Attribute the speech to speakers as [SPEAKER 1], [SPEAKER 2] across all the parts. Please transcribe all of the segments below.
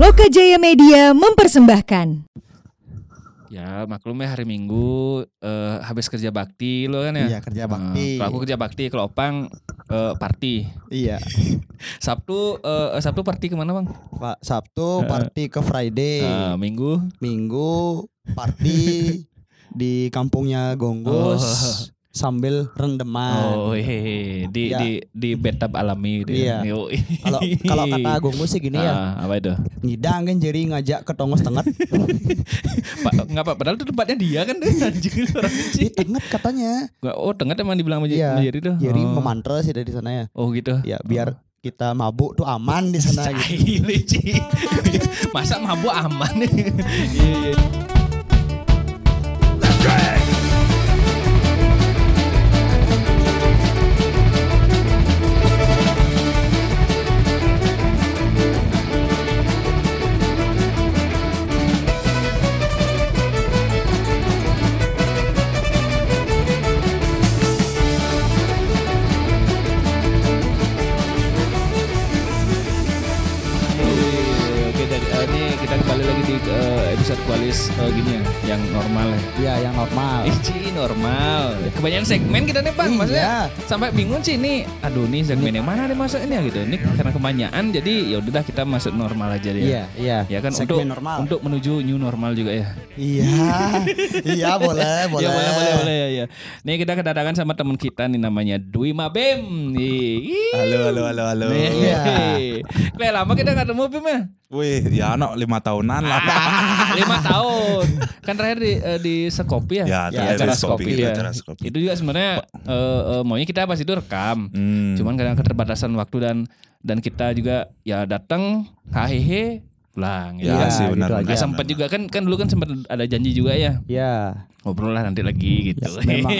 [SPEAKER 1] Loka Jaya Media mempersembahkan.
[SPEAKER 2] Ya maklum ya hari Minggu eh, habis kerja bakti lo kan ya.
[SPEAKER 3] Iya kerja
[SPEAKER 2] Eh,
[SPEAKER 3] bakti.
[SPEAKER 2] kalau aku kerja bakti, kalau Opang eh, party.
[SPEAKER 3] Iya.
[SPEAKER 2] Sabtu eh, Sabtu party kemana bang?
[SPEAKER 3] Pak Sabtu
[SPEAKER 2] Eh.
[SPEAKER 3] party ke Friday.
[SPEAKER 2] Eh, minggu.
[SPEAKER 3] Minggu party di kampungnya Gonggus sambil rendeman.
[SPEAKER 2] Oh hehehe. di
[SPEAKER 3] Oh. Ah. Iya.
[SPEAKER 2] di di bathtub alami gitu. ya.
[SPEAKER 3] Iya.
[SPEAKER 2] Yoi.
[SPEAKER 3] Kalau kalau kata Gonggus sih gini ya,
[SPEAKER 2] Ah, apa itu?
[SPEAKER 3] ngidang kan jadi ngajak ke tongos tengah.
[SPEAKER 2] Pak, nggak apa padahal itu tempatnya dia kan anjing orang
[SPEAKER 3] di
[SPEAKER 2] kecil.
[SPEAKER 3] tengah katanya.
[SPEAKER 2] Nggak, Oh, tengah emang dibilang sama
[SPEAKER 3] Iya.
[SPEAKER 2] Jerry tuh.
[SPEAKER 3] Jadi
[SPEAKER 2] oh.
[SPEAKER 3] memantra sih dari sana ya.
[SPEAKER 2] oh gitu.
[SPEAKER 3] Ya biar kita mabuk tuh aman di sana gitu.
[SPEAKER 2] Cahil, Ci. Masa mabuk aman nih. Iya, iya. Oke, dan eh, ini kita kembali lagi di eh, episode kualis eh, gini ya, yang normal ya.
[SPEAKER 3] Iya yang normal.
[SPEAKER 2] Eh, Ci, normal. Kebanyakan segmen kita nih, Bang. Maksudnya
[SPEAKER 3] Iya.
[SPEAKER 2] sampai bingung sih ini aduh nih segmen yang mana nih masuknya gitu. Ini karena kebanyakan jadi ya udahlah kita masuk normal aja deh.
[SPEAKER 3] Iya, iya.
[SPEAKER 2] Ya kan
[SPEAKER 3] Segmen
[SPEAKER 2] untuk
[SPEAKER 3] normal.
[SPEAKER 2] untuk menuju new normal juga ya.
[SPEAKER 3] Iya. iya boleh, boleh.
[SPEAKER 2] Ya boleh boleh boleh ya, ya. Nih kita kedatangan sama teman kita nih namanya Dwi Mabem. Ih.
[SPEAKER 4] Halo, halo, halo, halo.
[SPEAKER 2] Nih.
[SPEAKER 3] Iya.
[SPEAKER 2] Kayak lama kita nggak ketemu Bim ya.
[SPEAKER 4] Wih, ya anak lima tahunan lah.
[SPEAKER 2] Ah, lima tahun. Kan terakhir di eh, di Sekopi ya.
[SPEAKER 4] Ya,
[SPEAKER 3] Ya,
[SPEAKER 4] terakhir
[SPEAKER 3] acara
[SPEAKER 4] skopi,
[SPEAKER 2] Sekopi, ya.
[SPEAKER 4] acara skopi.
[SPEAKER 2] Itu juga sebenarnya eh, eh, maunya kita pas itu rekam.
[SPEAKER 4] Hmm.
[SPEAKER 2] Cuman kadang keterbatasan waktu dan dan kita juga ya datang hahehe pulang
[SPEAKER 4] ya,
[SPEAKER 3] Iya,
[SPEAKER 4] sih
[SPEAKER 3] gitu
[SPEAKER 4] benar.
[SPEAKER 3] aja.
[SPEAKER 2] Nah,
[SPEAKER 4] benar,
[SPEAKER 2] sempat
[SPEAKER 4] benar.
[SPEAKER 2] juga kan kan dulu kan sempat ada janji juga ya
[SPEAKER 3] Ya.
[SPEAKER 2] ngobrol lah nanti lagi gitu.
[SPEAKER 3] Ya, memang.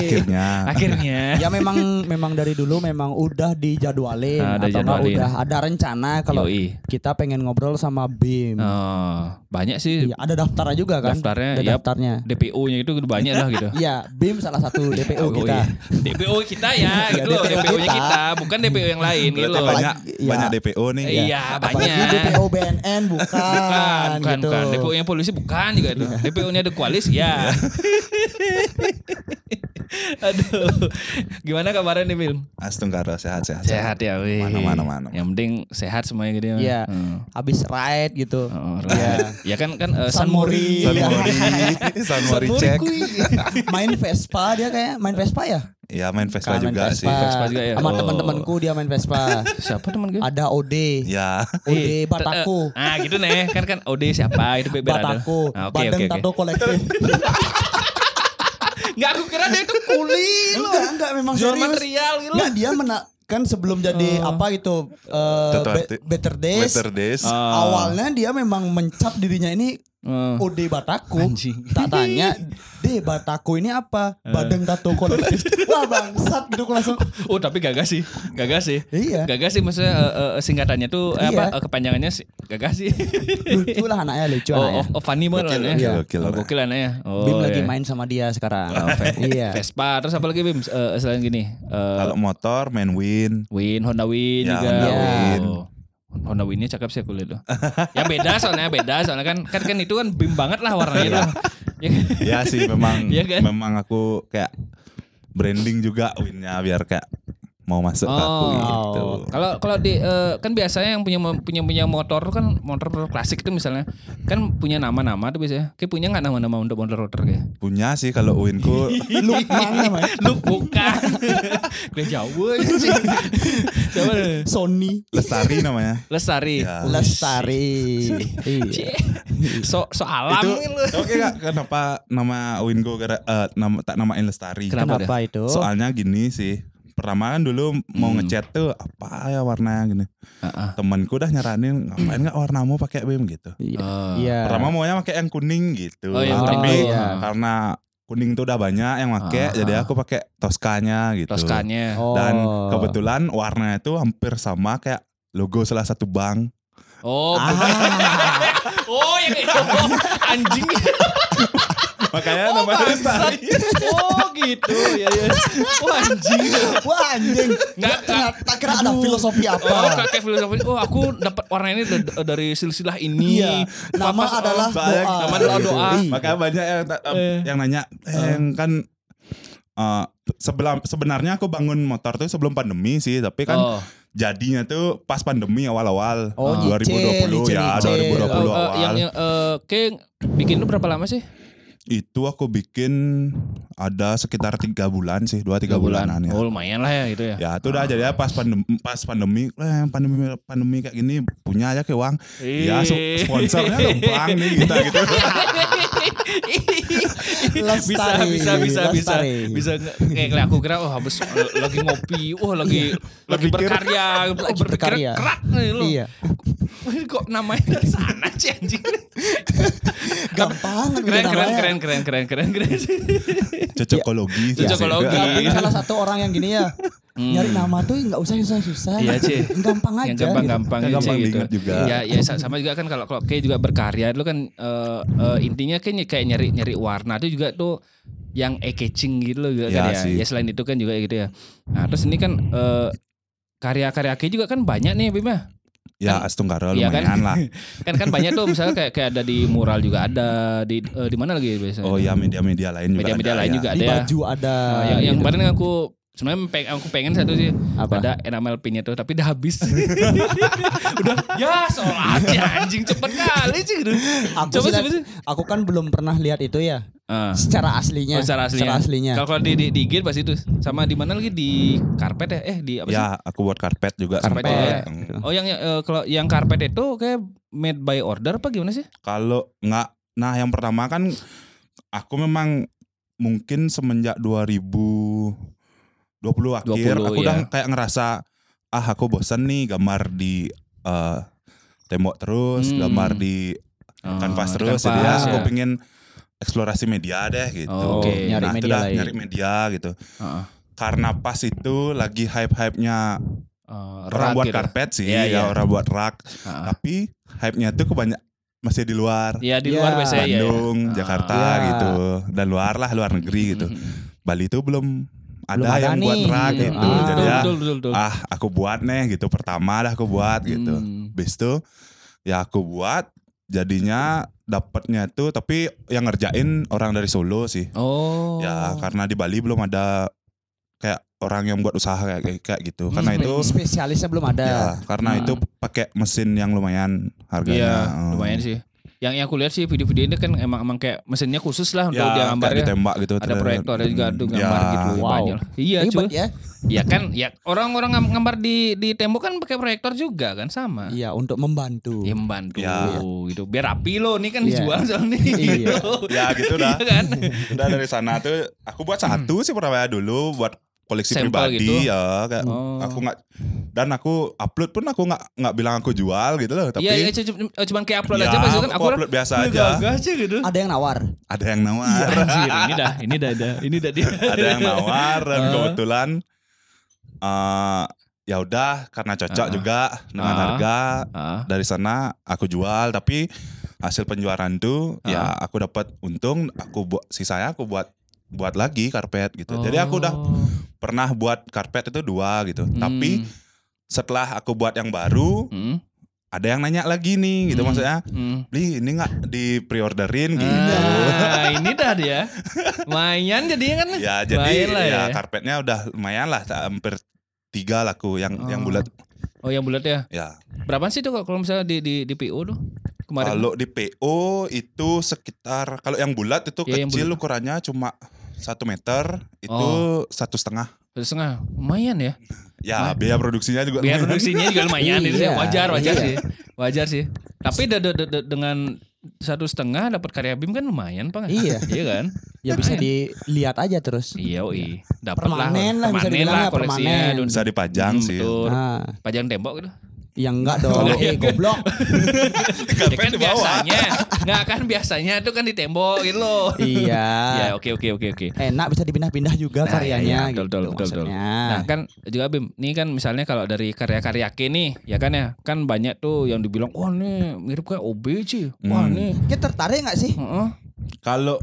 [SPEAKER 4] Akhirnya.
[SPEAKER 2] Akhirnya.
[SPEAKER 3] ya memang memang dari dulu memang udah dijadwalin
[SPEAKER 2] Ah,
[SPEAKER 3] atau nggak
[SPEAKER 2] dijadwalin.
[SPEAKER 3] udah ada rencana kalau
[SPEAKER 2] Yoi.
[SPEAKER 3] kita pengen ngobrol sama Bim.
[SPEAKER 4] Hmm.
[SPEAKER 2] Oh, banyak sih
[SPEAKER 3] Iya, ada daftarnya juga kan?
[SPEAKER 2] Daftarnya,
[SPEAKER 3] ada
[SPEAKER 2] yap.
[SPEAKER 3] daftarnya.
[SPEAKER 2] DPO-nya itu udah banyak lah gitu.
[SPEAKER 3] Iya, Bim salah satu DPO
[SPEAKER 2] Oh,
[SPEAKER 3] kita.
[SPEAKER 2] iya. DPO kita ya,
[SPEAKER 3] Iya,
[SPEAKER 2] gitu loh.
[SPEAKER 3] DPO
[SPEAKER 2] DPO-nya
[SPEAKER 3] kita.
[SPEAKER 2] kita, bukan DPO yang lain gitu
[SPEAKER 4] Berarti
[SPEAKER 2] loh.
[SPEAKER 4] banyak
[SPEAKER 3] Iya.
[SPEAKER 4] banyak DPO nih.
[SPEAKER 2] Iya,
[SPEAKER 3] Apalagi
[SPEAKER 2] banyak.
[SPEAKER 3] DPO BNN bukan,
[SPEAKER 2] Bukan, bukan,
[SPEAKER 3] gitu. Iya.
[SPEAKER 2] bukan. DPO-nya polisi bukan juga itu. DPO-nya ada kualis ya. Aduh. Gimana kabarnya nih, Film?
[SPEAKER 4] Astungkara sehat, sehat.
[SPEAKER 2] Sehat ya, wih.
[SPEAKER 4] Mana, mana, mana.
[SPEAKER 2] Yang penting sehat semuanya gitu ya.
[SPEAKER 3] Iya.
[SPEAKER 2] Hmm.
[SPEAKER 3] Habis ride gitu.
[SPEAKER 2] Oh,
[SPEAKER 3] Iya.
[SPEAKER 2] Ya kan kan eh,
[SPEAKER 3] San Mori.
[SPEAKER 4] San Mori, San Iya. Mori cek.
[SPEAKER 3] main Vespa dia kayak main Vespa ya?
[SPEAKER 4] Ya main Vespa
[SPEAKER 3] Kan, main
[SPEAKER 4] juga sih.
[SPEAKER 2] Vespa juga ya?
[SPEAKER 3] Sama
[SPEAKER 2] Oh.
[SPEAKER 3] teman-temanku dia main Vespa.
[SPEAKER 2] Siapa teman gue?
[SPEAKER 3] ada OD.
[SPEAKER 4] Ya.
[SPEAKER 3] OD
[SPEAKER 2] Eh, ter-
[SPEAKER 3] Batako.
[SPEAKER 2] eh, Ah gitu nih kan kan Ode siapa itu Bebe Radel.
[SPEAKER 3] Batako,
[SPEAKER 2] Ah, Oke
[SPEAKER 3] Badan
[SPEAKER 2] oke oke.
[SPEAKER 3] Tato Kolektif.
[SPEAKER 2] Nggak aku kira dia itu kuli loh.
[SPEAKER 3] enggak, enggak memang
[SPEAKER 2] Jual
[SPEAKER 3] serius.
[SPEAKER 2] material gitu.
[SPEAKER 3] Enggak, dia mena kan sebelum jadi
[SPEAKER 2] Oh.
[SPEAKER 3] apa gitu eh,
[SPEAKER 4] Tato
[SPEAKER 3] Be-
[SPEAKER 4] arti-
[SPEAKER 3] Better Days.
[SPEAKER 4] Better Ah. days.
[SPEAKER 2] Oh.
[SPEAKER 3] Awalnya dia memang mencap dirinya ini
[SPEAKER 2] Eh,
[SPEAKER 3] OD Bataku.
[SPEAKER 2] Anjing.
[SPEAKER 3] Tak tanya, D Bataku ini apa?
[SPEAKER 2] Eh.
[SPEAKER 3] Badan Tato Kolektif. Wah, bangsat gitu aku langsung.
[SPEAKER 2] Oh tapi gagas sih, gagas sih.
[SPEAKER 3] Iya.
[SPEAKER 2] Gagas sih maksudnya eh, eh, singkatannya tuh eh, apa
[SPEAKER 3] Iya.
[SPEAKER 2] eh, kepanjangannya sih gagas sih.
[SPEAKER 3] Lucu lah anaknya, lucu
[SPEAKER 2] oh,
[SPEAKER 3] anaknya.
[SPEAKER 2] oh, oh funny banget
[SPEAKER 4] Gokil,
[SPEAKER 2] anaknya.
[SPEAKER 4] iya.
[SPEAKER 2] Gokil,
[SPEAKER 4] Gokil
[SPEAKER 2] oh,
[SPEAKER 4] anaknya.
[SPEAKER 2] gokil anaknya. Oh,
[SPEAKER 3] ya? Bim lagi
[SPEAKER 2] iya.
[SPEAKER 3] main sama dia sekarang.
[SPEAKER 2] Oh, Ve-
[SPEAKER 3] iya.
[SPEAKER 2] Vespa terus apa lagi Bim Eh, selain gini? Eh,
[SPEAKER 4] Kalau motor main Win.
[SPEAKER 2] Win Honda Win
[SPEAKER 4] Ya,
[SPEAKER 2] juga.
[SPEAKER 3] Honda
[SPEAKER 4] Win.
[SPEAKER 2] Oh. Honda Winnya cakep sih aku lihat loh. ya beda soalnya beda soalnya kan kan, kan itu kan bim banget lah
[SPEAKER 4] Iya.
[SPEAKER 2] warnanya tuh. Ya kan?
[SPEAKER 4] Ya sih memang
[SPEAKER 2] Iya kan?
[SPEAKER 4] memang aku kayak branding juga Winnya biar kayak mau masuk aku
[SPEAKER 2] Oh.
[SPEAKER 4] gitu.
[SPEAKER 2] Kalau kalau di eh, kan biasanya yang punya punya punya motor tuh kan motor motor klasik itu misalnya kan punya nama-nama tuh biasanya. Kayak punya nggak nama-nama untuk motor-motor kayak?
[SPEAKER 4] Punya sih kalau Winku
[SPEAKER 2] gitu.
[SPEAKER 3] Lukman namanya.
[SPEAKER 2] Lu bukan. Gue jauh anjing. Siapa tuh?
[SPEAKER 3] Sony
[SPEAKER 4] Lestari namanya.
[SPEAKER 2] Lestari.
[SPEAKER 4] Ya.
[SPEAKER 2] Oh,
[SPEAKER 3] Lestari.
[SPEAKER 2] shit.
[SPEAKER 3] Iya.
[SPEAKER 2] So so alam
[SPEAKER 4] itu
[SPEAKER 2] lu.
[SPEAKER 4] oke nggak? kenapa nama Wingo gara eh, nama tak namain lestari
[SPEAKER 2] Kenapa
[SPEAKER 3] Kenapa itu?
[SPEAKER 4] soalnya gini sih pertama kan dulu mau ngechat tuh apa ya warnanya gini
[SPEAKER 2] Hmm. Ah, ah.
[SPEAKER 4] temanku udah nyaranin ngapain nggak warnamu pakai bim gitu
[SPEAKER 3] Iya.
[SPEAKER 2] Oh.
[SPEAKER 3] Iya.
[SPEAKER 4] pertama maunya pakai yang kuning gitu
[SPEAKER 2] Oh, iya,
[SPEAKER 3] kuning
[SPEAKER 4] tapi
[SPEAKER 3] dulu, iya.
[SPEAKER 4] karena kuning tuh udah banyak yang pakai
[SPEAKER 2] Ah,
[SPEAKER 4] jadi
[SPEAKER 2] ah.
[SPEAKER 4] aku pakai toskanya gitu
[SPEAKER 2] Toskanya. Oh.
[SPEAKER 3] Oh.
[SPEAKER 4] dan kebetulan warnanya itu hampir sama kayak logo salah satu bank
[SPEAKER 2] Oh,
[SPEAKER 4] Ah.
[SPEAKER 3] Ah.
[SPEAKER 2] oh yang oh, anjing.
[SPEAKER 4] makanya
[SPEAKER 2] Oh,
[SPEAKER 4] namanya
[SPEAKER 2] bangsat.
[SPEAKER 4] lestari
[SPEAKER 2] Oh, gitu. Ya, ya. Wah anjing.
[SPEAKER 3] Wah anjing.
[SPEAKER 2] Nggak,
[SPEAKER 3] Nggak, tak kira ada filosofi apa.
[SPEAKER 2] Oh, kakek filosofi. Oh, aku dapat warna ini d- d- dari silsilah ini.
[SPEAKER 3] Iya. Nama
[SPEAKER 2] Papa- oh,
[SPEAKER 3] adalah
[SPEAKER 4] banyak
[SPEAKER 3] doa.
[SPEAKER 2] nama adalah doa.
[SPEAKER 3] Iya.
[SPEAKER 4] Makanya banyak yang,
[SPEAKER 2] Eh.
[SPEAKER 4] yang nanya, yang kan eh, sebelum sebenarnya aku bangun motor tuh sebelum pandemi sih, tapi kan
[SPEAKER 2] Oh.
[SPEAKER 4] jadinya tuh pas pandemi awal-awal
[SPEAKER 3] Oh,
[SPEAKER 4] Eh, 2020
[SPEAKER 3] nyicil,
[SPEAKER 4] ya,
[SPEAKER 3] nyicil,
[SPEAKER 4] 2020
[SPEAKER 2] Eh, eh,
[SPEAKER 4] awal.
[SPEAKER 2] yang yang eh, Keng, bikin lu berapa lama sih?
[SPEAKER 4] Itu aku bikin ada sekitar tiga bulan sih, dua tiga bulanan ya.
[SPEAKER 2] Oh, lumayan lah ya gitu ya.
[SPEAKER 4] Ya itu udah jadi ya pas pandemi pas pandemi eh, pandemi pandemi kayak gini punya aja ke uang. Ya su- sponsornya tuh bank nih kita gitu.
[SPEAKER 2] bisa
[SPEAKER 3] Lestari,
[SPEAKER 2] bisa bisa bisa
[SPEAKER 3] lestari.
[SPEAKER 2] bisa nge- kayak kayak aku kira oh habis eh, lagi ngopi wah lagi lagi berkarya lagi berkarya
[SPEAKER 3] berkarya.
[SPEAKER 2] kerak nih lu
[SPEAKER 3] Iya.
[SPEAKER 2] kok namanya dari sana sih anjing
[SPEAKER 3] Gampang. gitu
[SPEAKER 2] keren keren keren keren keren keren keren
[SPEAKER 4] Cocokologi. Ya, sih.
[SPEAKER 2] Cocokologi.
[SPEAKER 3] Gampang salah satu orang yang gini
[SPEAKER 2] Iya.
[SPEAKER 3] ya.
[SPEAKER 2] Hmm.
[SPEAKER 3] Nyari nama tuh nggak usah susah-susah.
[SPEAKER 2] Iya, Ci.
[SPEAKER 3] Gampang aja. gitu.
[SPEAKER 2] yang gampang gampang
[SPEAKER 4] Yang gampang diingat juga.
[SPEAKER 2] ya ya sa- sama juga kan kalau kalau kayak juga berkarya dulu kan eh, eh, intinya kan kayak nyari nyari warna itu juga tuh yang eye catching gitu loh juga kan
[SPEAKER 4] Ya
[SPEAKER 2] ya.
[SPEAKER 4] sih.
[SPEAKER 2] ya selain itu kan juga gitu ya nah terus ini kan eh, karya-karya Ki juga kan banyak nih Bima
[SPEAKER 4] Ya Astungkara
[SPEAKER 2] Iya
[SPEAKER 4] lumayan
[SPEAKER 2] kan?
[SPEAKER 4] lah.
[SPEAKER 2] kan kan banyak tuh misalnya kayak kayak ada di mural juga ada di eh, di mana lagi biasanya
[SPEAKER 4] Oh ya media-media lain juga.
[SPEAKER 2] media-media
[SPEAKER 4] ada,
[SPEAKER 2] lain
[SPEAKER 4] ya.
[SPEAKER 2] juga
[SPEAKER 3] Di
[SPEAKER 2] ada ya.
[SPEAKER 3] baju ada.
[SPEAKER 2] Nah, yang yang kemarin aku sebenarnya peng- aku pengen satu sih
[SPEAKER 3] gitu. Apa?
[SPEAKER 2] ada enamel pinnya tuh tapi udah habis udah ya sholat ya anjing cepet kali sih gitu.
[SPEAKER 3] Aku,
[SPEAKER 2] coba
[SPEAKER 3] sih lihat-
[SPEAKER 2] coba sih
[SPEAKER 3] aku kan belum pernah lihat itu ya
[SPEAKER 2] Ah.
[SPEAKER 3] secara aslinya.
[SPEAKER 2] Oh, secara aslinya.
[SPEAKER 3] aslinya.
[SPEAKER 2] Kalau kalau di, di, di IG pas itu sama di mana lagi di karpet ya? Eh di apa
[SPEAKER 4] Ya
[SPEAKER 2] sih?
[SPEAKER 4] aku buat karpet juga.
[SPEAKER 2] Karpet
[SPEAKER 4] sempat.
[SPEAKER 2] juga ya.
[SPEAKER 4] Hmm.
[SPEAKER 2] Oh yang eh, kalau yang karpet itu kayak made by order apa gimana sih?
[SPEAKER 4] Kalau nggak, nah yang pertama kan aku memang mungkin semenjak 2020 akhir
[SPEAKER 2] 20,
[SPEAKER 4] aku udah
[SPEAKER 2] ya.
[SPEAKER 4] kayak ngerasa ah aku bosan nih gambar di eh, tembok terus,
[SPEAKER 2] Hmm.
[SPEAKER 4] gambar di
[SPEAKER 2] Oh,
[SPEAKER 4] kanvas
[SPEAKER 2] di
[SPEAKER 4] terus. Jadi ya,
[SPEAKER 2] kanvas,
[SPEAKER 4] aku
[SPEAKER 2] ya.
[SPEAKER 4] pengen eksplorasi media deh gitu.
[SPEAKER 2] Oh, oke.
[SPEAKER 4] Nah,
[SPEAKER 3] Nyari
[SPEAKER 4] itu
[SPEAKER 3] media
[SPEAKER 4] dah,
[SPEAKER 3] lain.
[SPEAKER 4] nyari media gitu.
[SPEAKER 2] Heeh.
[SPEAKER 4] Karena pas itu lagi hype-hype-nya
[SPEAKER 2] Eh,
[SPEAKER 4] orang
[SPEAKER 2] rak
[SPEAKER 4] buat
[SPEAKER 2] gitu.
[SPEAKER 4] karpet sih,
[SPEAKER 2] Iya,
[SPEAKER 4] ya,
[SPEAKER 2] iya.
[SPEAKER 4] orang buat rak.
[SPEAKER 2] Heeh.
[SPEAKER 4] Tapi hype-nya tuh kebanyak masih di luar.
[SPEAKER 2] Ya di luar
[SPEAKER 3] Ya,
[SPEAKER 2] biasanya ya.
[SPEAKER 4] Bandung, Jakarta
[SPEAKER 3] Ah.
[SPEAKER 4] gitu, dan luar lah luar negeri gitu. Bali tuh belum ada
[SPEAKER 3] Belum ada
[SPEAKER 4] yang buat
[SPEAKER 3] nih,
[SPEAKER 4] rak
[SPEAKER 3] gitu.
[SPEAKER 4] gitu,
[SPEAKER 3] Ah.
[SPEAKER 4] jadi ya
[SPEAKER 2] Betul, betul, betul.
[SPEAKER 4] ah aku buat nih gitu pertama dah aku buat gitu.
[SPEAKER 2] Hmm.
[SPEAKER 4] Habis itu ya aku buat, jadinya dapatnya tuh tapi yang ngerjain orang dari Solo sih,
[SPEAKER 2] Oh.
[SPEAKER 4] ya karena di Bali belum ada kayak orang yang buat usaha kayak kayak- kayak gitu, karena
[SPEAKER 2] Hmm.
[SPEAKER 4] itu
[SPEAKER 3] Spesialisnya belum ada.
[SPEAKER 4] ya karena
[SPEAKER 2] Hmm.
[SPEAKER 4] itu pakai mesin yang lumayan harganya.
[SPEAKER 2] Iya,
[SPEAKER 4] Hmm.
[SPEAKER 2] lumayan sih. Yang yang aku lihat sih video-video ini kan emang emang kayak mesinnya khusus lah untuk dia
[SPEAKER 4] Ya, kayak
[SPEAKER 2] gambarnya.
[SPEAKER 4] ditembak gitu.
[SPEAKER 2] Ada proyektor, ada juga ada
[SPEAKER 4] Ya.
[SPEAKER 2] gambar gitu.
[SPEAKER 3] Wow.
[SPEAKER 2] banyak lah. Iya, cuy.
[SPEAKER 3] Hebat ya.
[SPEAKER 2] Ya kan, ya orang-orang ngam- gambar di di tembok kan pakai proyektor juga kan sama.
[SPEAKER 3] Iya untuk membantu.
[SPEAKER 2] Ya membantu
[SPEAKER 4] Ya.
[SPEAKER 2] gitu. Biar rapi loh, ini kan
[SPEAKER 3] Iya.
[SPEAKER 2] dijual soalnya
[SPEAKER 3] Iya.
[SPEAKER 2] gitu.
[SPEAKER 4] Ya, gitu dah.
[SPEAKER 2] Iya kan?
[SPEAKER 4] Udah dari sana tuh aku buat satu sih pertama dulu buat koleksi
[SPEAKER 2] Hmm. Sampel
[SPEAKER 4] pribadi
[SPEAKER 2] gitu.
[SPEAKER 4] ya kayak
[SPEAKER 2] Oh.
[SPEAKER 4] aku nggak dan aku upload pun aku nggak nggak bilang aku jual gitu loh tapi
[SPEAKER 2] Iya, iya, cu- cu- cuman kayak upload
[SPEAKER 4] Ya,
[SPEAKER 2] aja pas itu kan
[SPEAKER 4] aku upload biasa
[SPEAKER 2] "Ini
[SPEAKER 4] aja."
[SPEAKER 2] gagah sih gitu.
[SPEAKER 3] Ada yang nawar.
[SPEAKER 4] ada yang
[SPEAKER 2] Iya.
[SPEAKER 4] nawar
[SPEAKER 2] Anjir, ini dah, ini dah, dah, ini dah dia.
[SPEAKER 4] ada yang nawar dan
[SPEAKER 2] Ah.
[SPEAKER 4] kebetulan eh ya udah karena cocok
[SPEAKER 2] Ah.
[SPEAKER 4] juga dengan
[SPEAKER 2] Ah.
[SPEAKER 4] harga
[SPEAKER 2] Ah.
[SPEAKER 4] dari sana aku jual tapi hasil penjualan tuh ya aku dapat untung aku buat sisanya aku buat buat lagi karpet gitu jadi aku udah
[SPEAKER 2] Oh.
[SPEAKER 4] pernah buat karpet itu dua gitu tapi
[SPEAKER 2] Hmm.
[SPEAKER 4] setelah aku buat yang baru
[SPEAKER 2] Hmm.
[SPEAKER 4] ada yang nanya lagi nih gitu
[SPEAKER 2] Hmm.
[SPEAKER 4] maksudnya
[SPEAKER 2] Hmm.
[SPEAKER 4] beli ini nggak di preorderin gitu
[SPEAKER 2] Ah, ini dah dia. Lumayan jadinya kan.
[SPEAKER 4] ya
[SPEAKER 2] Lumayan
[SPEAKER 4] jadi
[SPEAKER 2] lah
[SPEAKER 4] ya,
[SPEAKER 2] ya.
[SPEAKER 4] karpetnya udah lumayan lah tak- hampir tiga laku yang yang
[SPEAKER 2] Oh.
[SPEAKER 4] bulat
[SPEAKER 2] Oh yang bulat ya.
[SPEAKER 4] ya
[SPEAKER 2] Berapa sih tuh kalau- kalau misalnya di di, di PO tuh kemarin?
[SPEAKER 4] kalau di PO itu sekitar kalau yang bulat itu
[SPEAKER 2] Ya, yang
[SPEAKER 4] kecil ukurannya cuma satu meter itu
[SPEAKER 2] Oh.
[SPEAKER 4] satu setengah
[SPEAKER 2] Satu setengah. Lumayan ya.
[SPEAKER 4] ya
[SPEAKER 2] Nah.
[SPEAKER 4] biaya produksinya juga
[SPEAKER 2] Biar
[SPEAKER 4] lumayan.
[SPEAKER 2] produksinya juga lumayan itu sih.
[SPEAKER 3] Iya,
[SPEAKER 2] Wajar wajar
[SPEAKER 3] iya.
[SPEAKER 2] sih. Wajar sih. Tapi de- de- de- de- dengan satu setengah dapat karya BIM kan lumayan pak
[SPEAKER 3] Iya.
[SPEAKER 2] iya kan
[SPEAKER 3] Ya bisa dilihat aja terus.
[SPEAKER 2] iya oi dapat
[SPEAKER 3] Permanen lah, bisa
[SPEAKER 2] permanen
[SPEAKER 3] dibilang
[SPEAKER 2] lah
[SPEAKER 3] ya,
[SPEAKER 2] koleksinya
[SPEAKER 3] permanen.
[SPEAKER 2] Dun.
[SPEAKER 4] bisa dipajang
[SPEAKER 2] Hmm,
[SPEAKER 4] sih
[SPEAKER 2] betul.
[SPEAKER 3] Nah,
[SPEAKER 2] pajang tembok gitu
[SPEAKER 3] yang enggak dong.
[SPEAKER 2] Enggak.
[SPEAKER 3] eh goblok.
[SPEAKER 2] Ya kan biasanya nggak kan biasanya itu kan di tembok gitu loh
[SPEAKER 4] Ah.
[SPEAKER 2] ya
[SPEAKER 3] iya.
[SPEAKER 2] oke oke oke oke
[SPEAKER 3] Enak bisa dipindah-pindah juga
[SPEAKER 2] iya, betul,
[SPEAKER 3] karyanya gitu
[SPEAKER 2] betul, betul, betul.
[SPEAKER 3] maksudnya.
[SPEAKER 4] Ah.
[SPEAKER 2] Nah kan juga Bim, ini kan misalnya kalau dari karya-karya Ke nih, ya kan ya, kan banyak tuh yang dibilang, wah nih mirip kayak OBJ, wah
[SPEAKER 4] Hmm.
[SPEAKER 2] nih,
[SPEAKER 3] Kita tertarik nggak sih?
[SPEAKER 2] heeh.
[SPEAKER 4] kalau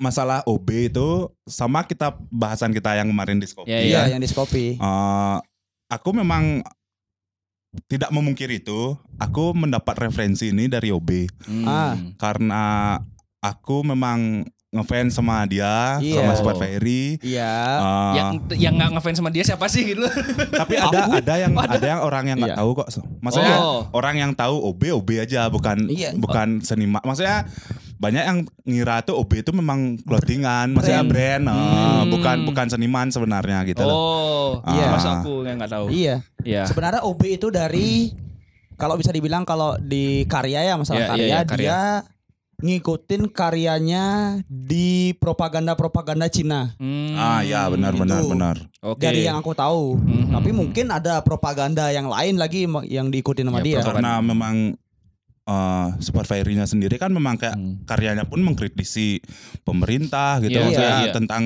[SPEAKER 4] masalah OB itu sama kita bahasan kita yang kemarin di Skopje.
[SPEAKER 2] Iya, Oh.
[SPEAKER 4] ya.
[SPEAKER 3] Iya, yang di Skopi.
[SPEAKER 4] Eh, aku memang tidak memungkiri itu. Aku mendapat referensi ini dari OB
[SPEAKER 2] Hmm.
[SPEAKER 3] Ah.
[SPEAKER 4] karena aku memang ngefans sama dia,
[SPEAKER 3] Iya.
[SPEAKER 4] sama Sobat Ferry.
[SPEAKER 3] Iya.
[SPEAKER 4] Eh,
[SPEAKER 2] Yang yang nggak ngefans sama dia siapa sih gitu?
[SPEAKER 4] tapi ada ada yang ada yang orang yang nggak
[SPEAKER 3] Iya.
[SPEAKER 4] tahu kok. Maksudnya
[SPEAKER 2] Oh.
[SPEAKER 4] orang yang tahu OB OB aja bukan
[SPEAKER 3] Iya.
[SPEAKER 4] bukan seniman. Maksudnya banyak yang ngira tuh OB itu memang clothingan, maksudnya brand, eh,
[SPEAKER 2] Hmm.
[SPEAKER 4] bukan bukan seniman sebenarnya gitu loh.
[SPEAKER 2] Oh,
[SPEAKER 4] Iya.
[SPEAKER 2] Masa aku yang nggak tahu.
[SPEAKER 3] Iya.
[SPEAKER 2] Iya.
[SPEAKER 3] Sebenarnya OB itu dari kalau bisa dibilang kalau di karya ya masalah
[SPEAKER 2] Iya, iya,
[SPEAKER 3] karya,
[SPEAKER 2] iya, karya.
[SPEAKER 3] dia ngikutin karyanya di propaganda-propaganda Cina.
[SPEAKER 2] Hmm.
[SPEAKER 4] Ah ya benar benar
[SPEAKER 3] Gitu.
[SPEAKER 4] benar.
[SPEAKER 2] Oke.
[SPEAKER 3] Dari yang aku tahu.
[SPEAKER 2] Mhm.
[SPEAKER 3] Tapi mungkin ada propaganda yang lain lagi ma- yang diikutin sama
[SPEAKER 2] Ya,
[SPEAKER 3] dia.
[SPEAKER 2] propaganda.
[SPEAKER 4] Karena memang eh supervisornya sendiri kan memang kayak
[SPEAKER 2] Hmm.
[SPEAKER 4] karyanya pun mengkritisi pemerintah gitu
[SPEAKER 2] Iya,
[SPEAKER 4] maksudnya
[SPEAKER 2] iya.
[SPEAKER 4] tentang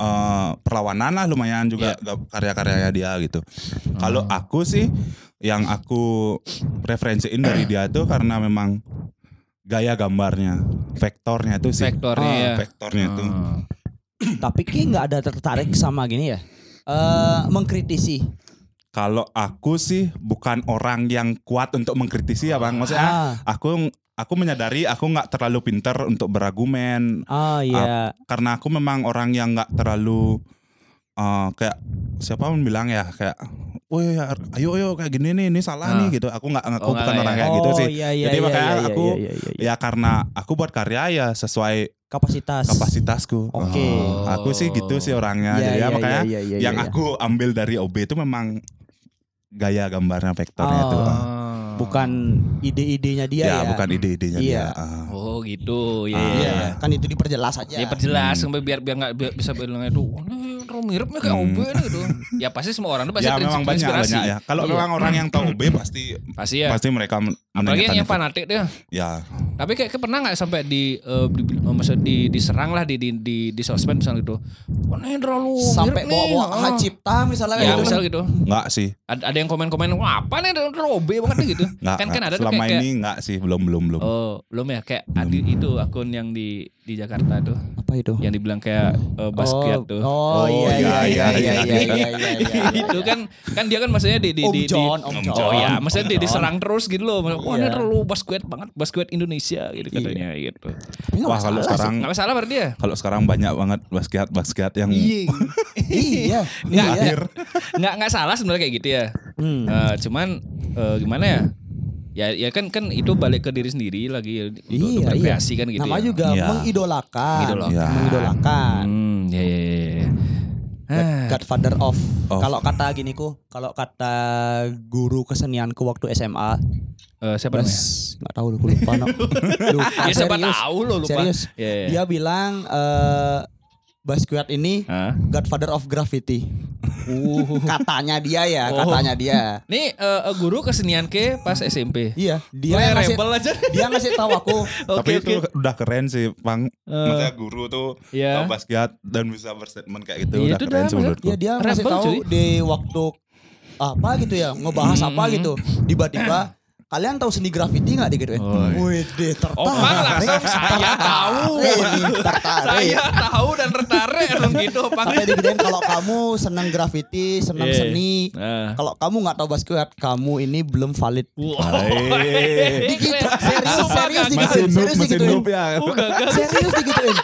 [SPEAKER 4] eh, perlawanan lah lumayan juga ga- karya-karyanya dia gitu.
[SPEAKER 2] Hmm.
[SPEAKER 4] Kalau aku sih yang aku referensiin dari dia tuh karena memang gaya gambarnya, vektornya itu sih.
[SPEAKER 2] Vektornya
[SPEAKER 4] Ah,
[SPEAKER 2] ya.
[SPEAKER 4] Vektornya itu.
[SPEAKER 2] Ah.
[SPEAKER 3] Tapi kayak nggak ada tertarik sama gini ya. Eh mengkritisi.
[SPEAKER 4] Kalau aku sih bukan orang yang kuat untuk mengkritisi ya bang. Maksudnya
[SPEAKER 3] Ah,
[SPEAKER 4] aku aku menyadari aku nggak terlalu pinter untuk beragumen
[SPEAKER 3] ah iya.
[SPEAKER 4] karena aku memang orang yang nggak terlalu eh, kayak siapa pun bilang ya kayak woi ayo ayo kayak gini nih ini salah
[SPEAKER 2] Ah.
[SPEAKER 4] nih gitu aku nggak
[SPEAKER 2] Oh,
[SPEAKER 4] aku
[SPEAKER 2] nggak
[SPEAKER 4] bukan
[SPEAKER 2] lah ya.
[SPEAKER 4] orang kayak gitu sih
[SPEAKER 3] iya, iya,
[SPEAKER 4] Jadi
[SPEAKER 3] iya,
[SPEAKER 4] makanya
[SPEAKER 3] iya, iya,
[SPEAKER 4] aku-
[SPEAKER 3] iya, iya, iya.
[SPEAKER 4] ya karena aku buat karya ya sesuai
[SPEAKER 3] kapasitas.
[SPEAKER 4] kapasitasku
[SPEAKER 3] Oke.
[SPEAKER 4] Oh, aku sih gitu sih orangnya
[SPEAKER 3] Iya,
[SPEAKER 4] jadi ya
[SPEAKER 3] iya,
[SPEAKER 4] makanya
[SPEAKER 3] iya, iya, iya,
[SPEAKER 4] yang
[SPEAKER 3] iya.
[SPEAKER 4] aku ambil dari OB itu memang gaya gambarnya vektornya itu
[SPEAKER 3] Oh.
[SPEAKER 4] Ah.
[SPEAKER 3] bukan ide-idenya dia
[SPEAKER 4] ya,
[SPEAKER 3] ya.
[SPEAKER 4] bukan ide-idenya
[SPEAKER 3] Iya.
[SPEAKER 4] dia Ah.
[SPEAKER 2] Oh gitu, ya.
[SPEAKER 4] Ah.
[SPEAKER 2] ya,
[SPEAKER 3] Iya,
[SPEAKER 2] ya.
[SPEAKER 3] kan itu diperjelas aja.
[SPEAKER 2] Ya perjelas sampai biar biar nggak bi- bisa bilang itu "Wah, ini terlalu miripnya kayak
[SPEAKER 4] Hmm.
[SPEAKER 2] OB nih," gitu. ya pasti semua orang tuh pasti
[SPEAKER 4] ya
[SPEAKER 2] terinspirasi.
[SPEAKER 4] memang banyak banyak ya kalau
[SPEAKER 2] Iya.
[SPEAKER 4] memang orang yang tahu OB pasti
[SPEAKER 2] Pasti ya.
[SPEAKER 4] pasti mereka men-
[SPEAKER 2] Apalagi
[SPEAKER 4] menanyakan
[SPEAKER 2] yang, yang
[SPEAKER 4] itu.
[SPEAKER 2] fanatik dia.
[SPEAKER 4] ya
[SPEAKER 2] Tapi kayak, kayak pernah nggak sampai di, eh, di, di- maksud di diserang lah di di di, di sosmed misalnya gitu. Wah, ini terlalu
[SPEAKER 3] sampai
[SPEAKER 2] mirip nih.
[SPEAKER 3] bawa-bawa
[SPEAKER 2] ah."
[SPEAKER 3] hak cipta misalnya
[SPEAKER 2] Ya,
[SPEAKER 3] kayak gitu.
[SPEAKER 2] misal gitu.
[SPEAKER 4] nggak sih
[SPEAKER 2] Ada, ada yang komen-komen, "Wah, apa nih terlalu terlalu OB banget nih," gitu.
[SPEAKER 4] nggak
[SPEAKER 2] kan kan
[SPEAKER 4] nggak.
[SPEAKER 2] ada tuh
[SPEAKER 4] selama
[SPEAKER 2] kayak, kayak-
[SPEAKER 4] ini nggak sih belum belum belum Hmm.
[SPEAKER 2] Oh, belum ya kayak adi itu akun yang di di Jakarta tuh
[SPEAKER 3] apa itu?
[SPEAKER 2] yang dibilang kayak eh, Basquiat Ya, tuh.
[SPEAKER 3] Oh,
[SPEAKER 4] Oh,
[SPEAKER 3] iya iya iya iya iya iya iya. iya.
[SPEAKER 2] itu kan kan dia kan maksudnya di di
[SPEAKER 3] Om
[SPEAKER 2] di, di-
[SPEAKER 3] John, Om
[SPEAKER 4] John.
[SPEAKER 2] Oh ya,
[SPEAKER 4] Om
[SPEAKER 2] maksudnya di-
[SPEAKER 4] John.
[SPEAKER 2] diserang terus gitu loh. Wah, ini
[SPEAKER 3] Iya.
[SPEAKER 2] terlalu basket banget, basket Indonesia gitu katanya gitu.
[SPEAKER 3] Tapi nggak
[SPEAKER 4] wah kalau
[SPEAKER 3] masalah
[SPEAKER 4] sekarang
[SPEAKER 2] Enggak masalah berarti ya?
[SPEAKER 4] kalau sekarang banyak banget basket basket yang
[SPEAKER 3] sih. iya.
[SPEAKER 2] Nggak,
[SPEAKER 3] Iya.
[SPEAKER 4] lahir
[SPEAKER 2] Enggak enggak salah sebenarnya kayak gitu ya.
[SPEAKER 3] Hmm.
[SPEAKER 2] Eh, cuman eh, gimana ya? Ya ya kan kan itu balik ke diri sendiri lagi ya, untuk, untuk
[SPEAKER 3] Iya, iya.
[SPEAKER 2] berkreasi kan gitu.
[SPEAKER 3] Namanya
[SPEAKER 2] ya.
[SPEAKER 3] juga
[SPEAKER 4] Iya.
[SPEAKER 3] mengidolakan.
[SPEAKER 2] Mengidolakan.
[SPEAKER 4] Iya.
[SPEAKER 3] Mengidolakan.
[SPEAKER 2] Hmm, ya ya ya. ya. Ah,
[SPEAKER 3] Godfather of.
[SPEAKER 4] Of.
[SPEAKER 3] Kalau kata gini ku, kalau kata guru kesenianku waktu SMA,
[SPEAKER 2] eh, siapa namanya?
[SPEAKER 3] Bas, nggak tahu aku lupa. no. lupa
[SPEAKER 2] Ya siapa
[SPEAKER 3] serius.
[SPEAKER 2] tahu lo lupa.
[SPEAKER 3] Serius.
[SPEAKER 2] Ya, ya.
[SPEAKER 3] Dia bilang eh Basquiat ini
[SPEAKER 2] Hah?
[SPEAKER 3] Godfather of Graffiti. katanya dia ya,
[SPEAKER 2] Oh.
[SPEAKER 3] katanya dia.
[SPEAKER 2] Nih eh, eh, guru kesenian ke pas SMP.
[SPEAKER 3] Iya, dia
[SPEAKER 2] Dia
[SPEAKER 3] yang ngasih
[SPEAKER 2] rebel aja.
[SPEAKER 3] dia ngasih tahu aku.
[SPEAKER 4] tapi itu udah keren sih bang maksudnya guru tuh
[SPEAKER 2] Eh, Iya.
[SPEAKER 4] tahu basket dan bisa berstatement kayak gitu
[SPEAKER 2] Iya,
[SPEAKER 4] udah
[SPEAKER 2] itu
[SPEAKER 4] keren
[SPEAKER 2] dah,
[SPEAKER 4] sih
[SPEAKER 2] bener.
[SPEAKER 4] menurutku
[SPEAKER 3] Ya dia ngasih
[SPEAKER 2] Rebel,
[SPEAKER 3] tahu
[SPEAKER 2] cuy.
[SPEAKER 3] di waktu apa gitu ya, ngebahas apa
[SPEAKER 2] Hmm.
[SPEAKER 3] gitu. Tiba-tiba kalian tahu seni graffiti nggak digituin?
[SPEAKER 2] Oh,
[SPEAKER 3] Wih, deh,
[SPEAKER 2] Opa langsung saya tahu.
[SPEAKER 3] tertarik.
[SPEAKER 2] Saya tahu dan tertarik dong gitu
[SPEAKER 3] Sampai
[SPEAKER 2] Pak.
[SPEAKER 3] digituin kalau kamu senang graffiti, senang
[SPEAKER 2] Iya.
[SPEAKER 3] seni.
[SPEAKER 2] Nah.
[SPEAKER 3] Kalau kamu nggak tahu basket, kamu ini belum valid.
[SPEAKER 2] Wow.
[SPEAKER 4] Hai.
[SPEAKER 2] Gitu,
[SPEAKER 3] Gitu, serius,
[SPEAKER 2] Sumpah,
[SPEAKER 3] serius
[SPEAKER 2] Kak.
[SPEAKER 3] digituin.
[SPEAKER 4] masih noob
[SPEAKER 3] Serius
[SPEAKER 4] masih
[SPEAKER 3] digituin.
[SPEAKER 4] noob ya
[SPEAKER 2] iya, Oh, gagal.
[SPEAKER 3] Serius digituin.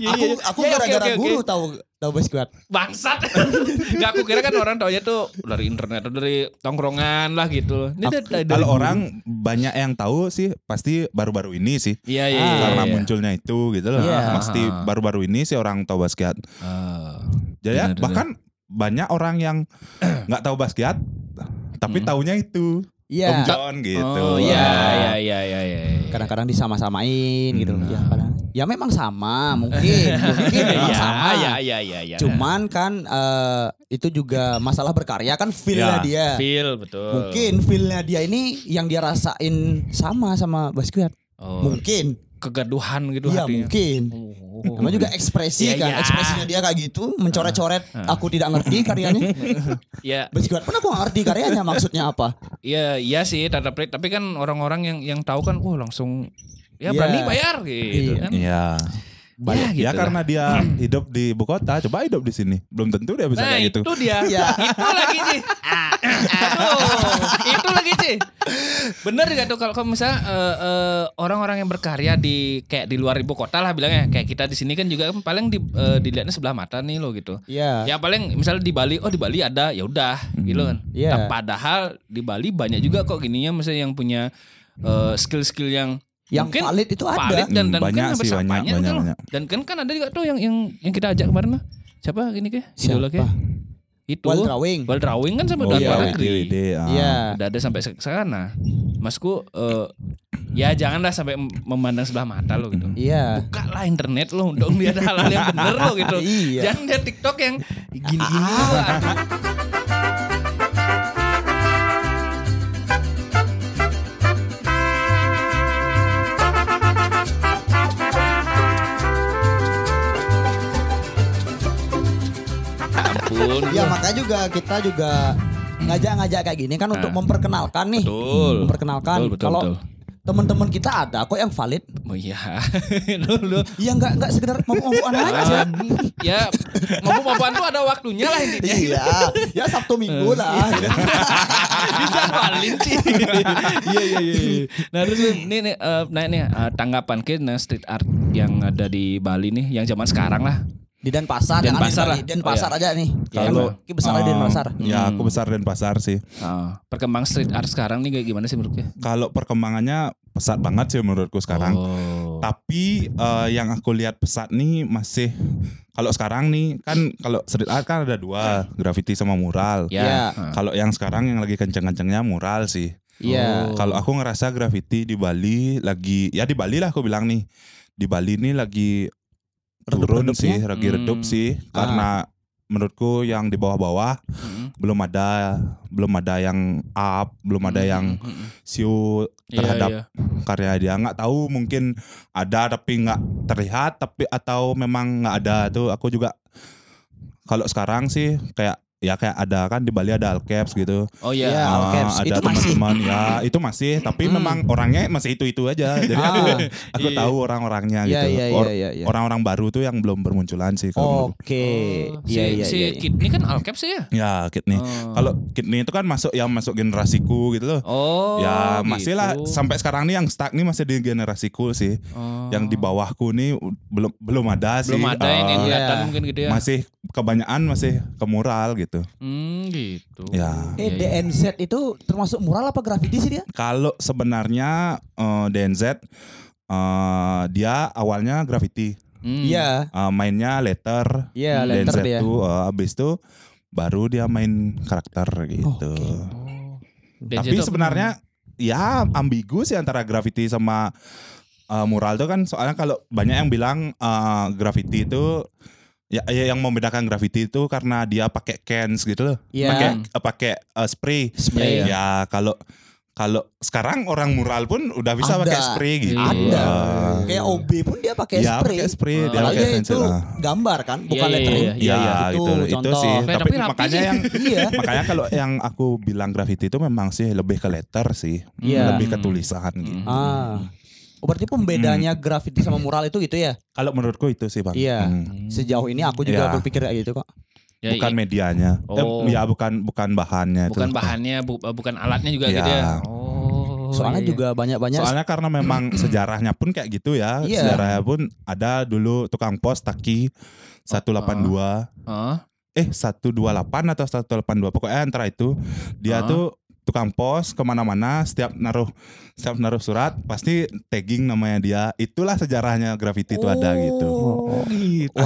[SPEAKER 2] Iya,
[SPEAKER 3] Aku
[SPEAKER 2] iya.
[SPEAKER 3] aku
[SPEAKER 2] Ya, oke,
[SPEAKER 3] gara-gara
[SPEAKER 2] oke, oke.
[SPEAKER 3] guru tahu tahu basket.
[SPEAKER 2] Bangsat. Enggak aku kira kan orang taunya tuh dari internet atau dari tongkrongan lah gitu. Ini dari- dari-
[SPEAKER 4] kalau
[SPEAKER 2] dari-
[SPEAKER 4] orang banyak yang tahu sih pasti baru-baru ini sih
[SPEAKER 2] Iya
[SPEAKER 3] Ah.
[SPEAKER 2] iya. iya,
[SPEAKER 4] karena
[SPEAKER 2] iya.
[SPEAKER 4] munculnya itu gitu loh
[SPEAKER 3] Iya.
[SPEAKER 4] pasti baru-baru ini sih orang tahu basket
[SPEAKER 2] Ah.
[SPEAKER 4] Jadi ya,
[SPEAKER 2] Benar, benar.
[SPEAKER 4] bahkan banyak orang yang nggak tahu basket tapi taunya itu Om
[SPEAKER 3] Iya.
[SPEAKER 4] John gitu.
[SPEAKER 2] Hmm. Oh iya iya iya iya iya.
[SPEAKER 3] Kadang-kadang disama-samain gitu.
[SPEAKER 4] Hmm.
[SPEAKER 3] Ya, padahal- ya memang sama mungkin. mungkin memang
[SPEAKER 2] Iya,
[SPEAKER 3] sama.
[SPEAKER 2] Iya iya iya iya.
[SPEAKER 3] Cuman kan eh, itu juga masalah berkarya kan feel-nya
[SPEAKER 4] Ya,
[SPEAKER 3] dia.
[SPEAKER 2] Iya. feel betul.
[SPEAKER 3] Mungkin feel-nya dia ini yang dia rasain sama sama basket.
[SPEAKER 2] Oh,
[SPEAKER 3] Mungkin.
[SPEAKER 2] kegaduhan gitu
[SPEAKER 3] Iya,
[SPEAKER 2] hatinya.
[SPEAKER 3] mungkin.
[SPEAKER 2] Oh.
[SPEAKER 3] Namanya juga
[SPEAKER 2] Iya,
[SPEAKER 3] ekspresi kan.
[SPEAKER 2] iya. Ah.
[SPEAKER 3] Ekspresinya dia kayak gitu, mencoret-coret. Aku tidak ngerti karyanya.
[SPEAKER 2] Iya,
[SPEAKER 3] Basket pun aku nggak ngerti karyanya maksudnya apa.
[SPEAKER 2] iya, iya sih tanda pelik. Tapi kan orang-orang yang yang tahu kan, wah langsung ya
[SPEAKER 3] Iya.
[SPEAKER 2] berani bayar gitu
[SPEAKER 3] Iya.
[SPEAKER 2] kan.
[SPEAKER 4] Iya.
[SPEAKER 2] Banyak
[SPEAKER 4] ya
[SPEAKER 2] gitu
[SPEAKER 4] karena dia hidup di ibu kota, coba hidup di sini. Belum tentu dia bisa
[SPEAKER 2] nah
[SPEAKER 4] kayak gitu.
[SPEAKER 2] itu dia
[SPEAKER 3] Ya.
[SPEAKER 2] itu lagi sih itu lagi sih bener gak tuh kalau kalau misalnya eh, eh, orang-orang yang berkarya di kayak di luar ibu kota lah bilangnya kayak kita di sini kan juga kan paling di, eh, dilihatnya sebelah mata nih lo gitu
[SPEAKER 3] Iya.
[SPEAKER 2] ya paling misalnya di Bali oh di Bali ada ya udah gitu kan
[SPEAKER 3] Iya.
[SPEAKER 2] Nah, padahal di Bali banyak juga kok gininya misalnya yang punya eh, skill-skill yang
[SPEAKER 3] Yang
[SPEAKER 2] mungkin
[SPEAKER 3] valid itu ada.
[SPEAKER 2] valid dan,
[SPEAKER 4] Hmm,
[SPEAKER 2] dan
[SPEAKER 4] banyak
[SPEAKER 2] mungkin
[SPEAKER 4] sih,
[SPEAKER 2] sampai
[SPEAKER 4] banyak,
[SPEAKER 2] sampainya
[SPEAKER 4] banyak,
[SPEAKER 2] gitu loh.
[SPEAKER 4] banyak.
[SPEAKER 2] dan kan kan ada juga tuh yang yang yang kita ajak kemarin lah siapa ini ke idola ke
[SPEAKER 3] Siapa?
[SPEAKER 2] itu
[SPEAKER 3] Wal drawing.
[SPEAKER 2] Wal drawing kan sampai
[SPEAKER 4] Oh,
[SPEAKER 2] udah
[SPEAKER 4] iya,
[SPEAKER 2] luar
[SPEAKER 4] Widi,
[SPEAKER 2] negeri
[SPEAKER 4] Widi, ah.
[SPEAKER 3] Iya.
[SPEAKER 2] udah ada sampai se- sana masku eh, ya janganlah sampai mem- memandang sebelah mata lo gitu
[SPEAKER 3] Iya.
[SPEAKER 2] buka lah internet lo dong biar ada hal-hal yang bener lo gitu
[SPEAKER 3] Iya. Ah,
[SPEAKER 2] jangan lihat TikTok yang gini-gini doang. ampun
[SPEAKER 3] Ya makanya juga kita juga ngajak-ngajak kayak gini kan untuk memperkenalkan nih.
[SPEAKER 2] Ah. Betul.
[SPEAKER 3] Memperkenalkan.
[SPEAKER 2] Betul, betul,
[SPEAKER 3] Kalau
[SPEAKER 2] betul.
[SPEAKER 3] teman-teman kita ada kok yang valid.
[SPEAKER 2] oh iya dulu
[SPEAKER 3] Ya nggak nggak sekedar mabuk-mabukan aja.
[SPEAKER 2] ya mabuk-mabukan tuh ada waktunya lah intinya
[SPEAKER 3] Iya. Ya Sabtu Minggu lah.
[SPEAKER 2] bisa valid sih iya iya iya iya. nah terus Lin, ini nih eh, nah ini eh, tanggapan ke nah, street art yang ada di Bali nih yang zaman sekarang lah
[SPEAKER 3] Di Denpasar. yang
[SPEAKER 2] Denpasar
[SPEAKER 3] ada
[SPEAKER 2] lah.
[SPEAKER 3] di Denpasar
[SPEAKER 2] Oh,
[SPEAKER 3] aja nih.
[SPEAKER 4] Kalau
[SPEAKER 3] Yang besar ada di
[SPEAKER 4] ah,
[SPEAKER 3] Denpasar.
[SPEAKER 4] Ya,
[SPEAKER 2] Hmm.
[SPEAKER 4] aku besar Denpasar sih.
[SPEAKER 2] Eh, perkembang street art sekarang nih kayak gimana sih menurutnya
[SPEAKER 4] Kalau perkembangannya pesat banget sih menurutku sekarang.
[SPEAKER 2] oh.
[SPEAKER 4] Tapi eh, yang aku lihat pesat nih masih kalau sekarang nih kan kalau street art kan ada dua, graffiti sama mural.
[SPEAKER 2] ya
[SPEAKER 3] Ya.
[SPEAKER 2] eh.
[SPEAKER 4] Kalau yang sekarang yang lagi kenceng-kencengnya mural sih.
[SPEAKER 2] Oh.
[SPEAKER 3] Iya.
[SPEAKER 4] Eh, Kalau aku ngerasa graffiti di Bali lagi ya di Bali lah aku bilang nih. Di Bali nih lagi turun
[SPEAKER 3] Redup-redupnya?
[SPEAKER 4] sih, lagi redup
[SPEAKER 2] Hmm.
[SPEAKER 4] sih karena menurutku yang di bawah-bawah
[SPEAKER 2] Mm-mm.
[SPEAKER 4] belum ada belum ada yang up, belum ada yang
[SPEAKER 2] Mm-mm.
[SPEAKER 4] siu
[SPEAKER 2] Iya,
[SPEAKER 4] terhadap
[SPEAKER 2] iya.
[SPEAKER 4] karya dia nggak tahu mungkin ada tapi nggak terlihat tapi atau memang nggak ada tuh aku juga kalau sekarang sih kayak ya kayak ada kan di Bali ada Alcaps gitu
[SPEAKER 2] oh iya
[SPEAKER 3] Iya.
[SPEAKER 4] Ah,
[SPEAKER 3] Alcaps. Itu
[SPEAKER 4] ada
[SPEAKER 3] masih.
[SPEAKER 4] teman-teman ya itu masih tapi
[SPEAKER 2] Hmm.
[SPEAKER 4] memang orangnya masih itu itu aja jadi aku,
[SPEAKER 3] Ah.
[SPEAKER 4] aku
[SPEAKER 2] Iya.
[SPEAKER 4] tahu orang-orangnya
[SPEAKER 3] Iya
[SPEAKER 4] gitu
[SPEAKER 3] iya
[SPEAKER 4] Or-
[SPEAKER 3] iya iya.
[SPEAKER 4] orang-orang baru tuh yang belum bermunculan sih kalau menurutku.
[SPEAKER 3] Oke.
[SPEAKER 2] Oh, si,
[SPEAKER 3] Iya iya
[SPEAKER 2] si
[SPEAKER 3] iya.
[SPEAKER 2] Kid ini kan Alcap sih ya
[SPEAKER 4] ya Kidney
[SPEAKER 2] Oh.
[SPEAKER 4] kalau Kidney itu kan masuk yang masuk generasiku gitu loh
[SPEAKER 2] oh
[SPEAKER 4] ya
[SPEAKER 2] gitu.
[SPEAKER 4] masih lah sampai sekarang nih yang stuck nih masih di generasiku sih
[SPEAKER 2] Oh.
[SPEAKER 4] yang di bawahku nih u- belum belum ada sih
[SPEAKER 2] belum ada yang
[SPEAKER 4] Eh,
[SPEAKER 2] yang kelihatan
[SPEAKER 3] Iya.
[SPEAKER 2] mungkin gitu ya
[SPEAKER 4] masih kebanyakan masih ke mural gitu
[SPEAKER 2] Hmm, gitu
[SPEAKER 4] Ya.
[SPEAKER 3] Eh DNZ itu termasuk mural apa grafiti sih dia?
[SPEAKER 4] kalau sebenarnya eh, DNZ eh, dia awalnya graffiti
[SPEAKER 2] Hmm.
[SPEAKER 3] Iya.
[SPEAKER 4] Eh, mainnya letter
[SPEAKER 3] Iya, letter
[SPEAKER 4] DNZ
[SPEAKER 3] dia.
[SPEAKER 4] tuh eh, abis itu baru dia main karakter gitu
[SPEAKER 2] Oh.
[SPEAKER 4] tapi sebenarnya ya ambigu sih antara graffiti sama eh, mural tuh kan soalnya kalau banyak yang bilang eh, graffiti itu ya, ya yang membedakan graffiti itu karena dia pakai cans gitu loh
[SPEAKER 3] Iya.
[SPEAKER 4] pakai eh, pakai eh, spray
[SPEAKER 2] Spray.
[SPEAKER 4] ya kalau kalau sekarang orang mural pun udah bisa
[SPEAKER 3] Ada.
[SPEAKER 4] pakai spray gitu
[SPEAKER 2] Iya.
[SPEAKER 3] Ada.
[SPEAKER 4] Eh,
[SPEAKER 3] Kayak OB pun dia pakai
[SPEAKER 4] ya
[SPEAKER 3] spray.
[SPEAKER 4] pakai spray
[SPEAKER 2] Ah.
[SPEAKER 4] dia
[SPEAKER 3] Padahal
[SPEAKER 4] pakai
[SPEAKER 3] dia itu
[SPEAKER 4] stencil ah.
[SPEAKER 3] gambar kan, bukan
[SPEAKER 2] Iya, iya,
[SPEAKER 3] lettering.
[SPEAKER 2] iya,
[SPEAKER 4] Ya,
[SPEAKER 3] Itu
[SPEAKER 4] gitu, itu,
[SPEAKER 3] contoh.
[SPEAKER 4] sih.
[SPEAKER 2] Eh,
[SPEAKER 4] Tapi,
[SPEAKER 2] tapi rapi
[SPEAKER 4] makanya
[SPEAKER 2] sih.
[SPEAKER 4] yang
[SPEAKER 3] Iya.
[SPEAKER 4] makanya kalau yang aku bilang graffiti itu memang sih lebih ke letter sih, Hmm,
[SPEAKER 3] Iya.
[SPEAKER 4] lebih ke
[SPEAKER 2] Hmm.
[SPEAKER 4] tulisan gitu.
[SPEAKER 3] Ah. Oh, berarti pembedanya grafiti sama mural itu gitu ya?
[SPEAKER 4] Kalau menurutku itu sih bang.
[SPEAKER 3] Iya.
[SPEAKER 4] Hmm.
[SPEAKER 3] Sejauh ini aku juga
[SPEAKER 4] Iya.
[SPEAKER 3] berpikir kayak gitu kok.
[SPEAKER 2] Ya,
[SPEAKER 4] bukan
[SPEAKER 2] i-
[SPEAKER 4] medianya. Eh,
[SPEAKER 2] Oh.
[SPEAKER 4] ya bukan bukan bahannya itu.
[SPEAKER 2] bukan bahannya, bu- eh, bukan alatnya juga
[SPEAKER 4] Iya.
[SPEAKER 2] gitu ya. Oh.
[SPEAKER 3] Soalnya
[SPEAKER 2] iya, iya.
[SPEAKER 3] juga banyak-banyak
[SPEAKER 4] Soalnya karena memang sejarahnya pun kayak gitu ya.
[SPEAKER 3] Iya.
[SPEAKER 4] Sejarahnya pun ada dulu tukang
[SPEAKER 2] Oh.
[SPEAKER 4] pos Taki 182
[SPEAKER 2] Hah?
[SPEAKER 4] eh 128 atau 182 pokoknya antara itu
[SPEAKER 2] Ah.
[SPEAKER 4] dia tuh tukang pos kemana-mana setiap naruh setiap naruh surat pasti tagging namanya dia itulah sejarahnya graffiti itu ada gitu
[SPEAKER 2] Oh, gitu.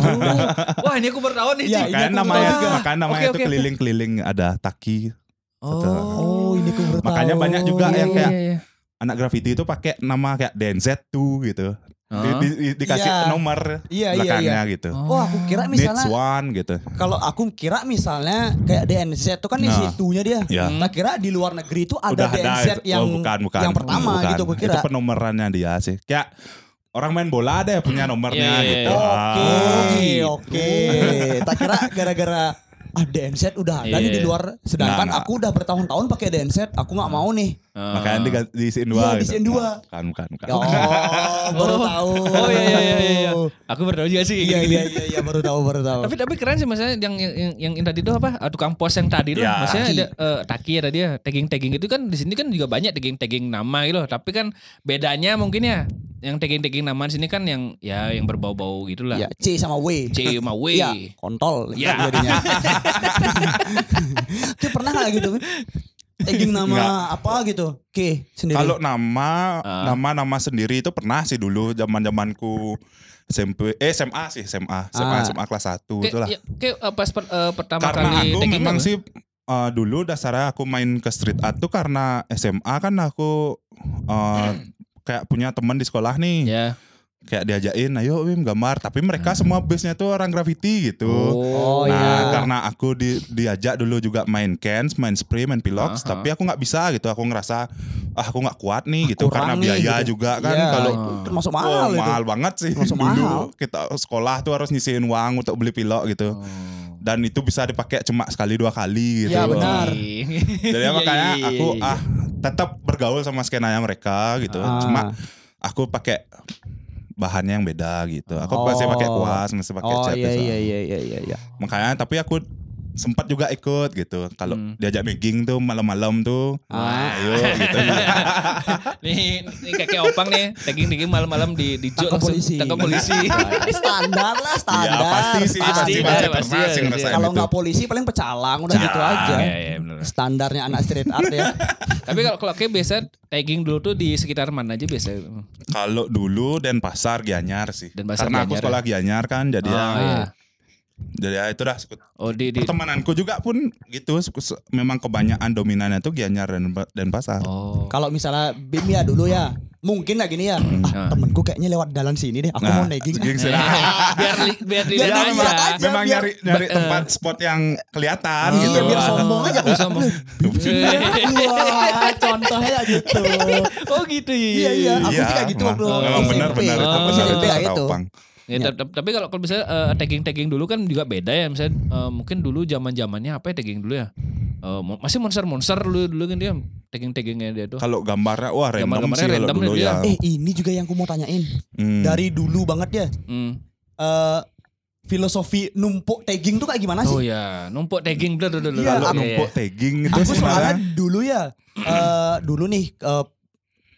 [SPEAKER 2] Wah, ini aku baru tahu nih,
[SPEAKER 3] Iya,
[SPEAKER 2] Cik.
[SPEAKER 3] ini
[SPEAKER 4] makanya
[SPEAKER 3] aku
[SPEAKER 4] namanya
[SPEAKER 3] tahu juga.
[SPEAKER 4] makanya namanya
[SPEAKER 2] Oke,
[SPEAKER 4] itu
[SPEAKER 2] oke, oke.
[SPEAKER 4] keliling-keliling ada taki
[SPEAKER 3] Oh, ini aku baru
[SPEAKER 4] Makanya
[SPEAKER 3] tahu.
[SPEAKER 4] banyak juga
[SPEAKER 3] Iya,
[SPEAKER 4] yang
[SPEAKER 3] iya,
[SPEAKER 4] kayak
[SPEAKER 2] iya, iya.
[SPEAKER 4] anak graffiti itu pakai nama kayak DNZ tuh gitu Di-
[SPEAKER 2] Hah?
[SPEAKER 4] di- di- dikasih
[SPEAKER 3] Iya.
[SPEAKER 4] nomor
[SPEAKER 3] Iya, iya,
[SPEAKER 4] belakangnya gitu
[SPEAKER 2] Oh.
[SPEAKER 3] Oh, aku kira
[SPEAKER 4] Needs
[SPEAKER 3] misalnya
[SPEAKER 4] one gitu
[SPEAKER 3] kalau aku kira misalnya kayak DNZ itu kan di
[SPEAKER 4] Nah.
[SPEAKER 3] situnya dia.
[SPEAKER 4] ya
[SPEAKER 3] Tak kira di luar negeri itu ada
[SPEAKER 4] udah
[SPEAKER 3] DNZ
[SPEAKER 4] ada
[SPEAKER 3] yang
[SPEAKER 4] oh, bukan, bukan,
[SPEAKER 3] yang pertama
[SPEAKER 4] bukan.
[SPEAKER 3] gitu aku kira.
[SPEAKER 4] itu penomorannya dia sih kayak orang main bola ada ya
[SPEAKER 3] Hmm.
[SPEAKER 4] punya nomornya
[SPEAKER 2] Iya, iya,
[SPEAKER 4] gitu
[SPEAKER 2] iya.
[SPEAKER 4] Ah.
[SPEAKER 3] Oke,
[SPEAKER 2] gitu.
[SPEAKER 3] oke. Tak kira gara-gara ah DNZ udah ada nih
[SPEAKER 2] Iya.
[SPEAKER 3] di luar sedangkan
[SPEAKER 4] Nggak,
[SPEAKER 3] aku udah bertahun-tahun pakai DNZ aku nggak mau nih
[SPEAKER 2] Ah.
[SPEAKER 4] Makanya diga-
[SPEAKER 3] Iya,
[SPEAKER 4] diisiin dua.
[SPEAKER 3] diisiin dua.
[SPEAKER 4] Kan, kan, kan.
[SPEAKER 3] ya Allah, baru tahu
[SPEAKER 2] Oh iya iya iya. iya. Aku berdoa juga sih.
[SPEAKER 3] iya
[SPEAKER 2] gini-gini.
[SPEAKER 3] iya iya iya, baru tahu baru tahu
[SPEAKER 2] Tapi tapi keren sih maksudnya yang yang, yang- yang tadi itu apa eh, tukang pos yang tadi loh.
[SPEAKER 4] Ya.
[SPEAKER 2] Maksudnya
[SPEAKER 3] Taki.
[SPEAKER 2] ada eh, taki ya tadi ya tagging tagging itu kan di sini kan juga banyak tagging tagging nama gitu. loh. Tapi kan bedanya mungkin ya yang tagging tagging nama di sini kan yang ya yang berbau-bau gitulah.
[SPEAKER 3] ya C sama W
[SPEAKER 2] C sama W.
[SPEAKER 3] Iya, kontol
[SPEAKER 2] Iya.
[SPEAKER 3] jadinya. Ki pernah gak gitu? Ki? Tagging nama
[SPEAKER 4] Nggak.
[SPEAKER 3] apa gitu? Ki sendiri.
[SPEAKER 4] Kalau nama
[SPEAKER 2] Ah.
[SPEAKER 4] nama nama sendiri itu pernah sih dulu zaman zamanku SMP eh SMA sih SMA SMA
[SPEAKER 3] Ah.
[SPEAKER 4] SMA kelas 1
[SPEAKER 2] Kayak-
[SPEAKER 4] itulah.
[SPEAKER 2] ya, kayak, eh, pas per- eh, pertama
[SPEAKER 4] Karena
[SPEAKER 2] kali
[SPEAKER 4] aku
[SPEAKER 2] tagging
[SPEAKER 4] memang
[SPEAKER 2] apa?
[SPEAKER 4] sih eh, dulu dasarnya aku main ke street art tuh karena SMA kan aku eh,
[SPEAKER 3] Hmm.
[SPEAKER 4] kayak punya teman di sekolah nih
[SPEAKER 2] Ya.
[SPEAKER 4] kayak diajakin ayo Wim gambar tapi mereka semua base-nya tuh orang graffiti gitu.
[SPEAKER 3] Hmm. Oh,
[SPEAKER 4] nah,
[SPEAKER 3] iya.
[SPEAKER 4] karena aku di- diajak dulu juga main cans, main spray, main pilox,
[SPEAKER 2] Aha.
[SPEAKER 4] tapi aku nggak bisa gitu. Aku ngerasa ah aku nggak kuat nih gitu
[SPEAKER 3] Kurang
[SPEAKER 4] karena
[SPEAKER 3] nih,
[SPEAKER 4] biaya
[SPEAKER 3] gitu.
[SPEAKER 4] juga kan
[SPEAKER 3] Iya,
[SPEAKER 4] kalau
[SPEAKER 3] itu termasuk
[SPEAKER 4] Wah,
[SPEAKER 3] mahal itu.
[SPEAKER 4] mahal banget sih
[SPEAKER 3] Masuk
[SPEAKER 4] dulu
[SPEAKER 3] mahal. Oh.
[SPEAKER 4] kita sekolah tuh harus nyisihin uang untuk beli pilok gitu dan itu bisa dipakai cuma sekali dua
[SPEAKER 2] Ya,
[SPEAKER 4] kali gitu
[SPEAKER 3] Iya, benar.
[SPEAKER 4] jadi
[SPEAKER 2] Iya,
[SPEAKER 4] makanya
[SPEAKER 3] Iya,
[SPEAKER 4] aku ah tetap bergaul sama skenanya mereka gitu
[SPEAKER 3] Ah.
[SPEAKER 4] cuma aku pakai bahannya yang beda gitu aku
[SPEAKER 3] Oh.
[SPEAKER 4] masih pakai kuas masih pakai
[SPEAKER 3] oh
[SPEAKER 4] cat
[SPEAKER 3] iya
[SPEAKER 4] gitu.
[SPEAKER 3] iya iya iya iya. iya.
[SPEAKER 4] makanya tapi aku sempat juga ikut gitu kalau
[SPEAKER 2] Hmm.
[SPEAKER 4] diajak making tuh malam-malam tuh
[SPEAKER 3] Ah.
[SPEAKER 4] ayo gitu
[SPEAKER 2] nih, nih kakek opang nih tagging tagging malam-malam di di jok
[SPEAKER 3] Tangkap
[SPEAKER 2] langsung
[SPEAKER 3] polisi. Iya,
[SPEAKER 2] tangkap polisi.
[SPEAKER 3] Nah, standar lah
[SPEAKER 4] ya
[SPEAKER 3] standar.
[SPEAKER 4] pasti gitu. sih pasti
[SPEAKER 2] Iya, Pasti,
[SPEAKER 4] pasti
[SPEAKER 2] iya, pasti,
[SPEAKER 4] pernah sih
[SPEAKER 2] iya.
[SPEAKER 4] ngerasain
[SPEAKER 3] Kalau
[SPEAKER 4] itu.
[SPEAKER 3] nggak polisi paling pecalang udah gitu
[SPEAKER 4] Pecalang,
[SPEAKER 3] aja.
[SPEAKER 2] Iya, iya, benar.
[SPEAKER 3] Standarnya anak street art ya.
[SPEAKER 2] Tapi kalau kalau kayak biasa tagging dulu tuh di sekitar mana aja biasa?
[SPEAKER 4] Iya. Kalau dulu Denpasar Gianyar sih.
[SPEAKER 2] Denpasar,
[SPEAKER 4] Karena aku
[SPEAKER 2] Gianyar,
[SPEAKER 4] sekolah Gianyar kan jadi
[SPEAKER 2] Oh,
[SPEAKER 3] Ah,
[SPEAKER 4] ya,
[SPEAKER 2] iya.
[SPEAKER 4] jadi ya itu dah sekut-
[SPEAKER 2] Oh di di
[SPEAKER 4] pertemananku juga pun gitu se- se- memang kebanyakan dominannya tuh Gianyar dan Denpasar.
[SPEAKER 2] Oh.
[SPEAKER 3] Kalau misalnya Bim ya dulu ya. Mungkin lah gini ya.
[SPEAKER 4] Hmm. Nah.
[SPEAKER 3] Ah, temenku kayaknya lewat dalan sini deh. Aku mau negging.
[SPEAKER 4] seging sih.
[SPEAKER 2] Nah, biar li- biar dilihat
[SPEAKER 3] Biar
[SPEAKER 2] aja.
[SPEAKER 3] dilihat Iya, aja.
[SPEAKER 4] memang
[SPEAKER 3] biar-
[SPEAKER 4] nyari nyari tempat spot yang kelihatan
[SPEAKER 3] Iya,
[SPEAKER 4] gitu.
[SPEAKER 3] biar sombong aja. Iya.
[SPEAKER 2] Biar sombong.
[SPEAKER 3] Wah, contohnya gitu.
[SPEAKER 2] oh gitu ya.
[SPEAKER 3] Iya iya, aku
[SPEAKER 4] Iya,
[SPEAKER 3] sih kayak gitu waktu
[SPEAKER 4] memang- memang
[SPEAKER 3] SMP.
[SPEAKER 4] benar-benar itu
[SPEAKER 3] Aku
[SPEAKER 4] benar
[SPEAKER 3] SMP
[SPEAKER 4] itu
[SPEAKER 3] ya
[SPEAKER 4] kata
[SPEAKER 3] itu.
[SPEAKER 4] Opang.
[SPEAKER 2] Ya,
[SPEAKER 4] Iya.
[SPEAKER 2] tap- tap- tapi kalau kalau bisa tagging tagging dulu kan juga beda ya misalnya eh, mungkin dulu zaman zamannya apa ya tagging dulu ya Eh, mo- masih monster monster dulu dulu kan dia tagging taggingnya dia tuh
[SPEAKER 4] Kalau gambarnya wah random
[SPEAKER 2] Gambar-gambarnya
[SPEAKER 4] sih kalau
[SPEAKER 2] random
[SPEAKER 4] dulu
[SPEAKER 2] dia.
[SPEAKER 4] ya.
[SPEAKER 3] Eh ini juga yang aku mau tanyain.
[SPEAKER 4] Hmm.
[SPEAKER 3] Dari dulu banget ya.
[SPEAKER 2] Hmm.
[SPEAKER 3] eh, filosofi numpuk tagging tuh kayak gimana
[SPEAKER 2] oh
[SPEAKER 4] iya.
[SPEAKER 3] sih?
[SPEAKER 2] ya numpuk tagging dulu dulu
[SPEAKER 3] Iya,
[SPEAKER 4] kalau
[SPEAKER 3] aku-
[SPEAKER 4] numpuk tagging gitu, itu
[SPEAKER 3] Aku
[SPEAKER 4] sebenarnya
[SPEAKER 3] soalnya dulu ya. eh, dulu nih eh,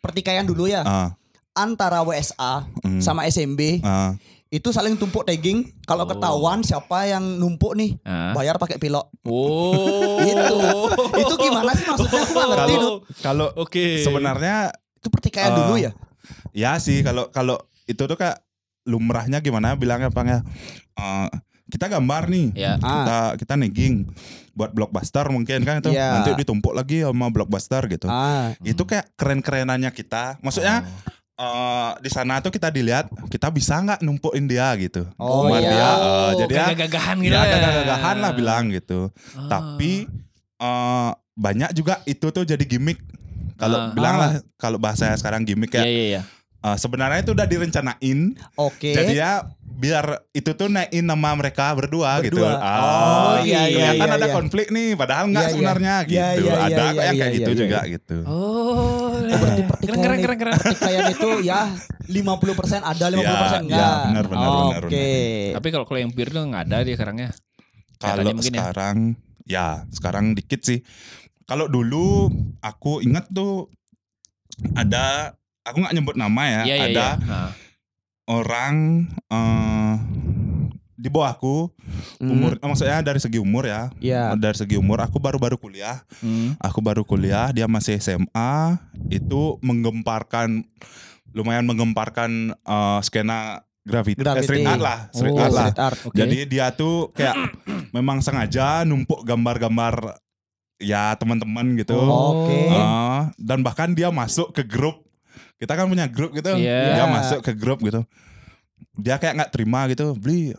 [SPEAKER 3] pertikaian dulu ya
[SPEAKER 4] ah,
[SPEAKER 3] antara WSA
[SPEAKER 4] Hmm.
[SPEAKER 3] sama SMB
[SPEAKER 4] ah.
[SPEAKER 3] itu saling tumpuk tagging. Kalau
[SPEAKER 2] Oh.
[SPEAKER 3] ketahuan siapa yang numpuk nih
[SPEAKER 2] Ah.
[SPEAKER 3] bayar pakai pilok.
[SPEAKER 2] oh
[SPEAKER 3] Itu itu gimana sih maksudnya? Aku nggak ngerti
[SPEAKER 4] Gitu. Kalau
[SPEAKER 3] tuh.
[SPEAKER 4] kalau
[SPEAKER 2] Oke.
[SPEAKER 4] sebenarnya
[SPEAKER 3] Itu pertikaian
[SPEAKER 4] Eh,
[SPEAKER 3] dulu ya.
[SPEAKER 4] Ya sih kalau kalau itu tuh kayak lumrahnya gimana bilangnya Bang ya. Eh, kita gambar nih.
[SPEAKER 2] ya
[SPEAKER 4] Kita kita negging buat blockbuster mungkin kan itu.
[SPEAKER 3] Iya.
[SPEAKER 4] Nanti ditumpuk lagi sama blockbuster gitu.
[SPEAKER 3] Ah,
[SPEAKER 4] Itu kayak keren-kerenannya kita. Maksudnya eh, di sana tuh kita dilihat kita bisa nggak numpukin dia gitu.
[SPEAKER 3] Oh,
[SPEAKER 4] Buat
[SPEAKER 3] iya.
[SPEAKER 4] dia, eh, jadi ya
[SPEAKER 2] gagahan gitu
[SPEAKER 4] ya
[SPEAKER 2] ya.
[SPEAKER 4] gagah-gagahan lah bilang gitu.
[SPEAKER 2] Ah.
[SPEAKER 4] Tapi eh, banyak juga itu tuh jadi gimmick.
[SPEAKER 2] Ah.
[SPEAKER 4] Kalau bilang lah kalau bahasa sekarang gimmick
[SPEAKER 2] Iya
[SPEAKER 4] ya.
[SPEAKER 2] iya iya.
[SPEAKER 4] Eh, sebenarnya itu udah direncanain
[SPEAKER 3] Oke.
[SPEAKER 4] jadi ya biar itu tuh naikin nama mereka berdua,
[SPEAKER 3] Berdua.
[SPEAKER 4] gitu.
[SPEAKER 3] Oh, iya, iya,
[SPEAKER 4] kelihatan
[SPEAKER 3] iya,
[SPEAKER 4] ada
[SPEAKER 3] iya.
[SPEAKER 4] konflik nih, padahal nggak
[SPEAKER 3] Iya, iya.
[SPEAKER 4] sebenarnya
[SPEAKER 3] Iya,
[SPEAKER 4] gitu.
[SPEAKER 3] iya, iya,
[SPEAKER 4] ada
[SPEAKER 3] iya,
[SPEAKER 4] yang kayak
[SPEAKER 3] iya,
[SPEAKER 4] gitu
[SPEAKER 3] iya,
[SPEAKER 4] juga gitu.
[SPEAKER 2] Oh.
[SPEAKER 3] Berarti
[SPEAKER 2] Keren
[SPEAKER 3] pertikaian
[SPEAKER 2] keren
[SPEAKER 3] i-
[SPEAKER 2] keren keren.
[SPEAKER 3] pertikaian itu ya 50% ada 50%
[SPEAKER 4] Ya,
[SPEAKER 3] enggak.
[SPEAKER 4] ya, benar, benar, benar,
[SPEAKER 3] Oke.
[SPEAKER 2] Tapi kalau kalau yang bir tuh nggak ada dia ya. karangnya.
[SPEAKER 4] Kalau
[SPEAKER 2] Katanya mungkin ya.
[SPEAKER 4] sekarang ya. sekarang dikit sih. Kalau dulu aku ingat tuh ada aku nggak nyebut nama ya,
[SPEAKER 2] Iya iya.
[SPEAKER 4] ada
[SPEAKER 2] iya. Ah.
[SPEAKER 4] orang eh, di bawah aku
[SPEAKER 3] Hmm.
[SPEAKER 4] umur maksudnya dari segi umur ya.
[SPEAKER 3] Iya.
[SPEAKER 4] Dari segi umur aku baru-baru kuliah
[SPEAKER 2] Hmm.
[SPEAKER 4] aku baru kuliah, dia masih SMA, itu menggemparkan lumayan menggemparkan eh, skena graffiti, eh,
[SPEAKER 3] Graffiti.
[SPEAKER 4] street art lah, street
[SPEAKER 3] Oh,
[SPEAKER 4] art lah.
[SPEAKER 3] street art.
[SPEAKER 2] Oke.
[SPEAKER 4] Jadi dia tuh kayak memang sengaja numpuk gambar-gambar ya teman-teman gitu.
[SPEAKER 2] Oh,
[SPEAKER 3] Oke.
[SPEAKER 4] Eh, dan bahkan dia masuk ke grup. Kita kan punya grup gitu.
[SPEAKER 2] Iya.
[SPEAKER 4] Dia masuk ke grup gitu. Dia kayak nggak terima gitu, beli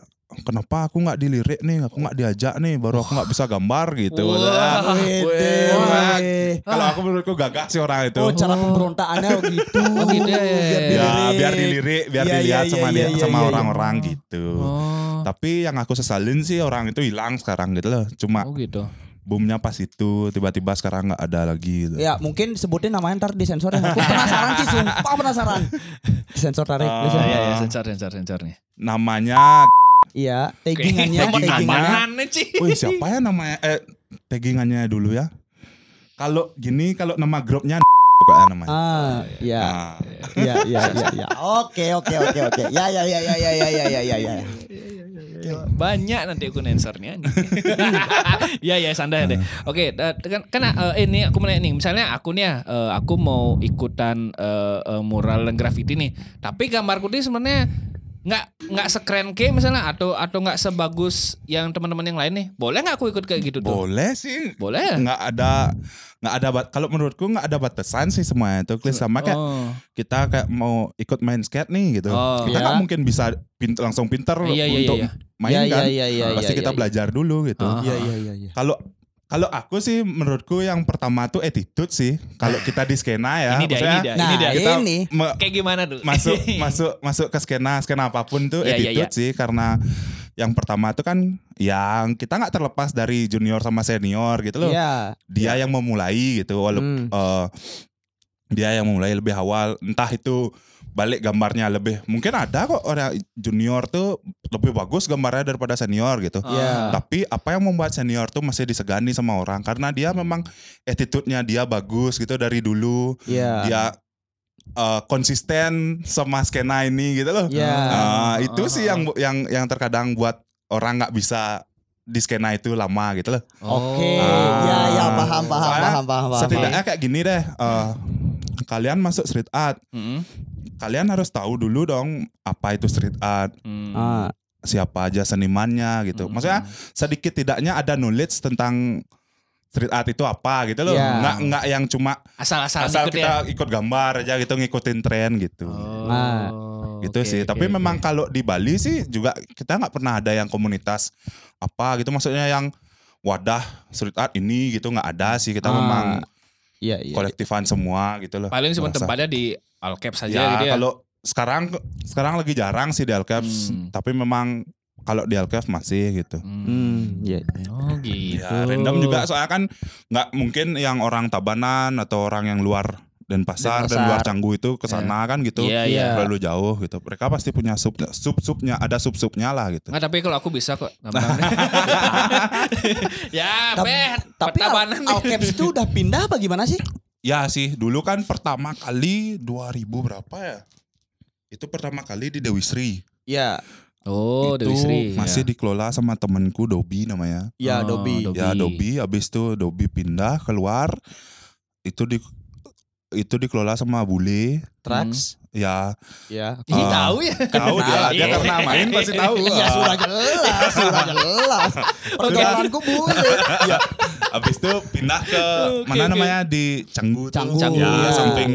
[SPEAKER 4] kenapa aku nggak dilirik nih, aku nggak diajak nih, baru aku nggak bisa gambar gitu.
[SPEAKER 2] Wah.
[SPEAKER 4] Maksudnya,
[SPEAKER 2] Ah,
[SPEAKER 3] Wede,
[SPEAKER 2] weh.
[SPEAKER 3] weh.
[SPEAKER 4] Kalau aku menurutku gagah sih orang itu.
[SPEAKER 3] Ah. Oh, cara pemberontaannya gitu.
[SPEAKER 2] Oh, gitu ya, ya, ya.
[SPEAKER 4] gitu. ya biar dilirik, biar
[SPEAKER 3] Iya, iya,
[SPEAKER 4] dilihat
[SPEAKER 3] iya,
[SPEAKER 4] sama
[SPEAKER 3] iya,
[SPEAKER 4] dia-
[SPEAKER 3] iya,
[SPEAKER 4] sama
[SPEAKER 3] iya, iya.
[SPEAKER 4] orang-orang gitu.
[SPEAKER 2] Oh,
[SPEAKER 4] Tapi yang aku sesalin sih orang itu hilang sekarang gitu loh. Cuma
[SPEAKER 2] oh gitu.
[SPEAKER 4] boomnya pas itu tiba-tiba sekarang nggak ada lagi. Gitu.
[SPEAKER 3] Ya mungkin sebutin namanya ntar di sensor ya. Aku penasaran sih, sumpah penasaran. Sensor tarik.
[SPEAKER 4] Ah.
[SPEAKER 3] disensor.
[SPEAKER 2] Iya ya sensor sensor sensor nih.
[SPEAKER 4] Namanya
[SPEAKER 3] Iya, taggingannya, taggingannya.
[SPEAKER 2] Taggingannya sih.
[SPEAKER 4] Wih siapa ya namanya eh taggingannya dulu ya. Kalau gini kalau nama grupnya kok namanya.
[SPEAKER 3] Ah, iya.
[SPEAKER 4] Nah,
[SPEAKER 3] Iya, iya, iya, iya. Oke, oke, oke, oke. Ya, ya, ya, ya, ya, ya, ya, ya, ya.
[SPEAKER 2] Banyak nanti aku sensornya nih. Iya ya santai
[SPEAKER 4] Ah.
[SPEAKER 2] deh. Oke, da- kan kan eh, ini aku mau nanya nih. Misalnya aku nih ya, eh, aku mau ikutan eh, eh, mural dan graffiti nih. Tapi gambarku ini sebenarnya nggak nggak sekeren ke misalnya atau atau nggak sebagus yang teman-teman yang lain nih. Boleh nggak aku ikut kayak gitu tuh?
[SPEAKER 4] boleh sih.
[SPEAKER 2] Boleh. ya?
[SPEAKER 4] Nggak ada nggak ada bat- kalau menurutku nggak ada batasan sih semuanya itu Klis. sama kayak
[SPEAKER 2] Oh.
[SPEAKER 4] kita kayak mau ikut main skate nih gitu.
[SPEAKER 2] Oh.
[SPEAKER 4] Kita
[SPEAKER 3] Iya.
[SPEAKER 4] nggak mungkin bisa pin- langsung pinter
[SPEAKER 2] Iya, iya,
[SPEAKER 4] untuk
[SPEAKER 2] iya.
[SPEAKER 4] main
[SPEAKER 3] Ya,
[SPEAKER 4] kan.
[SPEAKER 3] ya, ya, ya,
[SPEAKER 4] Pasti
[SPEAKER 3] ya,
[SPEAKER 4] kita
[SPEAKER 3] ya.
[SPEAKER 4] belajar dulu gitu.
[SPEAKER 2] Ah.
[SPEAKER 3] Iya, iya, iya, iya.
[SPEAKER 4] Kalau kalau aku sih menurutku yang pertama tuh attitude sih. Kalau kita di skena ya,
[SPEAKER 2] Ah. Ini dia, ini
[SPEAKER 4] maksudnya
[SPEAKER 2] dia,
[SPEAKER 3] Nah,
[SPEAKER 2] ini dia.
[SPEAKER 4] kita
[SPEAKER 3] ini.
[SPEAKER 4] me-
[SPEAKER 2] Kayak gimana tuh?
[SPEAKER 4] masuk masuk masuk ke skena skena apapun tuh
[SPEAKER 2] Iya, iya,
[SPEAKER 4] attitude sih karena yang pertama tuh kan yang kita nggak terlepas dari junior sama senior gitu loh
[SPEAKER 3] Iya.
[SPEAKER 4] dia yang memulai gitu
[SPEAKER 3] Hmm.
[SPEAKER 4] walaupun eh, dia yang memulai lebih awal entah itu balik gambarnya lebih mungkin ada kok orang junior tuh lebih bagus gambarnya daripada senior gitu
[SPEAKER 2] Ah.
[SPEAKER 3] Iya.
[SPEAKER 4] tapi apa yang membuat senior tuh masih disegani sama orang karena dia memang attitude-nya dia bagus gitu dari dulu
[SPEAKER 3] Iya.
[SPEAKER 2] Ah.
[SPEAKER 4] dia uh, konsisten sama skena ini gitu loh.
[SPEAKER 3] Iya.
[SPEAKER 4] Uh,
[SPEAKER 2] Ah,
[SPEAKER 4] itu
[SPEAKER 2] ah,
[SPEAKER 4] sih
[SPEAKER 2] ah.
[SPEAKER 4] yang yang yang terkadang buat orang nggak bisa di skena itu lama gitu loh.
[SPEAKER 3] Oke,
[SPEAKER 4] Ah.
[SPEAKER 3] ya, ya, paham, paham,
[SPEAKER 4] Soalnya
[SPEAKER 3] paham, paham, paham.
[SPEAKER 4] Setidaknya kayak gini deh. uh, kalian masuk street art,
[SPEAKER 2] Mm-mm.
[SPEAKER 4] kalian harus tahu dulu dong apa itu street art,
[SPEAKER 2] Mm.
[SPEAKER 3] Ah,
[SPEAKER 4] siapa aja senimannya gitu.
[SPEAKER 2] Mm-mm.
[SPEAKER 4] Maksudnya sedikit tidaknya ada knowledge tentang street art itu apa gitu loh.
[SPEAKER 3] Iya.
[SPEAKER 4] Nggak nggak yang cuma
[SPEAKER 2] asal-asal
[SPEAKER 4] asal
[SPEAKER 2] ikut ya. Oh,
[SPEAKER 4] kita ikut gambar aja gitu ngikutin tren gitu.
[SPEAKER 3] Nah,
[SPEAKER 4] gitu
[SPEAKER 2] oke,
[SPEAKER 4] sih.
[SPEAKER 2] oke,
[SPEAKER 4] Tapi
[SPEAKER 2] oke.
[SPEAKER 4] memang kalau di Bali sih juga kita nggak pernah ada yang komunitas apa gitu. Maksudnya yang wadah street art ini gitu nggak ada sih. Kita
[SPEAKER 3] Ah,
[SPEAKER 4] memang
[SPEAKER 3] Iya, iya.
[SPEAKER 4] kolektifan semua gitu loh.
[SPEAKER 2] paling cuma
[SPEAKER 4] Merasa.
[SPEAKER 2] tempatnya di Alkep saja
[SPEAKER 4] Ya,
[SPEAKER 2] gitu ya.
[SPEAKER 4] kalau sekarang sekarang lagi jarang sih di Alcaps,
[SPEAKER 2] Hmm.
[SPEAKER 4] tapi memang kalau di Alcaps masih gitu.
[SPEAKER 3] Hmm, iya.
[SPEAKER 2] Oh gitu.
[SPEAKER 4] Ya, random juga soalnya kan nggak mungkin yang orang Tabanan atau orang yang luar Denpasar, dan pasar dan
[SPEAKER 3] Denpasar.
[SPEAKER 4] luar Canggu itu ke sana kan gitu.
[SPEAKER 2] Iya, iya.
[SPEAKER 4] Terlalu jauh gitu. Mereka pasti punya sub sub subnya ada sub subnya lah gitu.
[SPEAKER 2] Nggak, tapi kalau aku bisa kok gampang. ya,
[SPEAKER 3] Tapi-
[SPEAKER 2] bet.
[SPEAKER 3] Tapi Al-
[SPEAKER 2] pertabanan.
[SPEAKER 3] Alcaps itu udah pindah apa gimana sih?
[SPEAKER 4] Ya sih, dulu kan pertama kali 2000 berapa ya? Itu pertama kali di Dewi Sri.
[SPEAKER 3] Iya,
[SPEAKER 2] Oh,
[SPEAKER 4] itu
[SPEAKER 2] Dewi Sri.
[SPEAKER 4] masih dikelola sama temenku Dobi namanya.
[SPEAKER 3] iya
[SPEAKER 2] Oh,
[SPEAKER 3] Dobi.
[SPEAKER 4] Ya Dobi habis itu Dobi pindah keluar itu di itu dikelola sama Bule.
[SPEAKER 3] Trax.
[SPEAKER 4] Ya,
[SPEAKER 3] Iya.
[SPEAKER 2] Ih,
[SPEAKER 4] Ah.
[SPEAKER 2] tahu ya.
[SPEAKER 4] tahu dia,
[SPEAKER 3] Kenal,
[SPEAKER 4] dia
[SPEAKER 2] iya.
[SPEAKER 4] karena main pasti tahu.
[SPEAKER 3] Iya, sudah jelas, sudah jelas. Pergaulanku bule. Iya.
[SPEAKER 4] Habis itu pindah ke
[SPEAKER 2] Oke,
[SPEAKER 4] mana
[SPEAKER 2] oke.
[SPEAKER 4] namanya di Canggu. tuh.
[SPEAKER 3] Canggu.
[SPEAKER 4] Ya,
[SPEAKER 3] Iya.
[SPEAKER 4] samping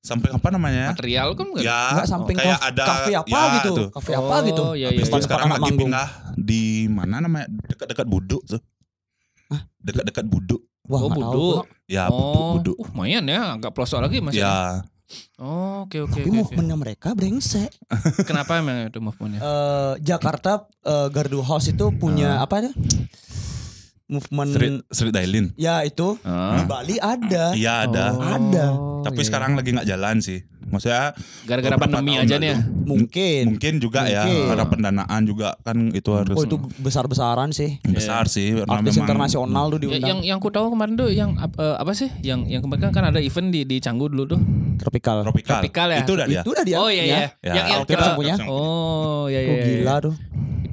[SPEAKER 4] samping apa namanya?
[SPEAKER 2] Material kan bukan?
[SPEAKER 4] Ya,
[SPEAKER 3] Enggak samping
[SPEAKER 4] kayak
[SPEAKER 3] kafe,
[SPEAKER 4] ada
[SPEAKER 3] kafe apa
[SPEAKER 4] ya,
[SPEAKER 3] gitu.
[SPEAKER 4] tuh.
[SPEAKER 3] Kafe apa gitu.
[SPEAKER 2] Oh, iya, iya, iya.
[SPEAKER 4] Habis itu sekarang
[SPEAKER 3] Sekarang
[SPEAKER 4] lagi
[SPEAKER 3] manggung.
[SPEAKER 4] pindah di mana namanya dekat-dekat Buduk tuh. Dekat-dekat Buduk.
[SPEAKER 3] Wah,
[SPEAKER 2] Oh,
[SPEAKER 3] nggak tahu
[SPEAKER 2] buduk.
[SPEAKER 3] gua.
[SPEAKER 4] Ya Buduk
[SPEAKER 2] Oh,
[SPEAKER 4] Buduk.
[SPEAKER 2] uh, lumayan ya, agak pelosok lagi Mas.
[SPEAKER 4] Ya,
[SPEAKER 2] Oh, oke oke.
[SPEAKER 3] Tapi
[SPEAKER 2] oke, oke.
[SPEAKER 3] movementnya mereka brengsek.
[SPEAKER 2] Kenapa emang itu movementnya?
[SPEAKER 3] Eh, Jakarta eh, Gardu House itu punya
[SPEAKER 2] Ah.
[SPEAKER 3] apa ya? Movement
[SPEAKER 4] Street Street Dailin.
[SPEAKER 3] ya itu di
[SPEAKER 4] Eh,
[SPEAKER 2] Ah.
[SPEAKER 3] Bali ada.
[SPEAKER 4] Iya ada.
[SPEAKER 2] Oh,
[SPEAKER 3] Ada.
[SPEAKER 4] Tapi
[SPEAKER 2] iya.
[SPEAKER 4] sekarang lagi nggak jalan sih. Maksudnya
[SPEAKER 2] gara-gara
[SPEAKER 4] beberapa
[SPEAKER 2] pandemi
[SPEAKER 4] tahun
[SPEAKER 2] aja
[SPEAKER 4] lalu.
[SPEAKER 2] nih. ya?
[SPEAKER 3] Mungkin.
[SPEAKER 4] mungkin juga ya
[SPEAKER 3] Mungkin.
[SPEAKER 4] karena pendanaan juga kan itu harus
[SPEAKER 3] Oh, itu besar-besaran sih.
[SPEAKER 4] besar sih karena
[SPEAKER 3] Artis
[SPEAKER 4] memang-
[SPEAKER 3] internasional tuh
[SPEAKER 2] Ya,
[SPEAKER 3] diundang.
[SPEAKER 2] yang yang ku tahu kemarin tuh yang ap- eh, apa sih? Yang yang kemarin kan, kan ada event di di Canggu dulu tuh.
[SPEAKER 3] Tropikal.
[SPEAKER 4] Tropical.
[SPEAKER 2] Tropical ya?
[SPEAKER 4] Itu udah dia.
[SPEAKER 3] Itu udah dia.
[SPEAKER 2] oh iya iya.
[SPEAKER 4] Ya,
[SPEAKER 2] Yang yang
[SPEAKER 3] Alkep
[SPEAKER 2] kita-
[SPEAKER 3] yang punya.
[SPEAKER 2] Oh iya
[SPEAKER 3] Oh,
[SPEAKER 2] iya. iya.
[SPEAKER 3] gila tuh.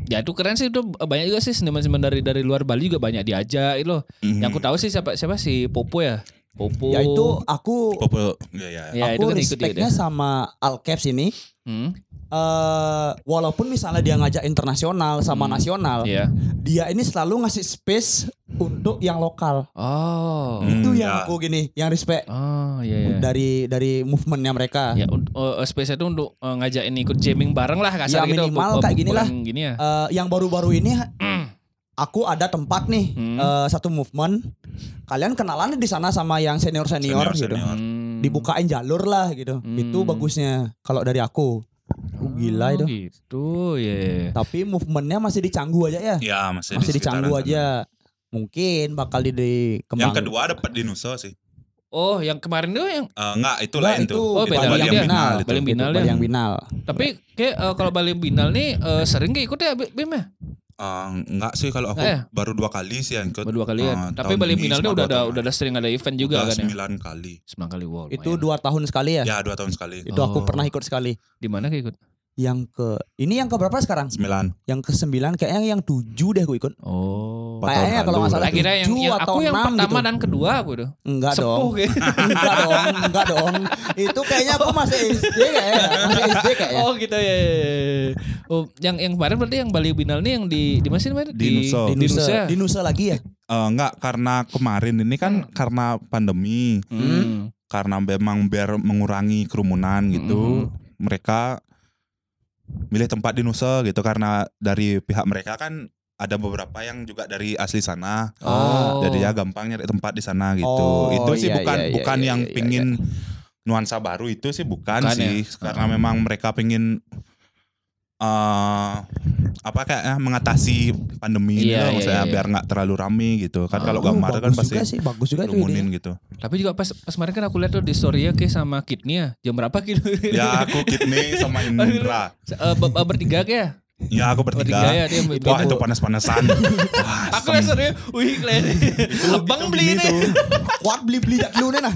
[SPEAKER 2] Ya itu keren sih itu banyak juga sih seniman-seniman dari dari luar Bali juga banyak diajak itu loh.
[SPEAKER 4] Mhm.
[SPEAKER 2] Yang ku tahu sih siapa siapa si Popo ya. Popo.
[SPEAKER 3] Ya itu aku
[SPEAKER 4] Popo. Iya, iya.
[SPEAKER 2] Ya, itu kan ikut
[SPEAKER 3] aku
[SPEAKER 2] dia
[SPEAKER 3] respectnya
[SPEAKER 2] deh.
[SPEAKER 3] sama Alcaps ini.
[SPEAKER 2] Hmm.
[SPEAKER 3] eh
[SPEAKER 2] Hmm.
[SPEAKER 3] walaupun misalnya dia ngajak internasional sama nasional,
[SPEAKER 2] Iya.
[SPEAKER 3] dia ini selalu ngasih space untuk yang lokal.
[SPEAKER 2] Oh.
[SPEAKER 4] Hmm,
[SPEAKER 3] Itu yang
[SPEAKER 4] ya.
[SPEAKER 3] aku gini, yang respect
[SPEAKER 2] Oh iya iya.
[SPEAKER 3] dari dari movementnya mereka.
[SPEAKER 2] Ya, un- eh, space itu untuk eh, ngajakin ikut jamming bareng lah kasar
[SPEAKER 3] Ya,
[SPEAKER 2] gitu.
[SPEAKER 3] minimal
[SPEAKER 2] puk- pukulan
[SPEAKER 3] kayak gini lah.
[SPEAKER 2] Gini ya.
[SPEAKER 3] Eh, yang baru-baru ini aku ada tempat nih
[SPEAKER 2] Hmm.
[SPEAKER 3] eh, satu movement. Kalian kenalan di sana sama yang senior-senior gitu.
[SPEAKER 4] Senior-senior.
[SPEAKER 2] Hmm.
[SPEAKER 3] Dibukain jalur lah gitu.
[SPEAKER 2] Hmm.
[SPEAKER 3] Itu bagusnya kalau dari aku. Oh, gila itu.
[SPEAKER 2] Oh, Gitu ya.
[SPEAKER 3] Tapi movementnya masih di Canggu aja ya.
[SPEAKER 4] Ya masih,
[SPEAKER 3] masih di
[SPEAKER 4] sekitaran
[SPEAKER 3] Canggu
[SPEAKER 4] sana.
[SPEAKER 3] aja. Mungkin bakal di, dikembang-
[SPEAKER 4] Yang kedua ada Pak Dinuso sih.
[SPEAKER 2] Oh, yang kemarin itu yang
[SPEAKER 4] Eh, enggak, itu
[SPEAKER 3] Enggak,
[SPEAKER 4] lain tuh.
[SPEAKER 2] Oh,
[SPEAKER 3] Nah, itu
[SPEAKER 2] beda
[SPEAKER 3] Bali
[SPEAKER 2] lagi
[SPEAKER 3] yang
[SPEAKER 2] ya.
[SPEAKER 3] final.
[SPEAKER 4] Nah,
[SPEAKER 3] Itu
[SPEAKER 2] Bali yang final ya.
[SPEAKER 3] Bali yang final.
[SPEAKER 2] tapi kayak eh, kalau Bali Binal nih eh, sering gak ikut ya Bim ya?
[SPEAKER 4] Eh, enggak sih kalau aku
[SPEAKER 2] Enggak ya?
[SPEAKER 4] baru dua kali sih yang ikut.
[SPEAKER 2] Baru Dua kali
[SPEAKER 4] Eh,
[SPEAKER 3] Ah,
[SPEAKER 2] ya. Tapi
[SPEAKER 4] tahun
[SPEAKER 2] Bali
[SPEAKER 4] ini
[SPEAKER 2] Binal
[SPEAKER 4] sama
[SPEAKER 2] udah
[SPEAKER 4] dua
[SPEAKER 2] ada
[SPEAKER 4] tahun
[SPEAKER 2] udah ada sering ada event juga
[SPEAKER 4] Udah
[SPEAKER 2] kan ya.
[SPEAKER 4] sembilan kali.
[SPEAKER 2] Sembilan kali wow.
[SPEAKER 3] Itu
[SPEAKER 2] lumayan.
[SPEAKER 3] dua tahun sekali ya.
[SPEAKER 4] Ya dua tahun sekali.
[SPEAKER 3] Itu
[SPEAKER 2] Oh.
[SPEAKER 3] aku pernah ikut sekali.
[SPEAKER 2] di mana kayak ikut?
[SPEAKER 3] Yang ke ini yang ke berapa sekarang?
[SPEAKER 4] Sembilan.
[SPEAKER 3] Yang ke sembilan kayaknya yang tujuh deh aku ikut.
[SPEAKER 2] Oh.
[SPEAKER 4] Empat
[SPEAKER 3] Kayaknya
[SPEAKER 4] tahun
[SPEAKER 3] kalau nggak
[SPEAKER 4] lalu.
[SPEAKER 3] salah
[SPEAKER 2] Akhirnya yang,
[SPEAKER 3] tujuh
[SPEAKER 2] yang
[SPEAKER 3] atau
[SPEAKER 2] aku yang
[SPEAKER 3] enam
[SPEAKER 2] pertama
[SPEAKER 3] gitu.
[SPEAKER 2] dan kedua aku tuh.
[SPEAKER 3] Enggak dong.
[SPEAKER 2] Sepuh gitu. kayak.
[SPEAKER 3] Enggak dong, enggak dong. Itu kayaknya aku masih SD kayaknya, masih SD kayaknya.
[SPEAKER 2] Oh gitu ya. ya, ya. Oh, yang yang kemarin berarti yang Bali Binal nih yang di di mana sih namanya?
[SPEAKER 4] Di Nusa.
[SPEAKER 3] di Nusa,
[SPEAKER 2] Nusa.
[SPEAKER 3] di Nusa lagi ya?
[SPEAKER 4] Eh, enggak karena kemarin ini kan karena pandemi,
[SPEAKER 2] Hmm.
[SPEAKER 4] karena memang biar mengurangi kerumunan gitu,
[SPEAKER 3] Mm-hmm.
[SPEAKER 4] mereka milih tempat di Nusa gitu karena dari pihak mereka kan ada beberapa yang juga dari asli sana.
[SPEAKER 2] Oh.
[SPEAKER 4] Jadi ya gampang nyari tempat di sana gitu.
[SPEAKER 3] Oh,
[SPEAKER 4] itu sih
[SPEAKER 3] iya,
[SPEAKER 4] bukan
[SPEAKER 3] iya, iya,
[SPEAKER 4] bukan
[SPEAKER 3] iya,
[SPEAKER 4] yang
[SPEAKER 3] iya,
[SPEAKER 4] pingin nuansa baru itu sih bukan,
[SPEAKER 2] Bukan
[SPEAKER 4] sih
[SPEAKER 3] ya?
[SPEAKER 4] karena
[SPEAKER 3] Oh.
[SPEAKER 4] memang mereka pingin eh apa kayaknya mengatasi pandemi ini
[SPEAKER 2] Iya,
[SPEAKER 4] loh,
[SPEAKER 2] iya,
[SPEAKER 4] maksudnya
[SPEAKER 2] iya.
[SPEAKER 4] biar nggak terlalu rame gitu. Kan kalau
[SPEAKER 3] Oh,
[SPEAKER 4] gambar kan
[SPEAKER 3] bagus
[SPEAKER 4] pasti
[SPEAKER 3] juga sih, bagus juga itu
[SPEAKER 4] kerumunin
[SPEAKER 3] idenya.
[SPEAKER 4] gitu.
[SPEAKER 2] Tapi juga pas pas kemarin kan aku lihat tuh di story ya kayak sama Kidnya jam berapa gitu.
[SPEAKER 4] Ya aku Kidney sama Indra.
[SPEAKER 2] Eh, ber- ber- bertiga kayak.
[SPEAKER 4] Ya aku
[SPEAKER 2] Bertiga ya
[SPEAKER 4] bertiga.
[SPEAKER 2] dia.
[SPEAKER 4] Wah itu panas-panasan. Wah,
[SPEAKER 2] Aku
[SPEAKER 4] sem-
[SPEAKER 2] lihat story, wih kelihatan. Lebang
[SPEAKER 4] itu
[SPEAKER 2] beli
[SPEAKER 4] gini
[SPEAKER 2] ini.
[SPEAKER 4] tuh.
[SPEAKER 3] Kuat beli-beli jak lu nih nah.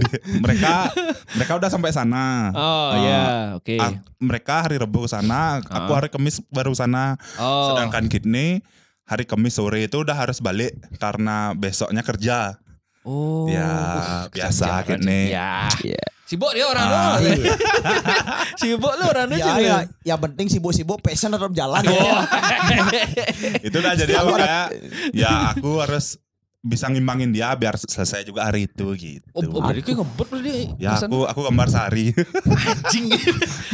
[SPEAKER 4] mereka mereka udah sampai sana.
[SPEAKER 2] Oh
[SPEAKER 4] Ah,
[SPEAKER 2] ya, oke.
[SPEAKER 4] Ah, mereka hari Rabu sana, aku
[SPEAKER 2] Ah.
[SPEAKER 4] hari Kamis baru sana.
[SPEAKER 2] Oh.
[SPEAKER 4] Sedangkan Kidney hari Kamis sore itu udah harus balik karena besoknya kerja.
[SPEAKER 2] Oh.
[SPEAKER 4] Ya, biasa Kidney.
[SPEAKER 2] Ya.
[SPEAKER 3] Iya.
[SPEAKER 2] Sibuk dia orang
[SPEAKER 4] Ah.
[SPEAKER 2] tuh. Sibuk lu Oh. orang tuh.
[SPEAKER 3] Ya,
[SPEAKER 2] cuy.
[SPEAKER 3] ya, yang penting sibuk-sibuk passion tetap jalan. ya.
[SPEAKER 4] Ya. Itu udah jadi apa kayak ya aku harus bisa ngimbangin dia biar selesai juga hari itu gitu.
[SPEAKER 2] Oh, oh berarti kayak ngebut berarti
[SPEAKER 4] ya
[SPEAKER 2] kesan.
[SPEAKER 4] aku aku gambar sehari.
[SPEAKER 2] anjing.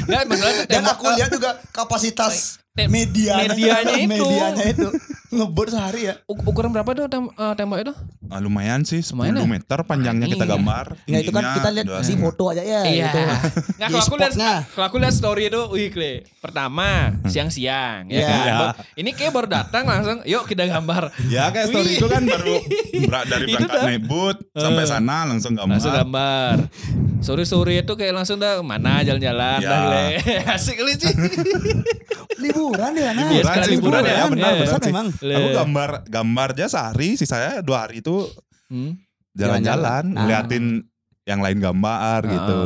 [SPEAKER 2] Enggak masalah
[SPEAKER 3] Dan
[SPEAKER 2] tembak-
[SPEAKER 3] aku lihat juga kapasitas
[SPEAKER 2] Tem-
[SPEAKER 3] medianya,
[SPEAKER 2] medianya itu.
[SPEAKER 3] medianya itu. Ngebut sehari ya.
[SPEAKER 2] Uk- ukuran berapa tuh tem- eh, tembak itu?
[SPEAKER 4] Ah, lumayan sih 10
[SPEAKER 2] Lumayan, ya?
[SPEAKER 4] meter panjangnya kita
[SPEAKER 2] Iya.
[SPEAKER 4] gambar.
[SPEAKER 3] Nah itu kan
[SPEAKER 4] tingginya
[SPEAKER 3] kita lihat
[SPEAKER 4] dua
[SPEAKER 3] di
[SPEAKER 4] setengah.
[SPEAKER 3] foto aja ya gitu.
[SPEAKER 2] Nah,
[SPEAKER 3] Di
[SPEAKER 2] kalau aku lihat
[SPEAKER 3] spotnya.
[SPEAKER 2] kalau aku lihat story itu, wih kle. Pertama
[SPEAKER 4] Hmm.
[SPEAKER 2] siang-siang ya
[SPEAKER 3] Iya.
[SPEAKER 2] kan.
[SPEAKER 4] Iya.
[SPEAKER 2] Ba- Ini kayak baru datang langsung, yuk kita gambar.
[SPEAKER 4] Ya kayak story
[SPEAKER 2] Wih.
[SPEAKER 4] itu kan baru berak dari
[SPEAKER 2] Itu
[SPEAKER 4] berangkat
[SPEAKER 2] dah.
[SPEAKER 4] naik boot sampai sana langsung gambar.
[SPEAKER 2] Langsung gambar. Sore-sore itu kayak langsung dah mana jalan-jalan
[SPEAKER 4] Ya.
[SPEAKER 2] dah kle. Asik kali sih.
[SPEAKER 3] Liburan ya nah.
[SPEAKER 2] Iya, sekali liburan ya,
[SPEAKER 3] Benar,
[SPEAKER 2] iya.
[SPEAKER 3] benar
[SPEAKER 4] sih.
[SPEAKER 3] memang.
[SPEAKER 2] Le.
[SPEAKER 4] Aku gambar gambar aja sehari, sisanya dua hari itu
[SPEAKER 2] Hmm.
[SPEAKER 3] Jalan-jalan.
[SPEAKER 4] jalan-jalan,
[SPEAKER 3] Nah.
[SPEAKER 4] ngeliatin yang lain gambar gitu.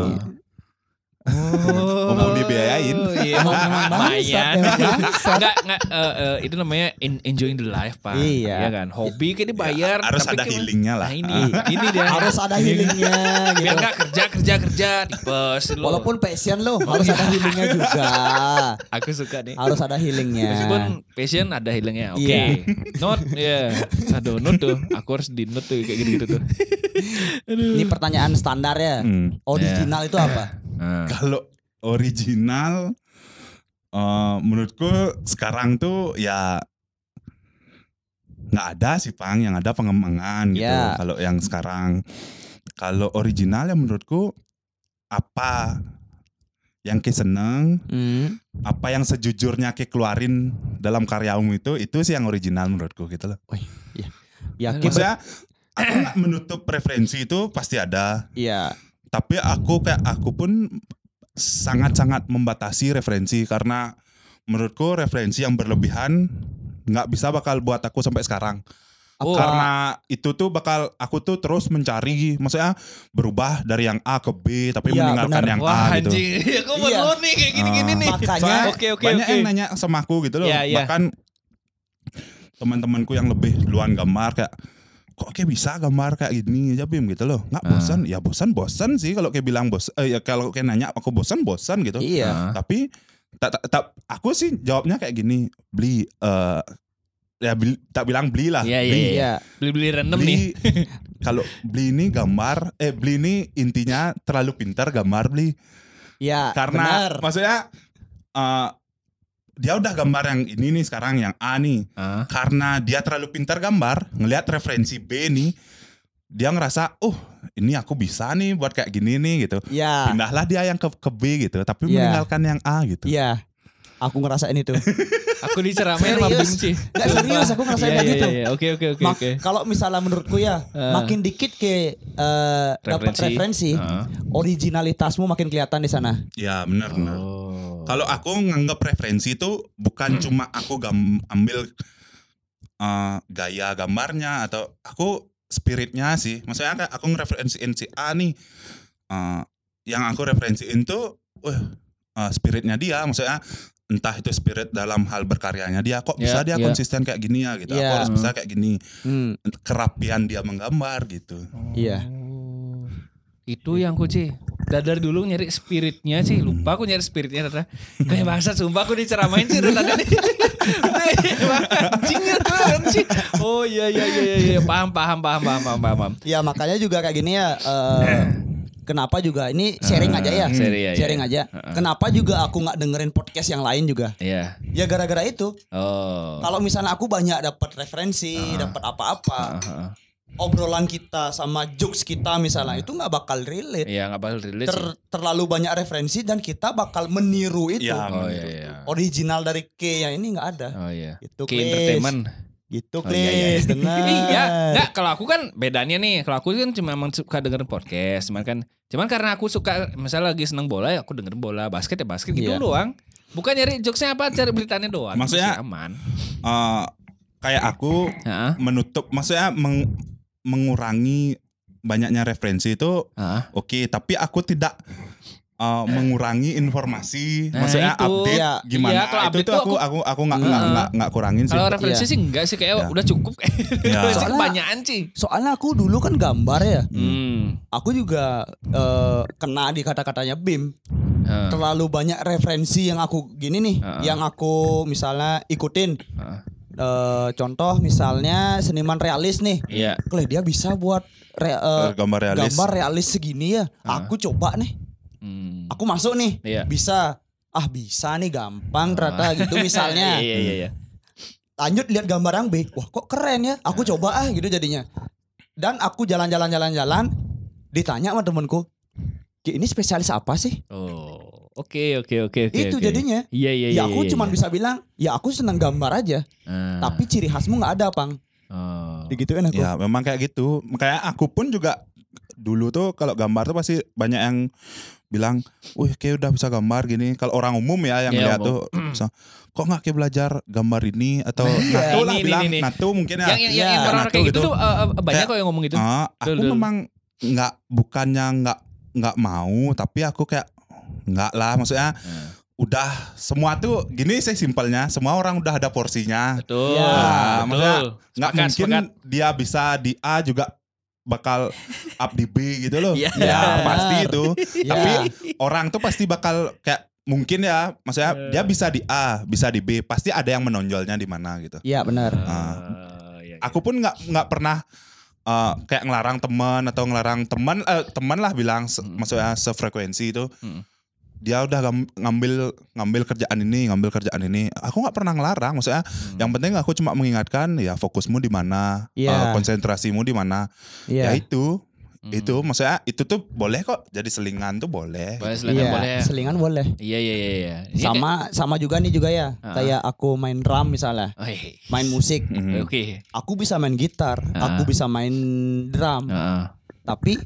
[SPEAKER 2] Oh.
[SPEAKER 4] Mumpung dibiayain.
[SPEAKER 2] Iya,
[SPEAKER 3] Emang- emang bangsat,
[SPEAKER 2] lumayan.
[SPEAKER 3] emang bangsat.
[SPEAKER 2] Enggak, enggak eh, eh, itu namanya en- enjoying the life, Pak.
[SPEAKER 3] Iya.
[SPEAKER 2] kan? Hobi kan dibayar.
[SPEAKER 4] Ya, harus ada
[SPEAKER 2] kayak-
[SPEAKER 4] healingnya lah.
[SPEAKER 2] Nah, ini, ini dia.
[SPEAKER 3] Harus ada healingnya
[SPEAKER 2] Iya. Biar
[SPEAKER 3] gitu.
[SPEAKER 2] enggak kerja, kerja, kerja. Tipes lu.
[SPEAKER 3] Walaupun passion lo harus ada healingnya juga.
[SPEAKER 2] aku suka nih.
[SPEAKER 3] Harus ada healingnya.
[SPEAKER 2] Meskipun passion ada healingnya, oke.
[SPEAKER 3] Iya.
[SPEAKER 2] Not, ya. Aduh, not tuh. Aku harus di not tuh kayak gitu-gitu tuh.
[SPEAKER 3] Ini pertanyaan standar ya.
[SPEAKER 4] Hmm.
[SPEAKER 3] Original itu apa?
[SPEAKER 2] Nah.
[SPEAKER 4] Kalau original eh, menurutku sekarang tuh ya nggak ada sih Pang yang ada pengembangan gitu.
[SPEAKER 3] Ya.
[SPEAKER 4] Kalau yang sekarang kalau original ya menurutku apa yang ke seneng
[SPEAKER 3] Hmm.
[SPEAKER 4] apa yang sejujurnya ke keluarin dalam karyamu itu itu sih yang original menurutku gitu loh.
[SPEAKER 3] Yakin?
[SPEAKER 4] Maksudnya aku nggak menutup preferensi itu pasti ada,
[SPEAKER 3] Iya.
[SPEAKER 4] tapi aku kayak aku pun sangat-sangat membatasi referensi karena menurutku referensi yang berlebihan nggak bisa bakal buat aku sampai sekarang
[SPEAKER 2] Oh.
[SPEAKER 4] karena itu tuh bakal aku tuh terus mencari maksudnya berubah dari yang A ke B tapi
[SPEAKER 3] Iya,
[SPEAKER 4] meninggalkan
[SPEAKER 3] benar.
[SPEAKER 4] yang
[SPEAKER 2] Wah,
[SPEAKER 4] A gitu
[SPEAKER 2] anjing. Aku
[SPEAKER 3] Iya.
[SPEAKER 2] perlu nih kayak gini-gini
[SPEAKER 4] Ah.
[SPEAKER 2] nih.
[SPEAKER 3] Makanya
[SPEAKER 4] Soalnya
[SPEAKER 2] Oke, oke,
[SPEAKER 4] banyak
[SPEAKER 2] oke.
[SPEAKER 4] yang nanya sama aku gitu loh.
[SPEAKER 2] Iya, iya.
[SPEAKER 4] Bahkan teman-temanku yang lebih duluan gambar kayak kok kayak bisa gambar kayak gini aja Bim gitu loh.
[SPEAKER 2] Ah.
[SPEAKER 4] Nggak bosan? Ya bosan bosan sih kalau kayak bilang bos eh, ya kalau kayak nanya aku bosan bosan gitu.
[SPEAKER 2] Ah.
[SPEAKER 3] Iya.
[SPEAKER 4] Tapi tak tak- tak- aku sih jawabnya kayak gini, beli eh ya beli- tak bilang belilah.
[SPEAKER 2] Iya, iya,
[SPEAKER 4] Beli.
[SPEAKER 2] iya. Beli-beli random nih.
[SPEAKER 4] Beli- Kalau beli ini gambar, eh beli ini intinya terlalu pintar gambar beli.
[SPEAKER 3] Iya.
[SPEAKER 4] Karena
[SPEAKER 3] benar.
[SPEAKER 4] maksudnya eh, dia udah gambar yang ini nih sekarang yang A nih.
[SPEAKER 2] Ah.
[SPEAKER 4] Karena dia terlalu pintar gambar, ngelihat referensi B nih, dia ngerasa, "Oh, ini aku bisa nih buat kayak gini nih" gitu.
[SPEAKER 3] Iya.
[SPEAKER 4] Pindahlah dia yang ke, ke B gitu, tapi
[SPEAKER 3] Iya.
[SPEAKER 4] meninggalkan yang A gitu.
[SPEAKER 3] Iya. Aku ngerasain itu.
[SPEAKER 2] Aku diceramain sama
[SPEAKER 3] Serius?
[SPEAKER 2] Bung Ci.
[SPEAKER 3] Nggak, serius, aku ngerasain
[SPEAKER 2] Iya,
[SPEAKER 3] kayak
[SPEAKER 2] iya,
[SPEAKER 3] gitu.
[SPEAKER 2] iya. Oke, oke, oke,
[SPEAKER 3] Mak-
[SPEAKER 2] oke.
[SPEAKER 3] Kalau misalnya menurutku ya,
[SPEAKER 2] Eh.
[SPEAKER 3] makin dikit ke eh, dapat
[SPEAKER 2] Referensi.
[SPEAKER 3] referensi,
[SPEAKER 2] Ah.
[SPEAKER 3] originalitasmu makin kelihatan di sana.
[SPEAKER 4] Ya, benar benar.
[SPEAKER 2] Oh. Hmm.
[SPEAKER 4] Kalau aku nganggap referensi itu bukan cuma aku gam- ambil eh, gaya gambarnya atau aku spiritnya sih. Maksudnya kayak aku ngereferensiin si A nih. Eh, yang aku referensiin tuh wah, eh, spiritnya dia. Maksudnya entah itu spirit dalam hal berkaryanya dia. Kok bisa
[SPEAKER 2] Ya,
[SPEAKER 4] dia
[SPEAKER 2] ya.
[SPEAKER 4] konsisten kayak gini ya gitu. Aku
[SPEAKER 3] Ya.
[SPEAKER 4] harus bisa kayak gini.
[SPEAKER 3] Hmm.
[SPEAKER 4] Kerapian dia menggambar gitu.
[SPEAKER 3] Iya.
[SPEAKER 2] Oh. Itu yang aku Ci. Dari, dari dulu nyari spiritnya sih. Lupa aku nyari spiritnya Rara. Kayak bahasa sumpah aku diceramain sih Rara tadi. Wah, Anjing ya, Rara, Ci. Oh iya iya iya iya, iya. Paham paham paham paham paham paham.
[SPEAKER 3] Ya makanya juga kayak gini ya. eh, kenapa juga ini sharing aja ya?
[SPEAKER 2] Ah. sharing, ya,
[SPEAKER 3] sharing
[SPEAKER 2] ya.
[SPEAKER 3] aja. Kenapa juga aku nggak dengerin podcast yang lain juga?
[SPEAKER 2] Iya.
[SPEAKER 3] Ya gara-gara itu.
[SPEAKER 2] Oh. Ah.
[SPEAKER 3] Kalau misalnya aku banyak dapat referensi, dapat apa-apa,
[SPEAKER 2] Heeh.
[SPEAKER 3] obrolan kita sama jokes kita misalnya itu nggak bakal relate.
[SPEAKER 2] Iya nggak bakal relate sih.
[SPEAKER 3] Ter- terlalu banyak referensi dan kita bakal meniru itu.
[SPEAKER 4] Ya,
[SPEAKER 2] Oh iya iya.
[SPEAKER 3] Original dari K yang ini nggak ada.
[SPEAKER 2] Oh iya.
[SPEAKER 3] Gitu,
[SPEAKER 2] Ke
[SPEAKER 3] Klis.
[SPEAKER 2] entertainment.
[SPEAKER 3] Gitu,
[SPEAKER 2] Oh, iya, iya.
[SPEAKER 3] Klis. Benar.
[SPEAKER 2] Iya, enggak kalau aku kan bedanya nih. Kalau aku kan cuma emang suka dengerin podcast, cuman kan cuman karena aku suka misalnya lagi seneng bola ya aku dengerin bola, basket ya basket gitu
[SPEAKER 3] Iya.
[SPEAKER 2] doang. Bukan nyari jokesnya apa, cari beritanya doang.
[SPEAKER 4] Maksudnya-
[SPEAKER 2] Itu sih aman.
[SPEAKER 4] Eh, kayak aku
[SPEAKER 2] Heeh.
[SPEAKER 4] menutup maksudnya meng- mengurangi banyaknya referensi itu
[SPEAKER 2] Heeh.
[SPEAKER 4] oke tapi aku tidak uh, mengurangi informasi
[SPEAKER 2] Nah,
[SPEAKER 4] maksudnya
[SPEAKER 2] itu.
[SPEAKER 4] update
[SPEAKER 3] Iya.
[SPEAKER 4] gimana
[SPEAKER 2] Iya, kalau
[SPEAKER 4] itu
[SPEAKER 2] update
[SPEAKER 4] tuh
[SPEAKER 2] tuh
[SPEAKER 4] aku aku aku nggak
[SPEAKER 2] Hmm.
[SPEAKER 4] nggak nggak nggak kurangin sih
[SPEAKER 2] Kalau referensi
[SPEAKER 3] Iya.
[SPEAKER 2] sih enggak sih kayak
[SPEAKER 4] Iya.
[SPEAKER 2] udah cukup. Referensi
[SPEAKER 3] Soalnya-
[SPEAKER 2] kebanyakan sih.
[SPEAKER 3] Soalnya aku dulu kan gambar ya.
[SPEAKER 2] Hmm.
[SPEAKER 3] Aku juga eh, kena di kata-katanya BIM.
[SPEAKER 2] Heeh.
[SPEAKER 3] Terlalu banyak referensi yang aku gini nih,
[SPEAKER 2] Heeh.
[SPEAKER 3] yang aku misalnya ikutin.
[SPEAKER 2] Heeh.
[SPEAKER 3] Eh, contoh misalnya seniman realis nih.
[SPEAKER 2] Iya.
[SPEAKER 3] Kle dia bisa buat re- eh,
[SPEAKER 4] gambar realis
[SPEAKER 3] gambar realis segini ya. Aku coba nih.
[SPEAKER 2] Hmm.
[SPEAKER 3] Aku masuk nih.
[SPEAKER 2] Ah. Iya.
[SPEAKER 3] Bisa. Ah bisa nih gampang ternyata gitu
[SPEAKER 2] Iya
[SPEAKER 3] misalnya.
[SPEAKER 2] iya iya. iya.
[SPEAKER 3] Lanjut lihat gambar yang B. Wah kok keren ya.
[SPEAKER 2] Nah.
[SPEAKER 3] Aku coba ah gitu jadinya. Dan aku jalan-jalan jalan-jalan ditanya sama temanku, "Ki, ini spesialis apa sih?"
[SPEAKER 2] Oh. Oke oke oke oke.
[SPEAKER 3] Itu
[SPEAKER 2] oke.
[SPEAKER 3] jadinya.
[SPEAKER 2] Iya iya iya.
[SPEAKER 3] ya aku
[SPEAKER 2] iya,
[SPEAKER 3] cuman
[SPEAKER 2] iya.
[SPEAKER 3] bisa bilang, "Ya aku senang gambar aja,
[SPEAKER 2] Ah.
[SPEAKER 3] tapi ciri khasmu nggak ada, Pang."
[SPEAKER 2] Oh.
[SPEAKER 3] Digituin aku.
[SPEAKER 4] ya memang kayak gitu kayak aku pun juga dulu tuh kalau gambar tuh pasti banyak yang bilang, wih kayak udah bisa gambar gini. Kalau orang umum ya yang
[SPEAKER 2] Iya,
[SPEAKER 4] lihat
[SPEAKER 2] umum.
[SPEAKER 4] tuh, bisa, kok nggak kayak belajar gambar ini atau
[SPEAKER 3] Iya.
[SPEAKER 4] natu lah
[SPEAKER 2] Nah, Ini, ini,
[SPEAKER 4] bilang
[SPEAKER 2] ini.
[SPEAKER 4] natu mungkin ya.
[SPEAKER 2] yang yang yang,
[SPEAKER 3] Iya.
[SPEAKER 2] yang orang kayak
[SPEAKER 4] Nah, tuh
[SPEAKER 2] gitu,
[SPEAKER 4] gitu.
[SPEAKER 2] tuh eh, eh, banyak
[SPEAKER 4] Kayak-
[SPEAKER 2] kok yang ngomong gitu.
[SPEAKER 4] Ah, aku
[SPEAKER 2] Betul, betul.
[SPEAKER 4] memang nggak bukannya nggak nggak mau, tapi aku kayak nggak lah. Maksudnya
[SPEAKER 2] Hmm.
[SPEAKER 4] udah semua tuh gini sih simpelnya, semua orang udah ada porsinya.
[SPEAKER 2] Betul.
[SPEAKER 3] Iya.
[SPEAKER 4] Nah, maksudnya
[SPEAKER 2] betul.
[SPEAKER 4] Nggak
[SPEAKER 2] Sepakat,
[SPEAKER 4] mungkin
[SPEAKER 2] sepakat.
[SPEAKER 4] dia bisa di A juga bakal up di B gitu loh.
[SPEAKER 2] Iya.
[SPEAKER 4] Ya pasti itu.
[SPEAKER 3] Iya.
[SPEAKER 4] Tapi orang tuh pasti bakal kayak mungkin ya, maksudnya
[SPEAKER 2] Eh.
[SPEAKER 4] dia bisa di A, bisa di B, pasti ada yang menonjolnya di mana gitu.
[SPEAKER 3] Iya benar.
[SPEAKER 4] Ah.
[SPEAKER 2] Eh, iya, iya.
[SPEAKER 4] aku pun nggak nggak pernah eh, kayak ngelarang teman atau ngelarang teman eh, teman lah bilang se-
[SPEAKER 2] Mm.
[SPEAKER 4] maksudnya sefrekuensi itu
[SPEAKER 2] Mm.
[SPEAKER 4] dia udah gam- ngambil ngambil kerjaan ini ngambil kerjaan ini aku nggak pernah ngelarang maksudnya yang penting aku cuma mengingatkan ya fokusmu di mana
[SPEAKER 3] Iya.
[SPEAKER 4] eh, konsentrasimu di mana
[SPEAKER 2] Nah,
[SPEAKER 4] ya
[SPEAKER 3] Iya.
[SPEAKER 4] itu
[SPEAKER 2] Hmm.
[SPEAKER 4] itu maksudnya itu tuh boleh kok jadi selingan tuh boleh
[SPEAKER 2] Boleh silakan
[SPEAKER 3] Iya,
[SPEAKER 2] boleh. ya.
[SPEAKER 3] selingan boleh.
[SPEAKER 2] Iya iya iya iya. Ini
[SPEAKER 3] sama sama juga nih juga ya
[SPEAKER 2] Ah.
[SPEAKER 3] kayak aku main drum misalnya
[SPEAKER 2] kayak- Oh, iya.
[SPEAKER 3] main musik
[SPEAKER 4] Mhm.
[SPEAKER 2] Oke.
[SPEAKER 3] aku bisa main gitar
[SPEAKER 2] Ah.
[SPEAKER 3] aku bisa main drum
[SPEAKER 2] Heeh.
[SPEAKER 3] tapi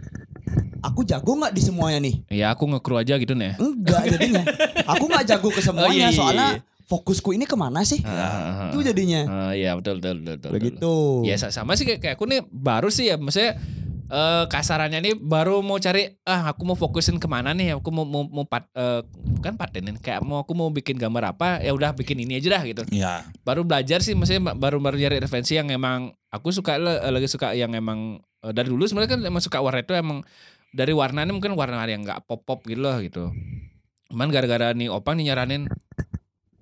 [SPEAKER 3] aku jago nggak di semuanya nih
[SPEAKER 2] Ya aku ngekru aja gitu nih.
[SPEAKER 3] enggak jadinya aku nggak jago ke semuanya
[SPEAKER 2] Oh, iya, iya, iya.
[SPEAKER 3] soalnya fokusku ini kemana sih
[SPEAKER 2] Heeh.
[SPEAKER 3] Ah, itu jadinya
[SPEAKER 2] Ah, iya betul betul betul. betul, betul.
[SPEAKER 3] begitu
[SPEAKER 2] Ya sa- sama sih kayak, kayak aku nih baru sih ya maksudnya eh, kasarannya nih baru mau cari ah aku mau fokusin kemana nih aku mau mau, mau pat- eh, bukan patenin kayak mau aku mau bikin gambar apa ya udah bikin ini aja dah gitu
[SPEAKER 4] ya
[SPEAKER 2] baru belajar sih maksudnya baru baru nyari referensi yang emang aku suka le- eh, lagi suka yang emang eh, dari dulu sebenarnya kan emang suka warna itu emang dari warnanya mungkin warna yang nggak pop pop gitu loh gitu cuman gara-gara nih opang nih nyaranin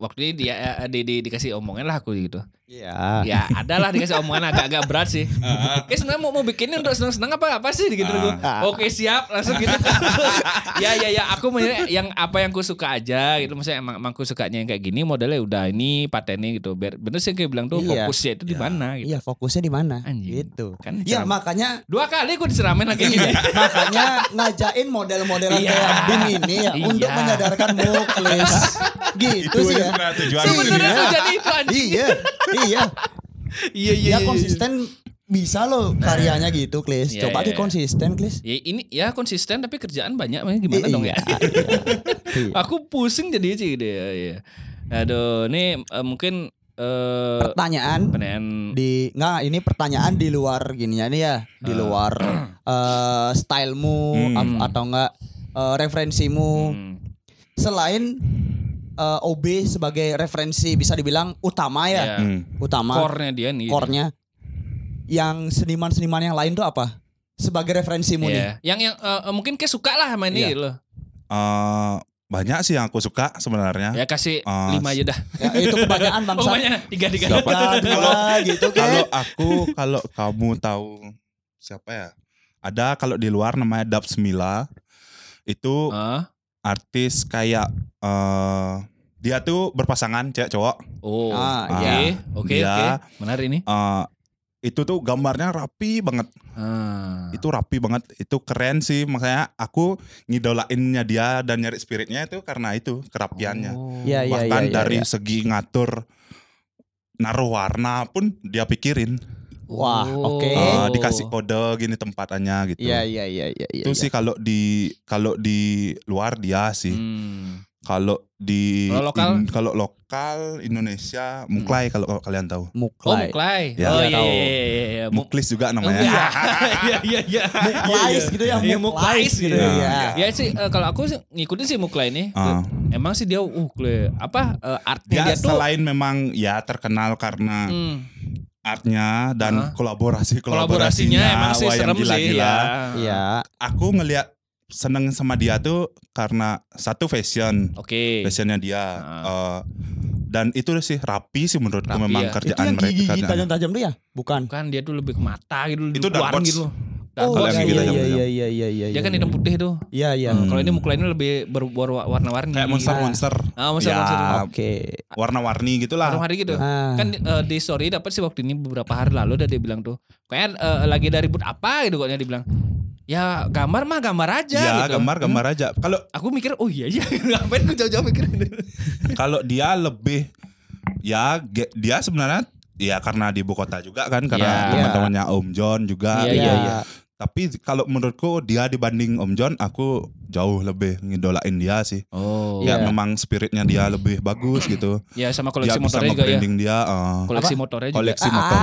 [SPEAKER 2] waktu ini dia eh, di, di- dikasih omongan lah aku gitu.
[SPEAKER 3] Iya.
[SPEAKER 2] Ya adalah dikasih omongan agak-agak berat sih. Oke sebenarnya mau mau bikinnya untuk seneng-seneng apa apa sih gitu gue.
[SPEAKER 3] Ah.
[SPEAKER 2] Oke siap langsung gitu. ya ya ya aku maunya yang apa yang ku suka aja gitu. Maksudnya emang, emang ku sukanya yang kayak gini modelnya udah ini patennya gitu. Biar- Bener sih yang kayak bilang tuh
[SPEAKER 3] Iya.
[SPEAKER 2] fokusnya itu di
[SPEAKER 4] Ya.
[SPEAKER 2] mana gitu.
[SPEAKER 3] Iya, fokusnya di mana?
[SPEAKER 2] Anjing.
[SPEAKER 3] Gitu.
[SPEAKER 2] Kan
[SPEAKER 3] Iya,
[SPEAKER 2] cara-
[SPEAKER 3] makanya
[SPEAKER 2] Dua kali gue diseramin lagi ini. ya.
[SPEAKER 3] makanya ngajain model-model
[SPEAKER 2] Iya.
[SPEAKER 3] kayak Bim ini ya
[SPEAKER 2] Iya.
[SPEAKER 3] untuk menyadarkan muklis. gitu sih ya.
[SPEAKER 4] sebenarnya tujuan
[SPEAKER 2] Sebenarnya
[SPEAKER 4] ini.
[SPEAKER 2] tuh jadi itu anjing.
[SPEAKER 3] Iya, iya.
[SPEAKER 2] Iya iya.
[SPEAKER 3] Dia
[SPEAKER 2] iya, iya.
[SPEAKER 3] konsisten bisa loh karyanya gitu, Klis.
[SPEAKER 2] Iya,
[SPEAKER 3] Coba
[SPEAKER 2] iya,
[SPEAKER 3] di
[SPEAKER 2] iya.
[SPEAKER 3] konsisten, Klis.
[SPEAKER 2] Ya ini ya konsisten tapi kerjaan banyak makanya gimana dong ya.
[SPEAKER 3] Iya.
[SPEAKER 2] Aku pusing jadi sih deh. Ya, ya. Aduh, ini eh, mungkin eh
[SPEAKER 3] Pertanyaan
[SPEAKER 2] pertanyaan
[SPEAKER 3] di nggak ini pertanyaan di luar gini ya nih ya, di luar eh stylemu
[SPEAKER 4] Hmm.
[SPEAKER 3] ap- atau enggak referensimu
[SPEAKER 2] hmm,
[SPEAKER 3] selain eh, OB sebagai referensi bisa dibilang utama ya,
[SPEAKER 2] ya,
[SPEAKER 4] Hmm.
[SPEAKER 3] utama.
[SPEAKER 2] core-nya dia nih. gitu.
[SPEAKER 3] core-nya yang seniman-seniman yang lain tuh apa sebagai referensimu nih
[SPEAKER 2] Iya. Yang yang eh, eh, mungkin kayak suka lah sama ini
[SPEAKER 3] Iya.
[SPEAKER 2] loh.
[SPEAKER 4] Eh, banyak sih yang aku suka sebenarnya.
[SPEAKER 2] Ya kasih
[SPEAKER 4] Ah,
[SPEAKER 2] lima aja dah.
[SPEAKER 3] ya, itu kebanyakan
[SPEAKER 2] Oh
[SPEAKER 3] bangsa
[SPEAKER 2] banyak tiga tiga.
[SPEAKER 4] Dapat.
[SPEAKER 3] Ya, dua gitu
[SPEAKER 4] Kalau
[SPEAKER 3] kan
[SPEAKER 4] aku, kalau kamu tahu siapa ya? Ada kalau di luar namanya Dabs Mila. Itu
[SPEAKER 2] Ah,
[SPEAKER 4] artis kayak eh dia tuh berpasangan cewek cowok.
[SPEAKER 2] oh.
[SPEAKER 3] Ah,
[SPEAKER 2] Oke,
[SPEAKER 4] iya.
[SPEAKER 2] oke,
[SPEAKER 4] Dia-
[SPEAKER 2] oke. Menarik ini.
[SPEAKER 4] Eh, itu tuh gambarnya rapi banget.
[SPEAKER 2] Ah.
[SPEAKER 4] Itu rapi banget. Itu keren sih. Makanya aku ngidolainnya dia dan nyari spiritnya itu karena itu kerapiannya.
[SPEAKER 2] Oh.
[SPEAKER 3] Iya, iya.
[SPEAKER 4] Bahkan
[SPEAKER 3] iya.
[SPEAKER 4] dari segi ngatur naruh warna pun dia pikirin.
[SPEAKER 3] wah
[SPEAKER 2] Oh.
[SPEAKER 3] oke
[SPEAKER 4] Eh,
[SPEAKER 2] Oh.
[SPEAKER 4] dikasih kode gini tempatannya gitu.
[SPEAKER 3] iya iya iya iya iya
[SPEAKER 4] itu sih kalau di kalau di luar dia sih.
[SPEAKER 2] Hmm.
[SPEAKER 4] Kalau di
[SPEAKER 2] Kalau lokal? Hmm.
[SPEAKER 4] in- kalau lokal Indonesia Muklai kalau kalau kalian tahu.
[SPEAKER 2] Oh,
[SPEAKER 3] muklai
[SPEAKER 2] Muklai.
[SPEAKER 4] Ya.
[SPEAKER 2] oh
[SPEAKER 4] Iya,
[SPEAKER 2] iya
[SPEAKER 4] tahu.
[SPEAKER 2] iya iya iya. Mu-
[SPEAKER 4] Muklis juga namanya. Ah.
[SPEAKER 2] Iya. Iya iya iya.
[SPEAKER 3] muklais gitu ya
[SPEAKER 2] Iya,
[SPEAKER 3] muklais
[SPEAKER 2] Muklais
[SPEAKER 3] gitu
[SPEAKER 4] iya.
[SPEAKER 3] ya
[SPEAKER 2] Ya sih eh, kalau aku sih ngikutin sih Muklai ini.
[SPEAKER 4] Ah.
[SPEAKER 2] Emang sih dia uh kle- apa eh, artnya
[SPEAKER 4] Dia,
[SPEAKER 2] dia, tuh
[SPEAKER 4] selain memang ya terkenal karena
[SPEAKER 2] hmm,
[SPEAKER 4] artnya dan
[SPEAKER 2] Ah.
[SPEAKER 4] kolaborasi
[SPEAKER 2] kolaborasinya emang sih serem sih ya.
[SPEAKER 3] iya
[SPEAKER 4] Aku ngelihat seneng sama dia tuh karena satu fashion,
[SPEAKER 2] Oke.
[SPEAKER 4] fashionnya dia Eh, dan itu sih rapi sih menurutku
[SPEAKER 2] Rapi
[SPEAKER 4] memang
[SPEAKER 2] ya.
[SPEAKER 3] itu
[SPEAKER 4] kerjaan
[SPEAKER 3] yang
[SPEAKER 4] mereka. kan.
[SPEAKER 3] gigi
[SPEAKER 4] kerjaan-
[SPEAKER 3] tajam-tajam tuh ya bukan
[SPEAKER 2] Bukan Kan dia tuh lebih ke mata gitu,
[SPEAKER 4] Itu
[SPEAKER 2] keluar
[SPEAKER 4] Dark Box.
[SPEAKER 2] gitu. Dark
[SPEAKER 3] oh
[SPEAKER 4] Kalau
[SPEAKER 2] Box.
[SPEAKER 4] yang
[SPEAKER 3] iya
[SPEAKER 4] gigi
[SPEAKER 3] iya
[SPEAKER 4] tajam-tajam.
[SPEAKER 3] iya iya iya iya
[SPEAKER 2] Dia kan hitam putih tuh.
[SPEAKER 3] iya iya
[SPEAKER 4] Hmm.
[SPEAKER 2] Kalau ini Muklai ini lebih berwarna-warni.
[SPEAKER 4] kayak monster monster.
[SPEAKER 2] Ah, monster-monster.
[SPEAKER 3] oke
[SPEAKER 4] Iya, warna-warni gitulah.
[SPEAKER 2] Malam hari gitu.
[SPEAKER 3] Ah.
[SPEAKER 2] Kan eh, di story dapat sih waktu ini beberapa hari lalu udah dia bilang tuh. Kayak eh, lagi dari ribut apa gitu koknya dia bilang. Ya gambar mah gambar aja
[SPEAKER 4] Ya,
[SPEAKER 2] gitu.
[SPEAKER 4] gambar gambar aja. Kalau
[SPEAKER 2] Aku mikir oh iya iya ngapain gue jauh-jauh mikirin.
[SPEAKER 4] kalau dia lebih ya ge- dia sebenarnya ya karena di ibu kota juga kan
[SPEAKER 2] Iya.
[SPEAKER 4] karena teman-temannya Om John juga. gitu.
[SPEAKER 2] Iya, iya,
[SPEAKER 3] iya.
[SPEAKER 4] Tapi kalau menurutku dia dibanding Om John aku jauh lebih ngidolain dia sih.
[SPEAKER 2] Oh.
[SPEAKER 4] Ya
[SPEAKER 3] Iya.
[SPEAKER 4] memang spiritnya dia lebih bagus gitu.
[SPEAKER 2] Ya sama
[SPEAKER 4] Dia
[SPEAKER 2] koleksi
[SPEAKER 4] bisa
[SPEAKER 2] motornya juga ya.
[SPEAKER 4] nge-branding dia eh,
[SPEAKER 2] Koleksi motornya juga. Ah.
[SPEAKER 4] koleksi motor.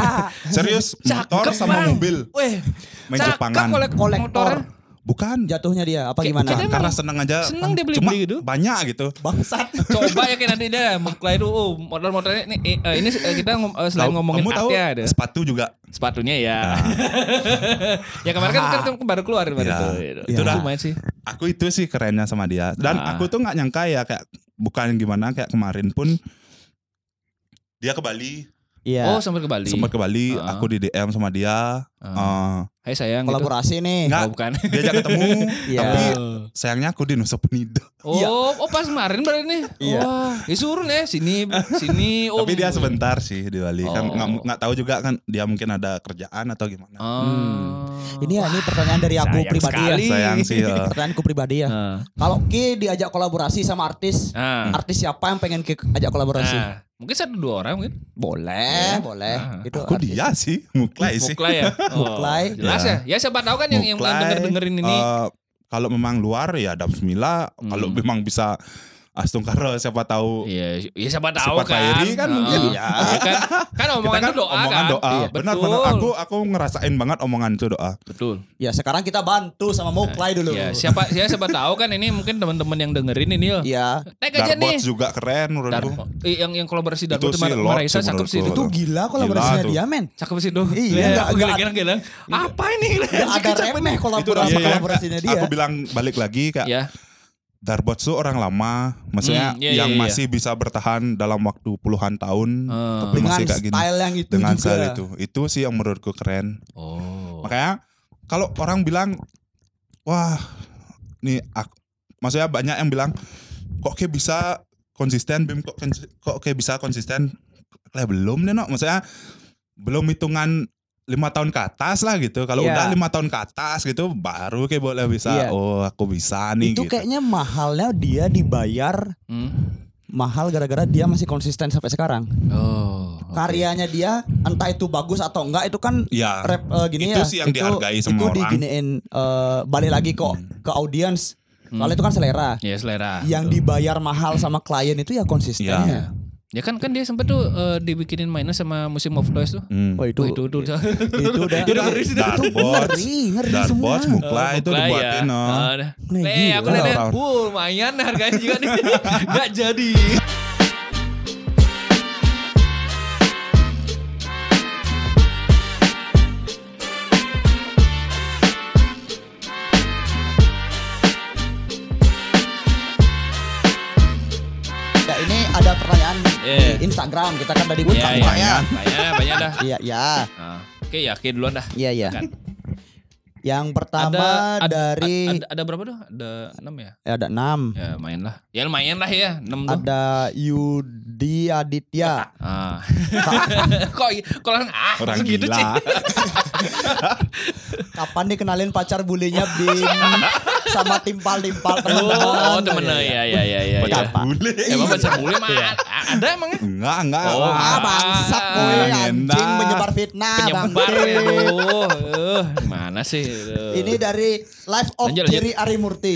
[SPEAKER 4] Serius, motor
[SPEAKER 2] Cakep,
[SPEAKER 4] sama
[SPEAKER 2] Bang.
[SPEAKER 4] mobil
[SPEAKER 2] Weh,
[SPEAKER 4] main
[SPEAKER 2] cakep
[SPEAKER 4] Jepangan.
[SPEAKER 2] kolek-
[SPEAKER 3] Kolektor.
[SPEAKER 2] motornya.
[SPEAKER 4] Bukan. Nah,
[SPEAKER 3] jatuhnya dia apa
[SPEAKER 2] Kayak-
[SPEAKER 3] gimana
[SPEAKER 2] kayak dia-
[SPEAKER 4] Karena seneng aja.
[SPEAKER 2] Ya, seneng dia
[SPEAKER 4] Cuma
[SPEAKER 2] beli-beli gitu.
[SPEAKER 4] Banyak gitu.
[SPEAKER 3] bangsat
[SPEAKER 2] Coba ya kayak nanti deh mengklai dulu oh, motor-motornya ini eh, eh, ini eh, kita ngom- eh, selain
[SPEAKER 4] Tahu-
[SPEAKER 2] ngomongin
[SPEAKER 4] kamu tahu Ah.
[SPEAKER 2] artnya ada.
[SPEAKER 4] sepatu juga Nah,
[SPEAKER 2] Sepatunya ya. ya kemarin kan,
[SPEAKER 4] Ah.
[SPEAKER 2] kan baru keluar kemarin
[SPEAKER 4] Ya.
[SPEAKER 2] tuh.
[SPEAKER 4] Itu dah.
[SPEAKER 2] lumayan sih.
[SPEAKER 4] aku itu sih kerennya sama dia dan
[SPEAKER 2] Ah.
[SPEAKER 4] aku tuh nggak nyangka ya kayak bukan gimana kayak kemarin pun dia ke Bali
[SPEAKER 2] Oh,
[SPEAKER 3] iya
[SPEAKER 2] sampai ke Bali.
[SPEAKER 4] sempat ke Bali
[SPEAKER 2] Ah.
[SPEAKER 4] aku di DM sama dia
[SPEAKER 2] Ah. Hai sayang gitu.
[SPEAKER 3] kolaborasi nih
[SPEAKER 4] Nggak.
[SPEAKER 2] Oh, bukan.
[SPEAKER 4] Eh, diajak ketemu
[SPEAKER 3] Iya.
[SPEAKER 4] tapi sayangnya aku di Nusa Penida
[SPEAKER 2] Oh,
[SPEAKER 3] Iya.
[SPEAKER 2] oh pas kemarin berarti nih.
[SPEAKER 3] Iya.
[SPEAKER 2] Wah, disuruh nih sini sini. Oh,
[SPEAKER 4] tapi dia sebentar sih di Bali kan
[SPEAKER 2] Oh.
[SPEAKER 4] nggak nggak tahu juga kan dia mungkin ada kerjaan atau gimana
[SPEAKER 2] Oh.
[SPEAKER 3] Ini ya, ini pertanyaan dari aku
[SPEAKER 2] sayang
[SPEAKER 3] pribadi
[SPEAKER 2] sekali.
[SPEAKER 3] ya.
[SPEAKER 4] sayang sih ya.
[SPEAKER 3] Pertanyaanku pribadi ya.
[SPEAKER 2] Ah.
[SPEAKER 3] Kalau Ki diajak kolaborasi sama artis,
[SPEAKER 2] Ah.
[SPEAKER 3] artis siapa yang pengen Ki ajak kolaborasi?
[SPEAKER 2] Nah, mungkin satu dua orang mungkin.
[SPEAKER 3] Boleh, boleh.
[SPEAKER 2] Ah.
[SPEAKER 3] Itu
[SPEAKER 4] aku
[SPEAKER 3] artis.
[SPEAKER 4] dia sih muklai sih Iya.
[SPEAKER 2] Muklai ya. Oh,
[SPEAKER 3] Muklai.
[SPEAKER 2] Jelas ya. Ya siapa tahu kan yang yang
[SPEAKER 4] Muklai,
[SPEAKER 2] denger dengerin ini.
[SPEAKER 4] eh, kalau memang luar ya ada Bismillah kalau
[SPEAKER 2] Hmm.
[SPEAKER 4] memang bisa Astung Karo siapa tahu
[SPEAKER 2] Iya, ya siapa tahu
[SPEAKER 4] Sifat
[SPEAKER 2] kan.
[SPEAKER 4] Khairi kan mungkin
[SPEAKER 2] Heeh.
[SPEAKER 4] ya.
[SPEAKER 2] Iya kan. Kan
[SPEAKER 4] kita
[SPEAKER 2] omongan
[SPEAKER 4] kan
[SPEAKER 2] itu doa
[SPEAKER 4] omongan
[SPEAKER 2] kan.
[SPEAKER 4] doa
[SPEAKER 2] Iya,
[SPEAKER 4] benar
[SPEAKER 2] betul.
[SPEAKER 4] benar aku aku ngerasain banget omongan itu doa
[SPEAKER 2] betul.
[SPEAKER 3] Ya sekarang kita bantu sama Muklai dulu.
[SPEAKER 2] Ya, siapa ya siapa tahu kan ini mungkin teman-teman yang dengerin ini loh.
[SPEAKER 3] Iya.
[SPEAKER 2] Naik aja nih.
[SPEAKER 4] Darbots juga keren menurutku
[SPEAKER 2] Darbo. Eh, yang yang kolaborasi
[SPEAKER 4] Itu
[SPEAKER 2] Darbo
[SPEAKER 4] sih
[SPEAKER 2] sama
[SPEAKER 4] Lord
[SPEAKER 2] Marisa
[SPEAKER 4] sih
[SPEAKER 2] cakep sih
[SPEAKER 4] menurutku.
[SPEAKER 2] itu.
[SPEAKER 3] Itu gila kolaborasinya
[SPEAKER 4] Gila tuh.
[SPEAKER 3] dia, men.
[SPEAKER 2] Cakep sih tuh.
[SPEAKER 3] Iya, nggak-
[SPEAKER 2] aku
[SPEAKER 3] nggak-
[SPEAKER 2] gila gila.
[SPEAKER 4] Iya.
[SPEAKER 2] Apa ini?
[SPEAKER 3] Gak Ya, ada remeh
[SPEAKER 4] itu iya,
[SPEAKER 3] kolaborasi
[SPEAKER 4] makanya
[SPEAKER 3] kolaborasinya dia.
[SPEAKER 4] aku bilang balik lagi kak
[SPEAKER 2] Ya.
[SPEAKER 4] Darbots tuh orang lama, maksudnya
[SPEAKER 2] Hmm, iya,
[SPEAKER 4] yang
[SPEAKER 2] iya, iya.
[SPEAKER 4] masih bisa bertahan dalam waktu puluhan tahun,
[SPEAKER 2] Eh.
[SPEAKER 4] tapi
[SPEAKER 3] dengan
[SPEAKER 4] masih kayak gini
[SPEAKER 3] style yang itu
[SPEAKER 4] dengan
[SPEAKER 3] Iya juga.
[SPEAKER 4] style itu. Itu sih yang menurutku keren.
[SPEAKER 2] Oh.
[SPEAKER 4] Gitu. Makanya kalau orang bilang wah nih aku maksudnya banyak yang bilang kok kayak bisa konsisten Bim kok konsi- kok kayak bisa konsisten kayak belum deh no maksudnya belum hitungan lima tahun ke atas lah gitu kalau
[SPEAKER 3] Iya.
[SPEAKER 4] udah lima tahun ke atas gitu baru kayak boleh bisa
[SPEAKER 3] Iya.
[SPEAKER 4] oh aku bisa nih
[SPEAKER 3] itu
[SPEAKER 4] gitu.
[SPEAKER 3] kayaknya mahalnya dia dibayar
[SPEAKER 2] Hmm.
[SPEAKER 3] mahal gara-gara dia masih konsisten sampai sekarang.
[SPEAKER 2] Oh. oke.
[SPEAKER 3] Karyanya dia entah itu bagus atau enggak itu kan
[SPEAKER 4] ya
[SPEAKER 3] rap eh, gini
[SPEAKER 4] Itu
[SPEAKER 3] ya.
[SPEAKER 4] sih yang dihargai sama
[SPEAKER 3] itu
[SPEAKER 4] orang. Hmm.
[SPEAKER 3] diginiin eh, balik lagi kok ke audiens.
[SPEAKER 2] Hmm.
[SPEAKER 3] Soalnya itu kan selera.
[SPEAKER 2] Ya selera.
[SPEAKER 4] Iya,
[SPEAKER 3] Yang
[SPEAKER 2] Betul.
[SPEAKER 3] dibayar mahal sama klien itu ya konsistennya.
[SPEAKER 2] Ya kan kan dia sempet tuh eh, dibikinin minus sama musim of Toys tuh.
[SPEAKER 4] hmm.
[SPEAKER 3] Oh
[SPEAKER 2] Tuh,
[SPEAKER 3] itu
[SPEAKER 2] itu itu.
[SPEAKER 3] itu udah
[SPEAKER 2] Itu udah ngeri sih.
[SPEAKER 3] itu
[SPEAKER 4] Darbots,
[SPEAKER 3] ngeri, ngeri semua.
[SPEAKER 4] Darbots, Mukla itu
[SPEAKER 2] Oh, Mukla
[SPEAKER 4] dibuatin oh. no.
[SPEAKER 2] Eh, Ah, dah.
[SPEAKER 3] Nih,
[SPEAKER 2] Eh, aku
[SPEAKER 3] gila.
[SPEAKER 2] lihat
[SPEAKER 4] Tahun.
[SPEAKER 2] Wuh, lumayan harganya juga nih. Gak jadi.
[SPEAKER 3] Ya ini ada pertanyaan
[SPEAKER 2] Iya.
[SPEAKER 3] di Instagram kita kan tadi
[SPEAKER 2] Iya, iya.
[SPEAKER 3] Pak, ya.
[SPEAKER 2] Banyak, banyak dah.
[SPEAKER 3] Iya, ya.
[SPEAKER 2] Ah, Oke, ya, oke duluan dah.
[SPEAKER 3] Iya, iya.
[SPEAKER 2] Kan.
[SPEAKER 3] Yang pertama
[SPEAKER 2] ada,
[SPEAKER 3] dari
[SPEAKER 2] ada, ada berapa tuh? Ada 6 ya?
[SPEAKER 3] ya, ada enam.
[SPEAKER 2] Ya, main lah. Ya lumayan lah ya, 6 tuh.
[SPEAKER 3] Ada Yudi Aditya.
[SPEAKER 2] Ah. kok kok langsung ah
[SPEAKER 4] Orang
[SPEAKER 2] gitu
[SPEAKER 4] gila.
[SPEAKER 2] sih.
[SPEAKER 3] Kapan nih kenalin pacar bulenya Bim sama timpal-timpal Iya, temen
[SPEAKER 2] Oh, temennya ya ya ya ya. ya.
[SPEAKER 4] Pacar bule.
[SPEAKER 2] Emang
[SPEAKER 3] Iya.
[SPEAKER 2] pacar bule mah a- ya, Ah, ada emangnya?
[SPEAKER 4] Enggak, enggak.
[SPEAKER 2] Oh,
[SPEAKER 4] Wah.
[SPEAKER 3] Ah, bangsat kowe
[SPEAKER 4] Ah,
[SPEAKER 3] anjing
[SPEAKER 4] enak.
[SPEAKER 3] menyebar fitnah,
[SPEAKER 2] Penyebar
[SPEAKER 3] bangke.
[SPEAKER 2] ya aduh. Eh, mana sih? Aduh.
[SPEAKER 3] Ini dari Life of
[SPEAKER 2] Lanjut, lanjut.
[SPEAKER 3] Jerry Arimurti.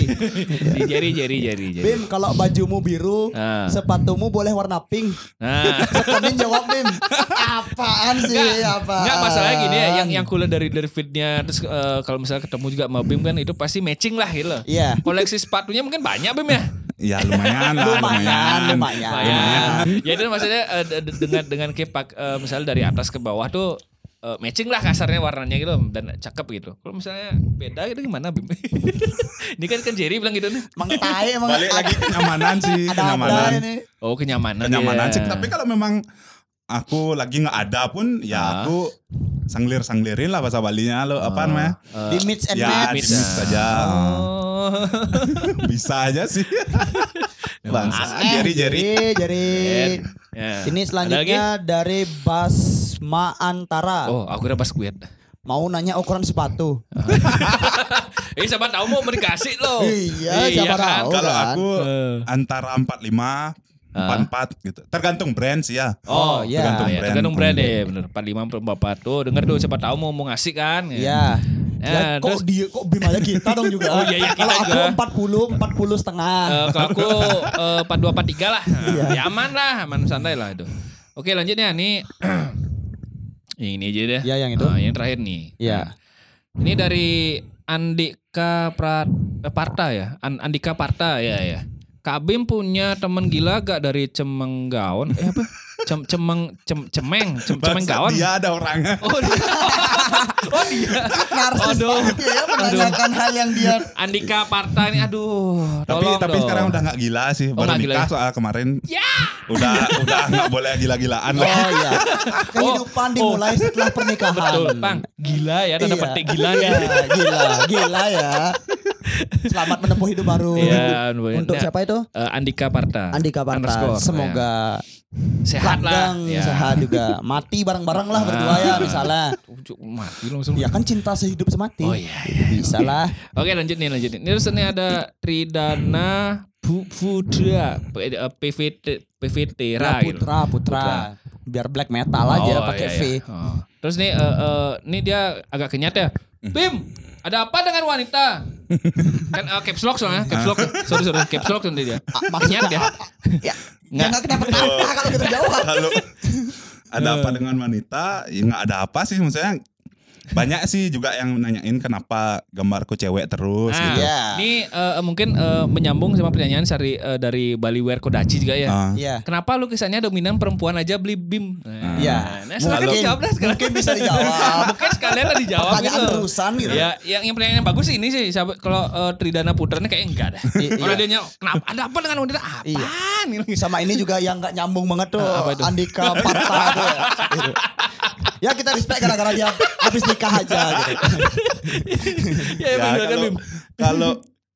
[SPEAKER 2] Di jari jari jari jari.
[SPEAKER 3] Bim, kalau bajumu biru,
[SPEAKER 2] Ah.
[SPEAKER 3] sepatumu boleh warna pink.
[SPEAKER 2] Nah,
[SPEAKER 3] Sekenin jawab Bim. Apaan sih? Apaan?
[SPEAKER 2] Enggak masalahnya gini ya, yang yang kuliah dari dari fitnya terus eh, kalau misalnya ketemu juga sama Bim kan itu pasti matching lah gitu. loh.
[SPEAKER 3] Iya.
[SPEAKER 2] Koleksi sepatunya mungkin banyak Bim ya.
[SPEAKER 4] Ya lumayan
[SPEAKER 3] Lumayan,
[SPEAKER 4] lah, lumayan.
[SPEAKER 3] lumayan.
[SPEAKER 2] Lumayan. Ya itu maksudnya eh, de- de- dengan dengan kepak eh, misalnya dari atas ke bawah tuh eh, matching lah kasarnya warnanya gitu dan cakep gitu. Kalau misalnya beda itu gimana Bim? Ini kan kan Jerry bilang gitu nih.
[SPEAKER 3] Emang tai emang
[SPEAKER 4] Balik lagi kenyamanan sih,
[SPEAKER 3] ada
[SPEAKER 4] kenyamanan.
[SPEAKER 3] ada ini. Iya.
[SPEAKER 2] Oh kenyamanan.
[SPEAKER 4] Kenyamanan
[SPEAKER 2] ya.
[SPEAKER 4] sih. Tapi kalau memang aku lagi nggak ada
[SPEAKER 3] Nah.
[SPEAKER 4] pun,
[SPEAKER 2] Ah.
[SPEAKER 4] ya aku sanglir-sanglirin lah bahasa Balinya lo apa
[SPEAKER 3] Oh.
[SPEAKER 4] namanya?
[SPEAKER 2] Eh,
[SPEAKER 3] Di mix and
[SPEAKER 4] Ya,
[SPEAKER 3] match.
[SPEAKER 2] mix.
[SPEAKER 4] mix saja.
[SPEAKER 2] Oh.
[SPEAKER 4] Bisa aja sih. Bangsa,
[SPEAKER 3] Eh,
[SPEAKER 4] jari-jari.
[SPEAKER 3] Jerry.
[SPEAKER 2] Ya. Ada
[SPEAKER 3] Ini
[SPEAKER 2] lagi?
[SPEAKER 3] selanjutnya dari Basma Antara.
[SPEAKER 2] Oh, aku udah pas kuat.
[SPEAKER 3] Mau nanya ukuran sepatu.
[SPEAKER 2] Eh, siapa tahu mau dikasih loh.
[SPEAKER 3] Iya, siapa
[SPEAKER 2] kan?
[SPEAKER 3] tahu. kan?
[SPEAKER 4] Kalau
[SPEAKER 3] Ah.
[SPEAKER 4] aku
[SPEAKER 2] Eh.
[SPEAKER 4] antara 45, 44 gitu. Tergantung brand sih ya.
[SPEAKER 2] Oh,
[SPEAKER 3] Oh,
[SPEAKER 2] iya. Tergantung
[SPEAKER 3] iya.
[SPEAKER 4] Tergantung
[SPEAKER 2] brand.
[SPEAKER 4] brand.
[SPEAKER 2] Tergantung brand ya, bener. 45 44 tuh denger tuh siapa tahu mau mau ngasih kan.
[SPEAKER 3] Iya.
[SPEAKER 2] Ya,
[SPEAKER 3] Ya, kok
[SPEAKER 2] terus-
[SPEAKER 3] dia kok Bim aja kita dong juga.
[SPEAKER 2] Oh, iya, iya, kita
[SPEAKER 3] Kalau aku
[SPEAKER 2] juga.
[SPEAKER 3] 40, 40 setengah.
[SPEAKER 2] Eh, kalau aku eh, 42 43 lah.
[SPEAKER 3] Iya.
[SPEAKER 2] Ya aman lah, aman santai lah itu. Oke, lanjutnya nih. yang ini aja deh.
[SPEAKER 3] Iya, yang itu.
[SPEAKER 2] Ah, yang terakhir nih.
[SPEAKER 3] Iya.
[SPEAKER 2] Ini dari Andika Pra, eh, Parta ya. An- Andika Parta ya ya. Kak Bim punya temen gila gak dari Cemenggaon? Eh apa? Cem, cemeng, cem, cemeng, cem,
[SPEAKER 4] Bangsa,
[SPEAKER 2] cemenggaon.
[SPEAKER 4] dia ada orangnya.
[SPEAKER 2] Oh, dia. oh dia.
[SPEAKER 3] Narsis
[SPEAKER 2] Aduh.
[SPEAKER 3] banget dia ya menanyakan hal yang dia
[SPEAKER 2] Andika Parta ini aduh.
[SPEAKER 4] Tapi
[SPEAKER 2] tolong
[SPEAKER 4] tapi
[SPEAKER 2] dong.
[SPEAKER 4] sekarang udah nggak gila sih. Baru
[SPEAKER 2] nggak gila
[SPEAKER 4] nikah
[SPEAKER 2] ya?
[SPEAKER 4] soal kemarin.
[SPEAKER 2] Ya.
[SPEAKER 4] Udah udah nggak boleh gila-gilaan lah.
[SPEAKER 3] Oh iya. Kehidupan
[SPEAKER 2] Oh.
[SPEAKER 3] dimulai setelah pernikahan.
[SPEAKER 2] Betul, Bang. Gila ya, tanda
[SPEAKER 3] Iya.
[SPEAKER 2] petik gila ya.
[SPEAKER 3] Iya, gila, gila ya. Selamat menempuh hidup baru.
[SPEAKER 2] Iya,
[SPEAKER 3] Untuk
[SPEAKER 2] nah,
[SPEAKER 3] siapa itu?
[SPEAKER 2] Eh, Andika Parta.
[SPEAKER 3] Andika Parta.
[SPEAKER 2] Underscore, ya.
[SPEAKER 3] Semoga
[SPEAKER 2] sehat lah.
[SPEAKER 3] langgeng,
[SPEAKER 2] Ya.
[SPEAKER 3] sehat juga. Mati bareng-bareng lah berdua ya misalnya.
[SPEAKER 2] Ujuk, Mati langsung.
[SPEAKER 3] Ya kan cinta sehidup semati.
[SPEAKER 2] Oh iya. iya.
[SPEAKER 3] Bisa lah.
[SPEAKER 2] Oke lanjut nih lanjut nih. Ini Terus ini ada Tridana Bu Fuda P- eh, PVT PVT Ra
[SPEAKER 3] Ya,
[SPEAKER 2] gitu.
[SPEAKER 3] putra, putra. Biar black metal aja
[SPEAKER 2] Oh,
[SPEAKER 3] pakai
[SPEAKER 2] iya,
[SPEAKER 3] V.
[SPEAKER 2] iya. Oh. Terus nih eh, eh, nih dia agak kenyat ya. Bim, ada apa dengan wanita? kan eh, caps lock soalnya, caps lock. Sorry sorry, caps lock nanti dia.
[SPEAKER 3] Ah,
[SPEAKER 2] Kenyat
[SPEAKER 3] maksudnya
[SPEAKER 2] dia.
[SPEAKER 3] Ya, ya nggak kenapa-napa kalau kita jauh.
[SPEAKER 2] Eh.
[SPEAKER 4] Kalau ada apa dengan wanita? Ya nggak ada apa sih maksudnya. banyak sih juga yang nanyain kenapa gambarku cewek terus
[SPEAKER 2] Nah,
[SPEAKER 4] gitu.
[SPEAKER 3] Iya.
[SPEAKER 2] Ini eh, mungkin eh, menyambung sama pertanyaan dari eh, dari Baliware Kodachi juga ya.
[SPEAKER 4] Ah.
[SPEAKER 3] Iya.
[SPEAKER 2] Kenapa lu kisahnya dominan perempuan aja beli BIM? Nah,
[SPEAKER 3] Iya.
[SPEAKER 2] Nah, silakan
[SPEAKER 3] Mungkin-
[SPEAKER 2] dijawab lah sekarang.
[SPEAKER 3] mungkin bisa dijawab.
[SPEAKER 2] mungkin sekalian lah dijawab
[SPEAKER 3] Pertanyaan
[SPEAKER 2] gitu.
[SPEAKER 3] terusan gitu.
[SPEAKER 2] Ya, yang, yang pertanyaan yang bagus sih ini sih. Siapa- Kalau eh, Tridana Putra ini kayak enggak dah.
[SPEAKER 3] I- iya.
[SPEAKER 2] Orang dia nyawa, kenapa? Ada apa dengan wanita?
[SPEAKER 4] Iya.
[SPEAKER 2] Apaan? Gitu.
[SPEAKER 3] Sama ini juga yang gak nyambung banget tuh.
[SPEAKER 2] Nah, apa itu?
[SPEAKER 3] Andika Parta tuh ya. Gitu. Ya kita respect gara-gara dia habis nikah aja gitu.
[SPEAKER 2] Iya. ya,
[SPEAKER 4] Ya,
[SPEAKER 2] ya,
[SPEAKER 4] kalau,
[SPEAKER 2] Bim.
[SPEAKER 4] kalau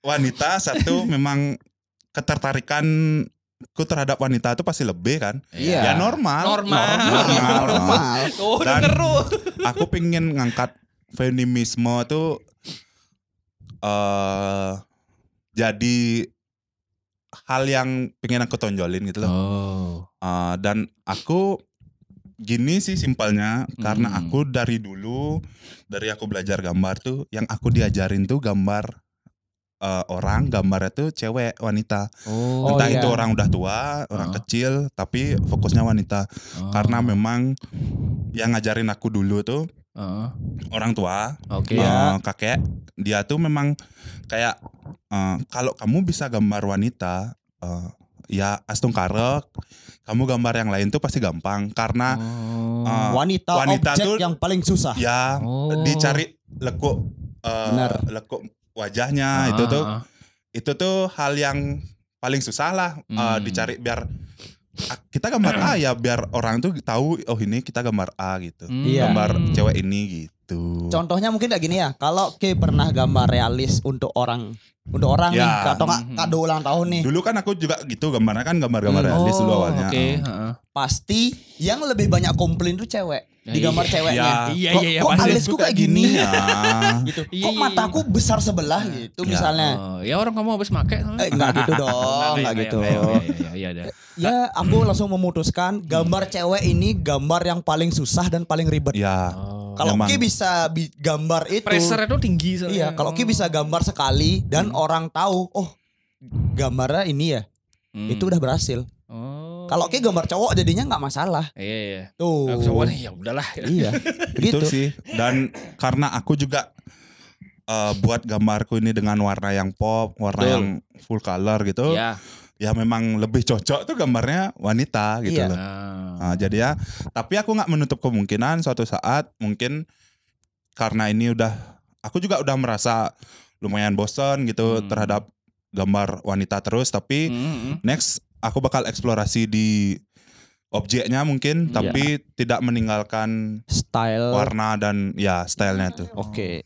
[SPEAKER 4] wanita satu memang ketertarikan ku terhadap wanita itu pasti lebih kan.
[SPEAKER 3] Iya.
[SPEAKER 4] Ya normal.
[SPEAKER 2] Normal.
[SPEAKER 4] Normal.
[SPEAKER 3] Normal.
[SPEAKER 2] Oh,
[SPEAKER 4] Dan-
[SPEAKER 2] denger lu.
[SPEAKER 4] Aku pengen ngangkat feminisme tuh eh jadi hal yang pengen aku tonjolin gitu loh.
[SPEAKER 2] Oh.
[SPEAKER 4] Eh, dan aku gini sih simpelnya karena
[SPEAKER 2] Hmm.
[SPEAKER 4] aku dari dulu dari aku belajar gambar tuh yang aku diajarin tuh gambar eh, orang gambarnya tuh cewek wanita
[SPEAKER 2] Oh,
[SPEAKER 4] entah
[SPEAKER 3] iya.
[SPEAKER 4] itu orang udah tua orang
[SPEAKER 2] Ah.
[SPEAKER 4] kecil tapi fokusnya wanita
[SPEAKER 2] Oh.
[SPEAKER 4] karena memang yang ngajarin aku dulu tuh
[SPEAKER 2] Heeh.
[SPEAKER 4] orang tua
[SPEAKER 2] Oh, Oke.
[SPEAKER 4] eh, kakek dia tuh memang kayak eh, kalau kamu bisa gambar wanita eh, ya astungkarek kamu gambar yang lain tuh pasti gampang karena
[SPEAKER 2] Oh.
[SPEAKER 4] eh,
[SPEAKER 3] Wanita,
[SPEAKER 4] Wanita
[SPEAKER 3] objek
[SPEAKER 4] tuh-
[SPEAKER 3] yang paling susah.
[SPEAKER 4] ya
[SPEAKER 2] Oh.
[SPEAKER 4] dicari lekuk eh,
[SPEAKER 3] Benar.
[SPEAKER 4] lekuk wajahnya
[SPEAKER 2] Ah,
[SPEAKER 4] nah, itu tuh
[SPEAKER 2] ah, ah.
[SPEAKER 4] itu tuh hal yang paling susah lah eh,
[SPEAKER 2] Hmm.
[SPEAKER 4] dicari biar ah, kita gambar A ya biar orang tuh tahu oh ini kita gambar A gitu
[SPEAKER 2] Hmm.
[SPEAKER 3] Iya.
[SPEAKER 4] gambar cewek ini gitu
[SPEAKER 3] Contohnya mungkin kayak gini ya, kalau Ki pernah gambar realis untuk orang, untuk orang
[SPEAKER 4] Ya.
[SPEAKER 3] nih, atau nggak
[SPEAKER 2] Mm-hmm.
[SPEAKER 3] kado ulang tahun nih,
[SPEAKER 4] dulu kan aku juga gitu gambarnya kan gambar-gambar
[SPEAKER 3] Hmm.
[SPEAKER 4] realis dulu awalnya
[SPEAKER 2] Oh, Oke. ah, heeh.
[SPEAKER 3] pasti yang lebih banyak komplain tuh cewek
[SPEAKER 2] Ya,
[SPEAKER 3] di gambar
[SPEAKER 2] iya.
[SPEAKER 3] ceweknya.
[SPEAKER 4] Ah.
[SPEAKER 2] Iya
[SPEAKER 3] Kok-
[SPEAKER 2] iya iya
[SPEAKER 3] kok
[SPEAKER 2] pasti.
[SPEAKER 3] alis- Alisku kayak gini.
[SPEAKER 4] ya
[SPEAKER 3] Gitu.
[SPEAKER 2] Iya,
[SPEAKER 3] Kok
[SPEAKER 2] iya,
[SPEAKER 3] mataku besar sebelah gitu
[SPEAKER 4] Ya.
[SPEAKER 3] misalnya.
[SPEAKER 2] Oh, ya orang kamu habis make soalnya.
[SPEAKER 3] Eh enggak gitu dong, enggak
[SPEAKER 2] Iya,
[SPEAKER 3] gitu.
[SPEAKER 2] Iya iya iya, iya, iya.
[SPEAKER 3] Ya, aku langsung memutuskan gambar cewek ini gambar yang paling susah dan paling ribet.
[SPEAKER 4] ya
[SPEAKER 2] Oh.
[SPEAKER 3] Kalau
[SPEAKER 4] Emang.
[SPEAKER 3] Ki bisa bi- gambar itu,
[SPEAKER 2] Pressure itu tinggi soalnya.
[SPEAKER 3] iya. Kalau Ki bisa gambar sekali dan orang tahu, oh gambarnya ini ya,
[SPEAKER 2] Hmm.
[SPEAKER 3] itu udah berhasil.
[SPEAKER 2] Oh.
[SPEAKER 3] Kalau Ki gambar cowok jadinya nggak masalah.
[SPEAKER 2] Iya iya.
[SPEAKER 4] Oh.
[SPEAKER 3] Tuh.
[SPEAKER 2] Aku sama ya udahlah.
[SPEAKER 3] Iya.
[SPEAKER 4] gitu.
[SPEAKER 3] gitu.
[SPEAKER 4] sih dan karena aku juga eh, buat gambarku ini dengan warna yang pop warna
[SPEAKER 2] Betul.
[SPEAKER 4] yang full color gitu
[SPEAKER 2] Iya.
[SPEAKER 4] ya memang lebih cocok tuh gambarnya wanita gitu
[SPEAKER 3] Iya.
[SPEAKER 4] loh
[SPEAKER 2] Ah.
[SPEAKER 4] Nah, jadi ya tapi aku nggak menutup kemungkinan suatu saat mungkin karena ini udah aku juga udah merasa lumayan bosen gitu
[SPEAKER 2] Hmm.
[SPEAKER 4] terhadap gambar wanita terus tapi
[SPEAKER 2] Hmm, hmm.
[SPEAKER 4] next aku bakal eksplorasi di objeknya
[SPEAKER 2] Iya.
[SPEAKER 4] mungkin
[SPEAKER 2] Eh.
[SPEAKER 4] tapi tidak meninggalkan
[SPEAKER 3] Style.
[SPEAKER 4] warna dan ya stylenya tuh
[SPEAKER 3] Oke.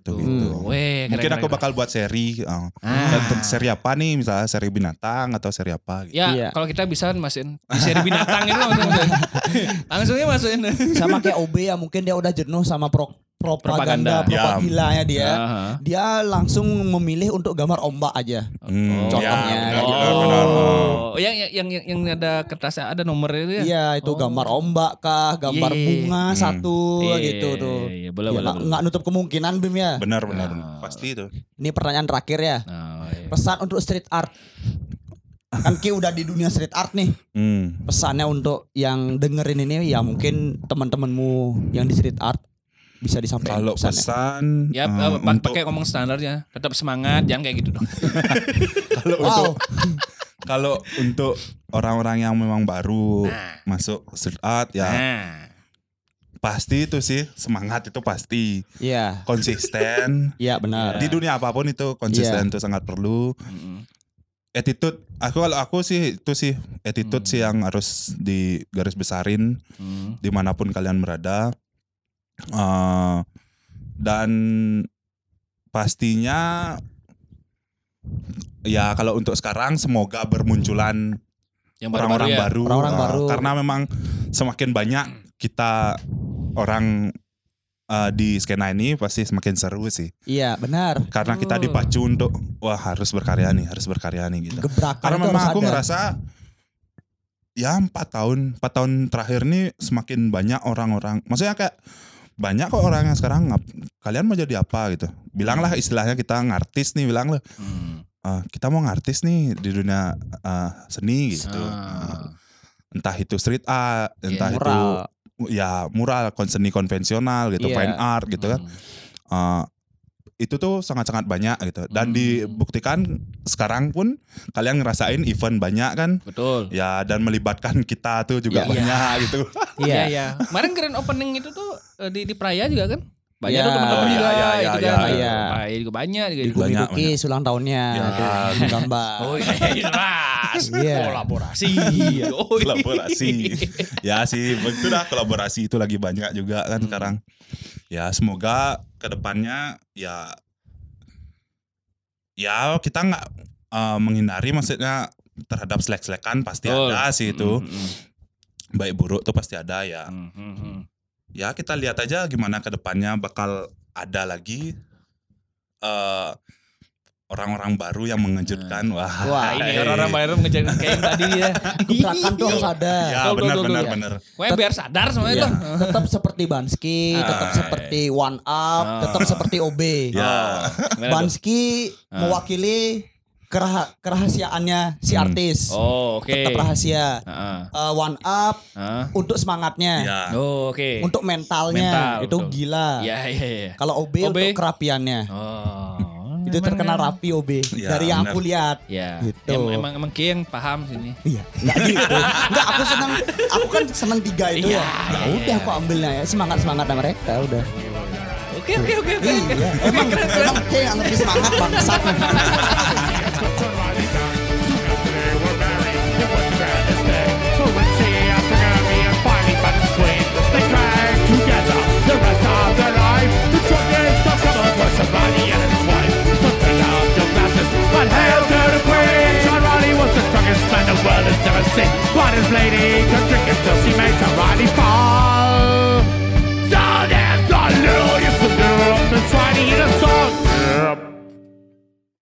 [SPEAKER 2] Oh,
[SPEAKER 4] itu gitu.
[SPEAKER 2] Weh,
[SPEAKER 4] Mungkin
[SPEAKER 2] keren,
[SPEAKER 4] aku
[SPEAKER 2] keren,
[SPEAKER 4] bakal buat seri uh,
[SPEAKER 2] Ah.
[SPEAKER 4] dan seri apa nih misalnya seri binatang atau seri apa gitu.
[SPEAKER 2] Ya,
[SPEAKER 3] Iya.
[SPEAKER 2] kalau kita bisa masukin di seri binatang itu langsung langsungnya masukin.
[SPEAKER 3] Sama kayak OB ya mungkin dia udah jenuh sama pro- propaganda,
[SPEAKER 2] Propaganda.
[SPEAKER 4] Ya.
[SPEAKER 3] propagandanya dia.
[SPEAKER 2] Aha.
[SPEAKER 3] Dia langsung memilih untuk gambar ombak aja.
[SPEAKER 4] Hmm,
[SPEAKER 3] Contohnya. gitu.
[SPEAKER 4] ya, benar,
[SPEAKER 2] oh.
[SPEAKER 4] benar, benar.
[SPEAKER 2] Oh, Yang, yang yang yang ada kertasnya ada nomornya itu ya.
[SPEAKER 3] Iya, itu
[SPEAKER 2] Oh.
[SPEAKER 3] gambar ombak kah,
[SPEAKER 2] Iya,
[SPEAKER 3] gambar
[SPEAKER 2] iya, iya.
[SPEAKER 3] bunga
[SPEAKER 4] Hmm.
[SPEAKER 3] satu
[SPEAKER 2] Iya,
[SPEAKER 3] gitu
[SPEAKER 2] iya,
[SPEAKER 3] tuh.
[SPEAKER 2] Iya,
[SPEAKER 3] Ya,
[SPEAKER 2] boleh boleh.
[SPEAKER 3] nggak
[SPEAKER 2] boleh.
[SPEAKER 3] nggak nutup kemungkinan Bim ya.
[SPEAKER 4] Benar, benar,
[SPEAKER 2] Nah.
[SPEAKER 4] benar. Pasti itu.
[SPEAKER 3] Ini pertanyaan terakhir ya.
[SPEAKER 2] Nah, iya.
[SPEAKER 3] Pesan untuk street art. Kan Ki udah di dunia street art nih.
[SPEAKER 4] Hmm.
[SPEAKER 3] Pesannya untuk yang dengerin ini ya mungkin teman-temanmu yang di street art bisa disampaikan
[SPEAKER 4] Kalau
[SPEAKER 3] pesannya.
[SPEAKER 4] pesan
[SPEAKER 2] Ya,
[SPEAKER 4] eh,
[SPEAKER 2] eh, pak-
[SPEAKER 4] untuk-
[SPEAKER 2] pakai ngomong standarnya, tetap semangat, jangan kayak gitu dong.
[SPEAKER 4] kalau untuk kalau untuk orang-orang yang memang baru
[SPEAKER 2] Nah.
[SPEAKER 4] masuk street art ya
[SPEAKER 2] Nah,
[SPEAKER 4] pasti itu sih semangat itu pasti
[SPEAKER 3] Iya.
[SPEAKER 4] konsisten
[SPEAKER 3] Iya benar.
[SPEAKER 4] di dunia apapun itu
[SPEAKER 2] Iya.
[SPEAKER 4] konsisten itu sangat perlu
[SPEAKER 2] Mm-mm.
[SPEAKER 4] attitude aku kalau aku sih itu sih attitude
[SPEAKER 2] Hmm.
[SPEAKER 4] sih yang harus digaris besarin
[SPEAKER 2] Mm.
[SPEAKER 4] dimanapun kalian berada Eh, dan pastinya ya kalau untuk sekarang semoga bermunculan
[SPEAKER 2] yang baru-baru
[SPEAKER 4] orang-orang
[SPEAKER 2] ya. Hmm.
[SPEAKER 4] baru,
[SPEAKER 3] Orang-orang
[SPEAKER 4] uh,
[SPEAKER 3] baru.
[SPEAKER 4] karena memang semakin banyak kita orang uh, di skena ini pasti semakin seru sih
[SPEAKER 3] Iya benar.
[SPEAKER 4] karena kita
[SPEAKER 2] Betul.
[SPEAKER 4] dipacu untuk wah harus berkarya nih harus berkarya nih gitu
[SPEAKER 3] Gebrakan
[SPEAKER 4] karena
[SPEAKER 3] itu
[SPEAKER 4] memang
[SPEAKER 3] harus
[SPEAKER 4] aku
[SPEAKER 3] ada.
[SPEAKER 4] ngerasa ya empat tahun empat tahun terakhir nih semakin banyak orang-orang maksudnya kayak banyak kok orang yang sekarang ngap- kalian mau jadi apa gitu bilanglah istilahnya kita ngartis nih bilang lah
[SPEAKER 2] Mm.
[SPEAKER 4] "Ah, kita mau ngartis nih di dunia uh, seni gitu
[SPEAKER 2] Ah.
[SPEAKER 4] entah itu street art, entah
[SPEAKER 2] Iya.
[SPEAKER 4] itu
[SPEAKER 3] Mural.
[SPEAKER 4] ya mural kon- seni konvensional gitu
[SPEAKER 2] Iya.
[SPEAKER 4] fine art gitu kan Eh, itu tuh sangat-sangat banyak gitu dan
[SPEAKER 2] Hmm.
[SPEAKER 4] dibuktikan sekarang pun kalian ngerasain event banyak kan
[SPEAKER 2] Betul.
[SPEAKER 4] ya dan melibatkan kita tuh juga
[SPEAKER 2] Iya.
[SPEAKER 4] banyak gitu
[SPEAKER 2] Iya iya. Kemarin keren opening itu tuh eh, di di Praya juga kan? Banyak
[SPEAKER 3] Iya.
[SPEAKER 2] tuh teman-teman
[SPEAKER 4] Oh, iya,
[SPEAKER 2] juga
[SPEAKER 4] iya, iya,
[SPEAKER 2] itu
[SPEAKER 4] iya,
[SPEAKER 2] kan.
[SPEAKER 3] iya.
[SPEAKER 2] Praya juga banyak juga.
[SPEAKER 4] Di
[SPEAKER 2] juga.
[SPEAKER 4] Banyak,
[SPEAKER 3] Duki ulang tahunnya
[SPEAKER 4] Ya.
[SPEAKER 3] tuh, gambar.
[SPEAKER 2] Oh iya jelas.
[SPEAKER 3] Iya.
[SPEAKER 2] Kolaborasi. Oh, iya.
[SPEAKER 4] kolaborasi ya sih betul lah kolaborasi itu lagi banyak juga
[SPEAKER 2] Hmm.
[SPEAKER 4] kan sekarang ya semoga kedepannya ya ya kita nggak eh, menghindari maksudnya terhadap selek-selekan pasti
[SPEAKER 2] Betul.
[SPEAKER 4] ada sih itu
[SPEAKER 2] Mm,
[SPEAKER 4] baik buruk tuh pasti ada ya
[SPEAKER 2] mm, mm, mm.
[SPEAKER 4] ya kita lihat aja gimana kedepannya bakal ada lagi eh, orang-orang baru yang mengejutkan wah,
[SPEAKER 3] Wah,
[SPEAKER 2] Nah, ini
[SPEAKER 4] eh.
[SPEAKER 2] orang Bayern mengejar kayak yang tadi ya.
[SPEAKER 3] Keberatan tuh harus ada.
[SPEAKER 4] ya
[SPEAKER 2] Betul, betul,
[SPEAKER 4] benar-benar
[SPEAKER 2] betul.
[SPEAKER 4] benar
[SPEAKER 2] Pokoknya biar sadar semuanya
[SPEAKER 4] Iya.
[SPEAKER 2] tuh.
[SPEAKER 3] Tetap seperti Banski, tetap
[SPEAKER 4] Ah.
[SPEAKER 3] seperti One Up,
[SPEAKER 2] Ah.
[SPEAKER 3] tetap seperti OB.
[SPEAKER 4] ya
[SPEAKER 2] Gimana tuh?
[SPEAKER 3] Banski
[SPEAKER 2] Ah.
[SPEAKER 3] mewakili kerah- kerahasiaannya si
[SPEAKER 4] Hmm.
[SPEAKER 3] artis.
[SPEAKER 2] Oh, oke.
[SPEAKER 3] Tetap rahasia.
[SPEAKER 2] Heeh.
[SPEAKER 3] Eh, one Up
[SPEAKER 2] Heeh.
[SPEAKER 3] untuk semangatnya,
[SPEAKER 4] ya
[SPEAKER 2] Oh, oke.
[SPEAKER 3] Ah. untuk mentalnya
[SPEAKER 2] Mental,
[SPEAKER 3] itu
[SPEAKER 2] betul.
[SPEAKER 3] gila.
[SPEAKER 2] Iya, iya, iya.
[SPEAKER 3] Kalau OB,
[SPEAKER 2] OB.
[SPEAKER 3] untuk kerapiannya.
[SPEAKER 2] Oh.
[SPEAKER 3] Itu
[SPEAKER 2] emang
[SPEAKER 3] terkenal
[SPEAKER 2] kan?
[SPEAKER 3] rapi OB
[SPEAKER 4] Iya,
[SPEAKER 3] dari yang
[SPEAKER 4] benar.
[SPEAKER 3] aku lihat.
[SPEAKER 2] Ya.
[SPEAKER 3] Gitu.
[SPEAKER 2] Em- Emang emang Ki yang paham sini.
[SPEAKER 3] Iya, enggak gitu. Enggak, aku senang. Aku kan senang tiga itu
[SPEAKER 2] Iya, iya,
[SPEAKER 3] ya. Ya
[SPEAKER 2] iya,
[SPEAKER 3] udah aku ambilnya ya. Semangat-semangatnya mereka udah.
[SPEAKER 2] Oke, oke, oke. oke.
[SPEAKER 3] Iya, emang emang kayak yang lebih semangat bangsat.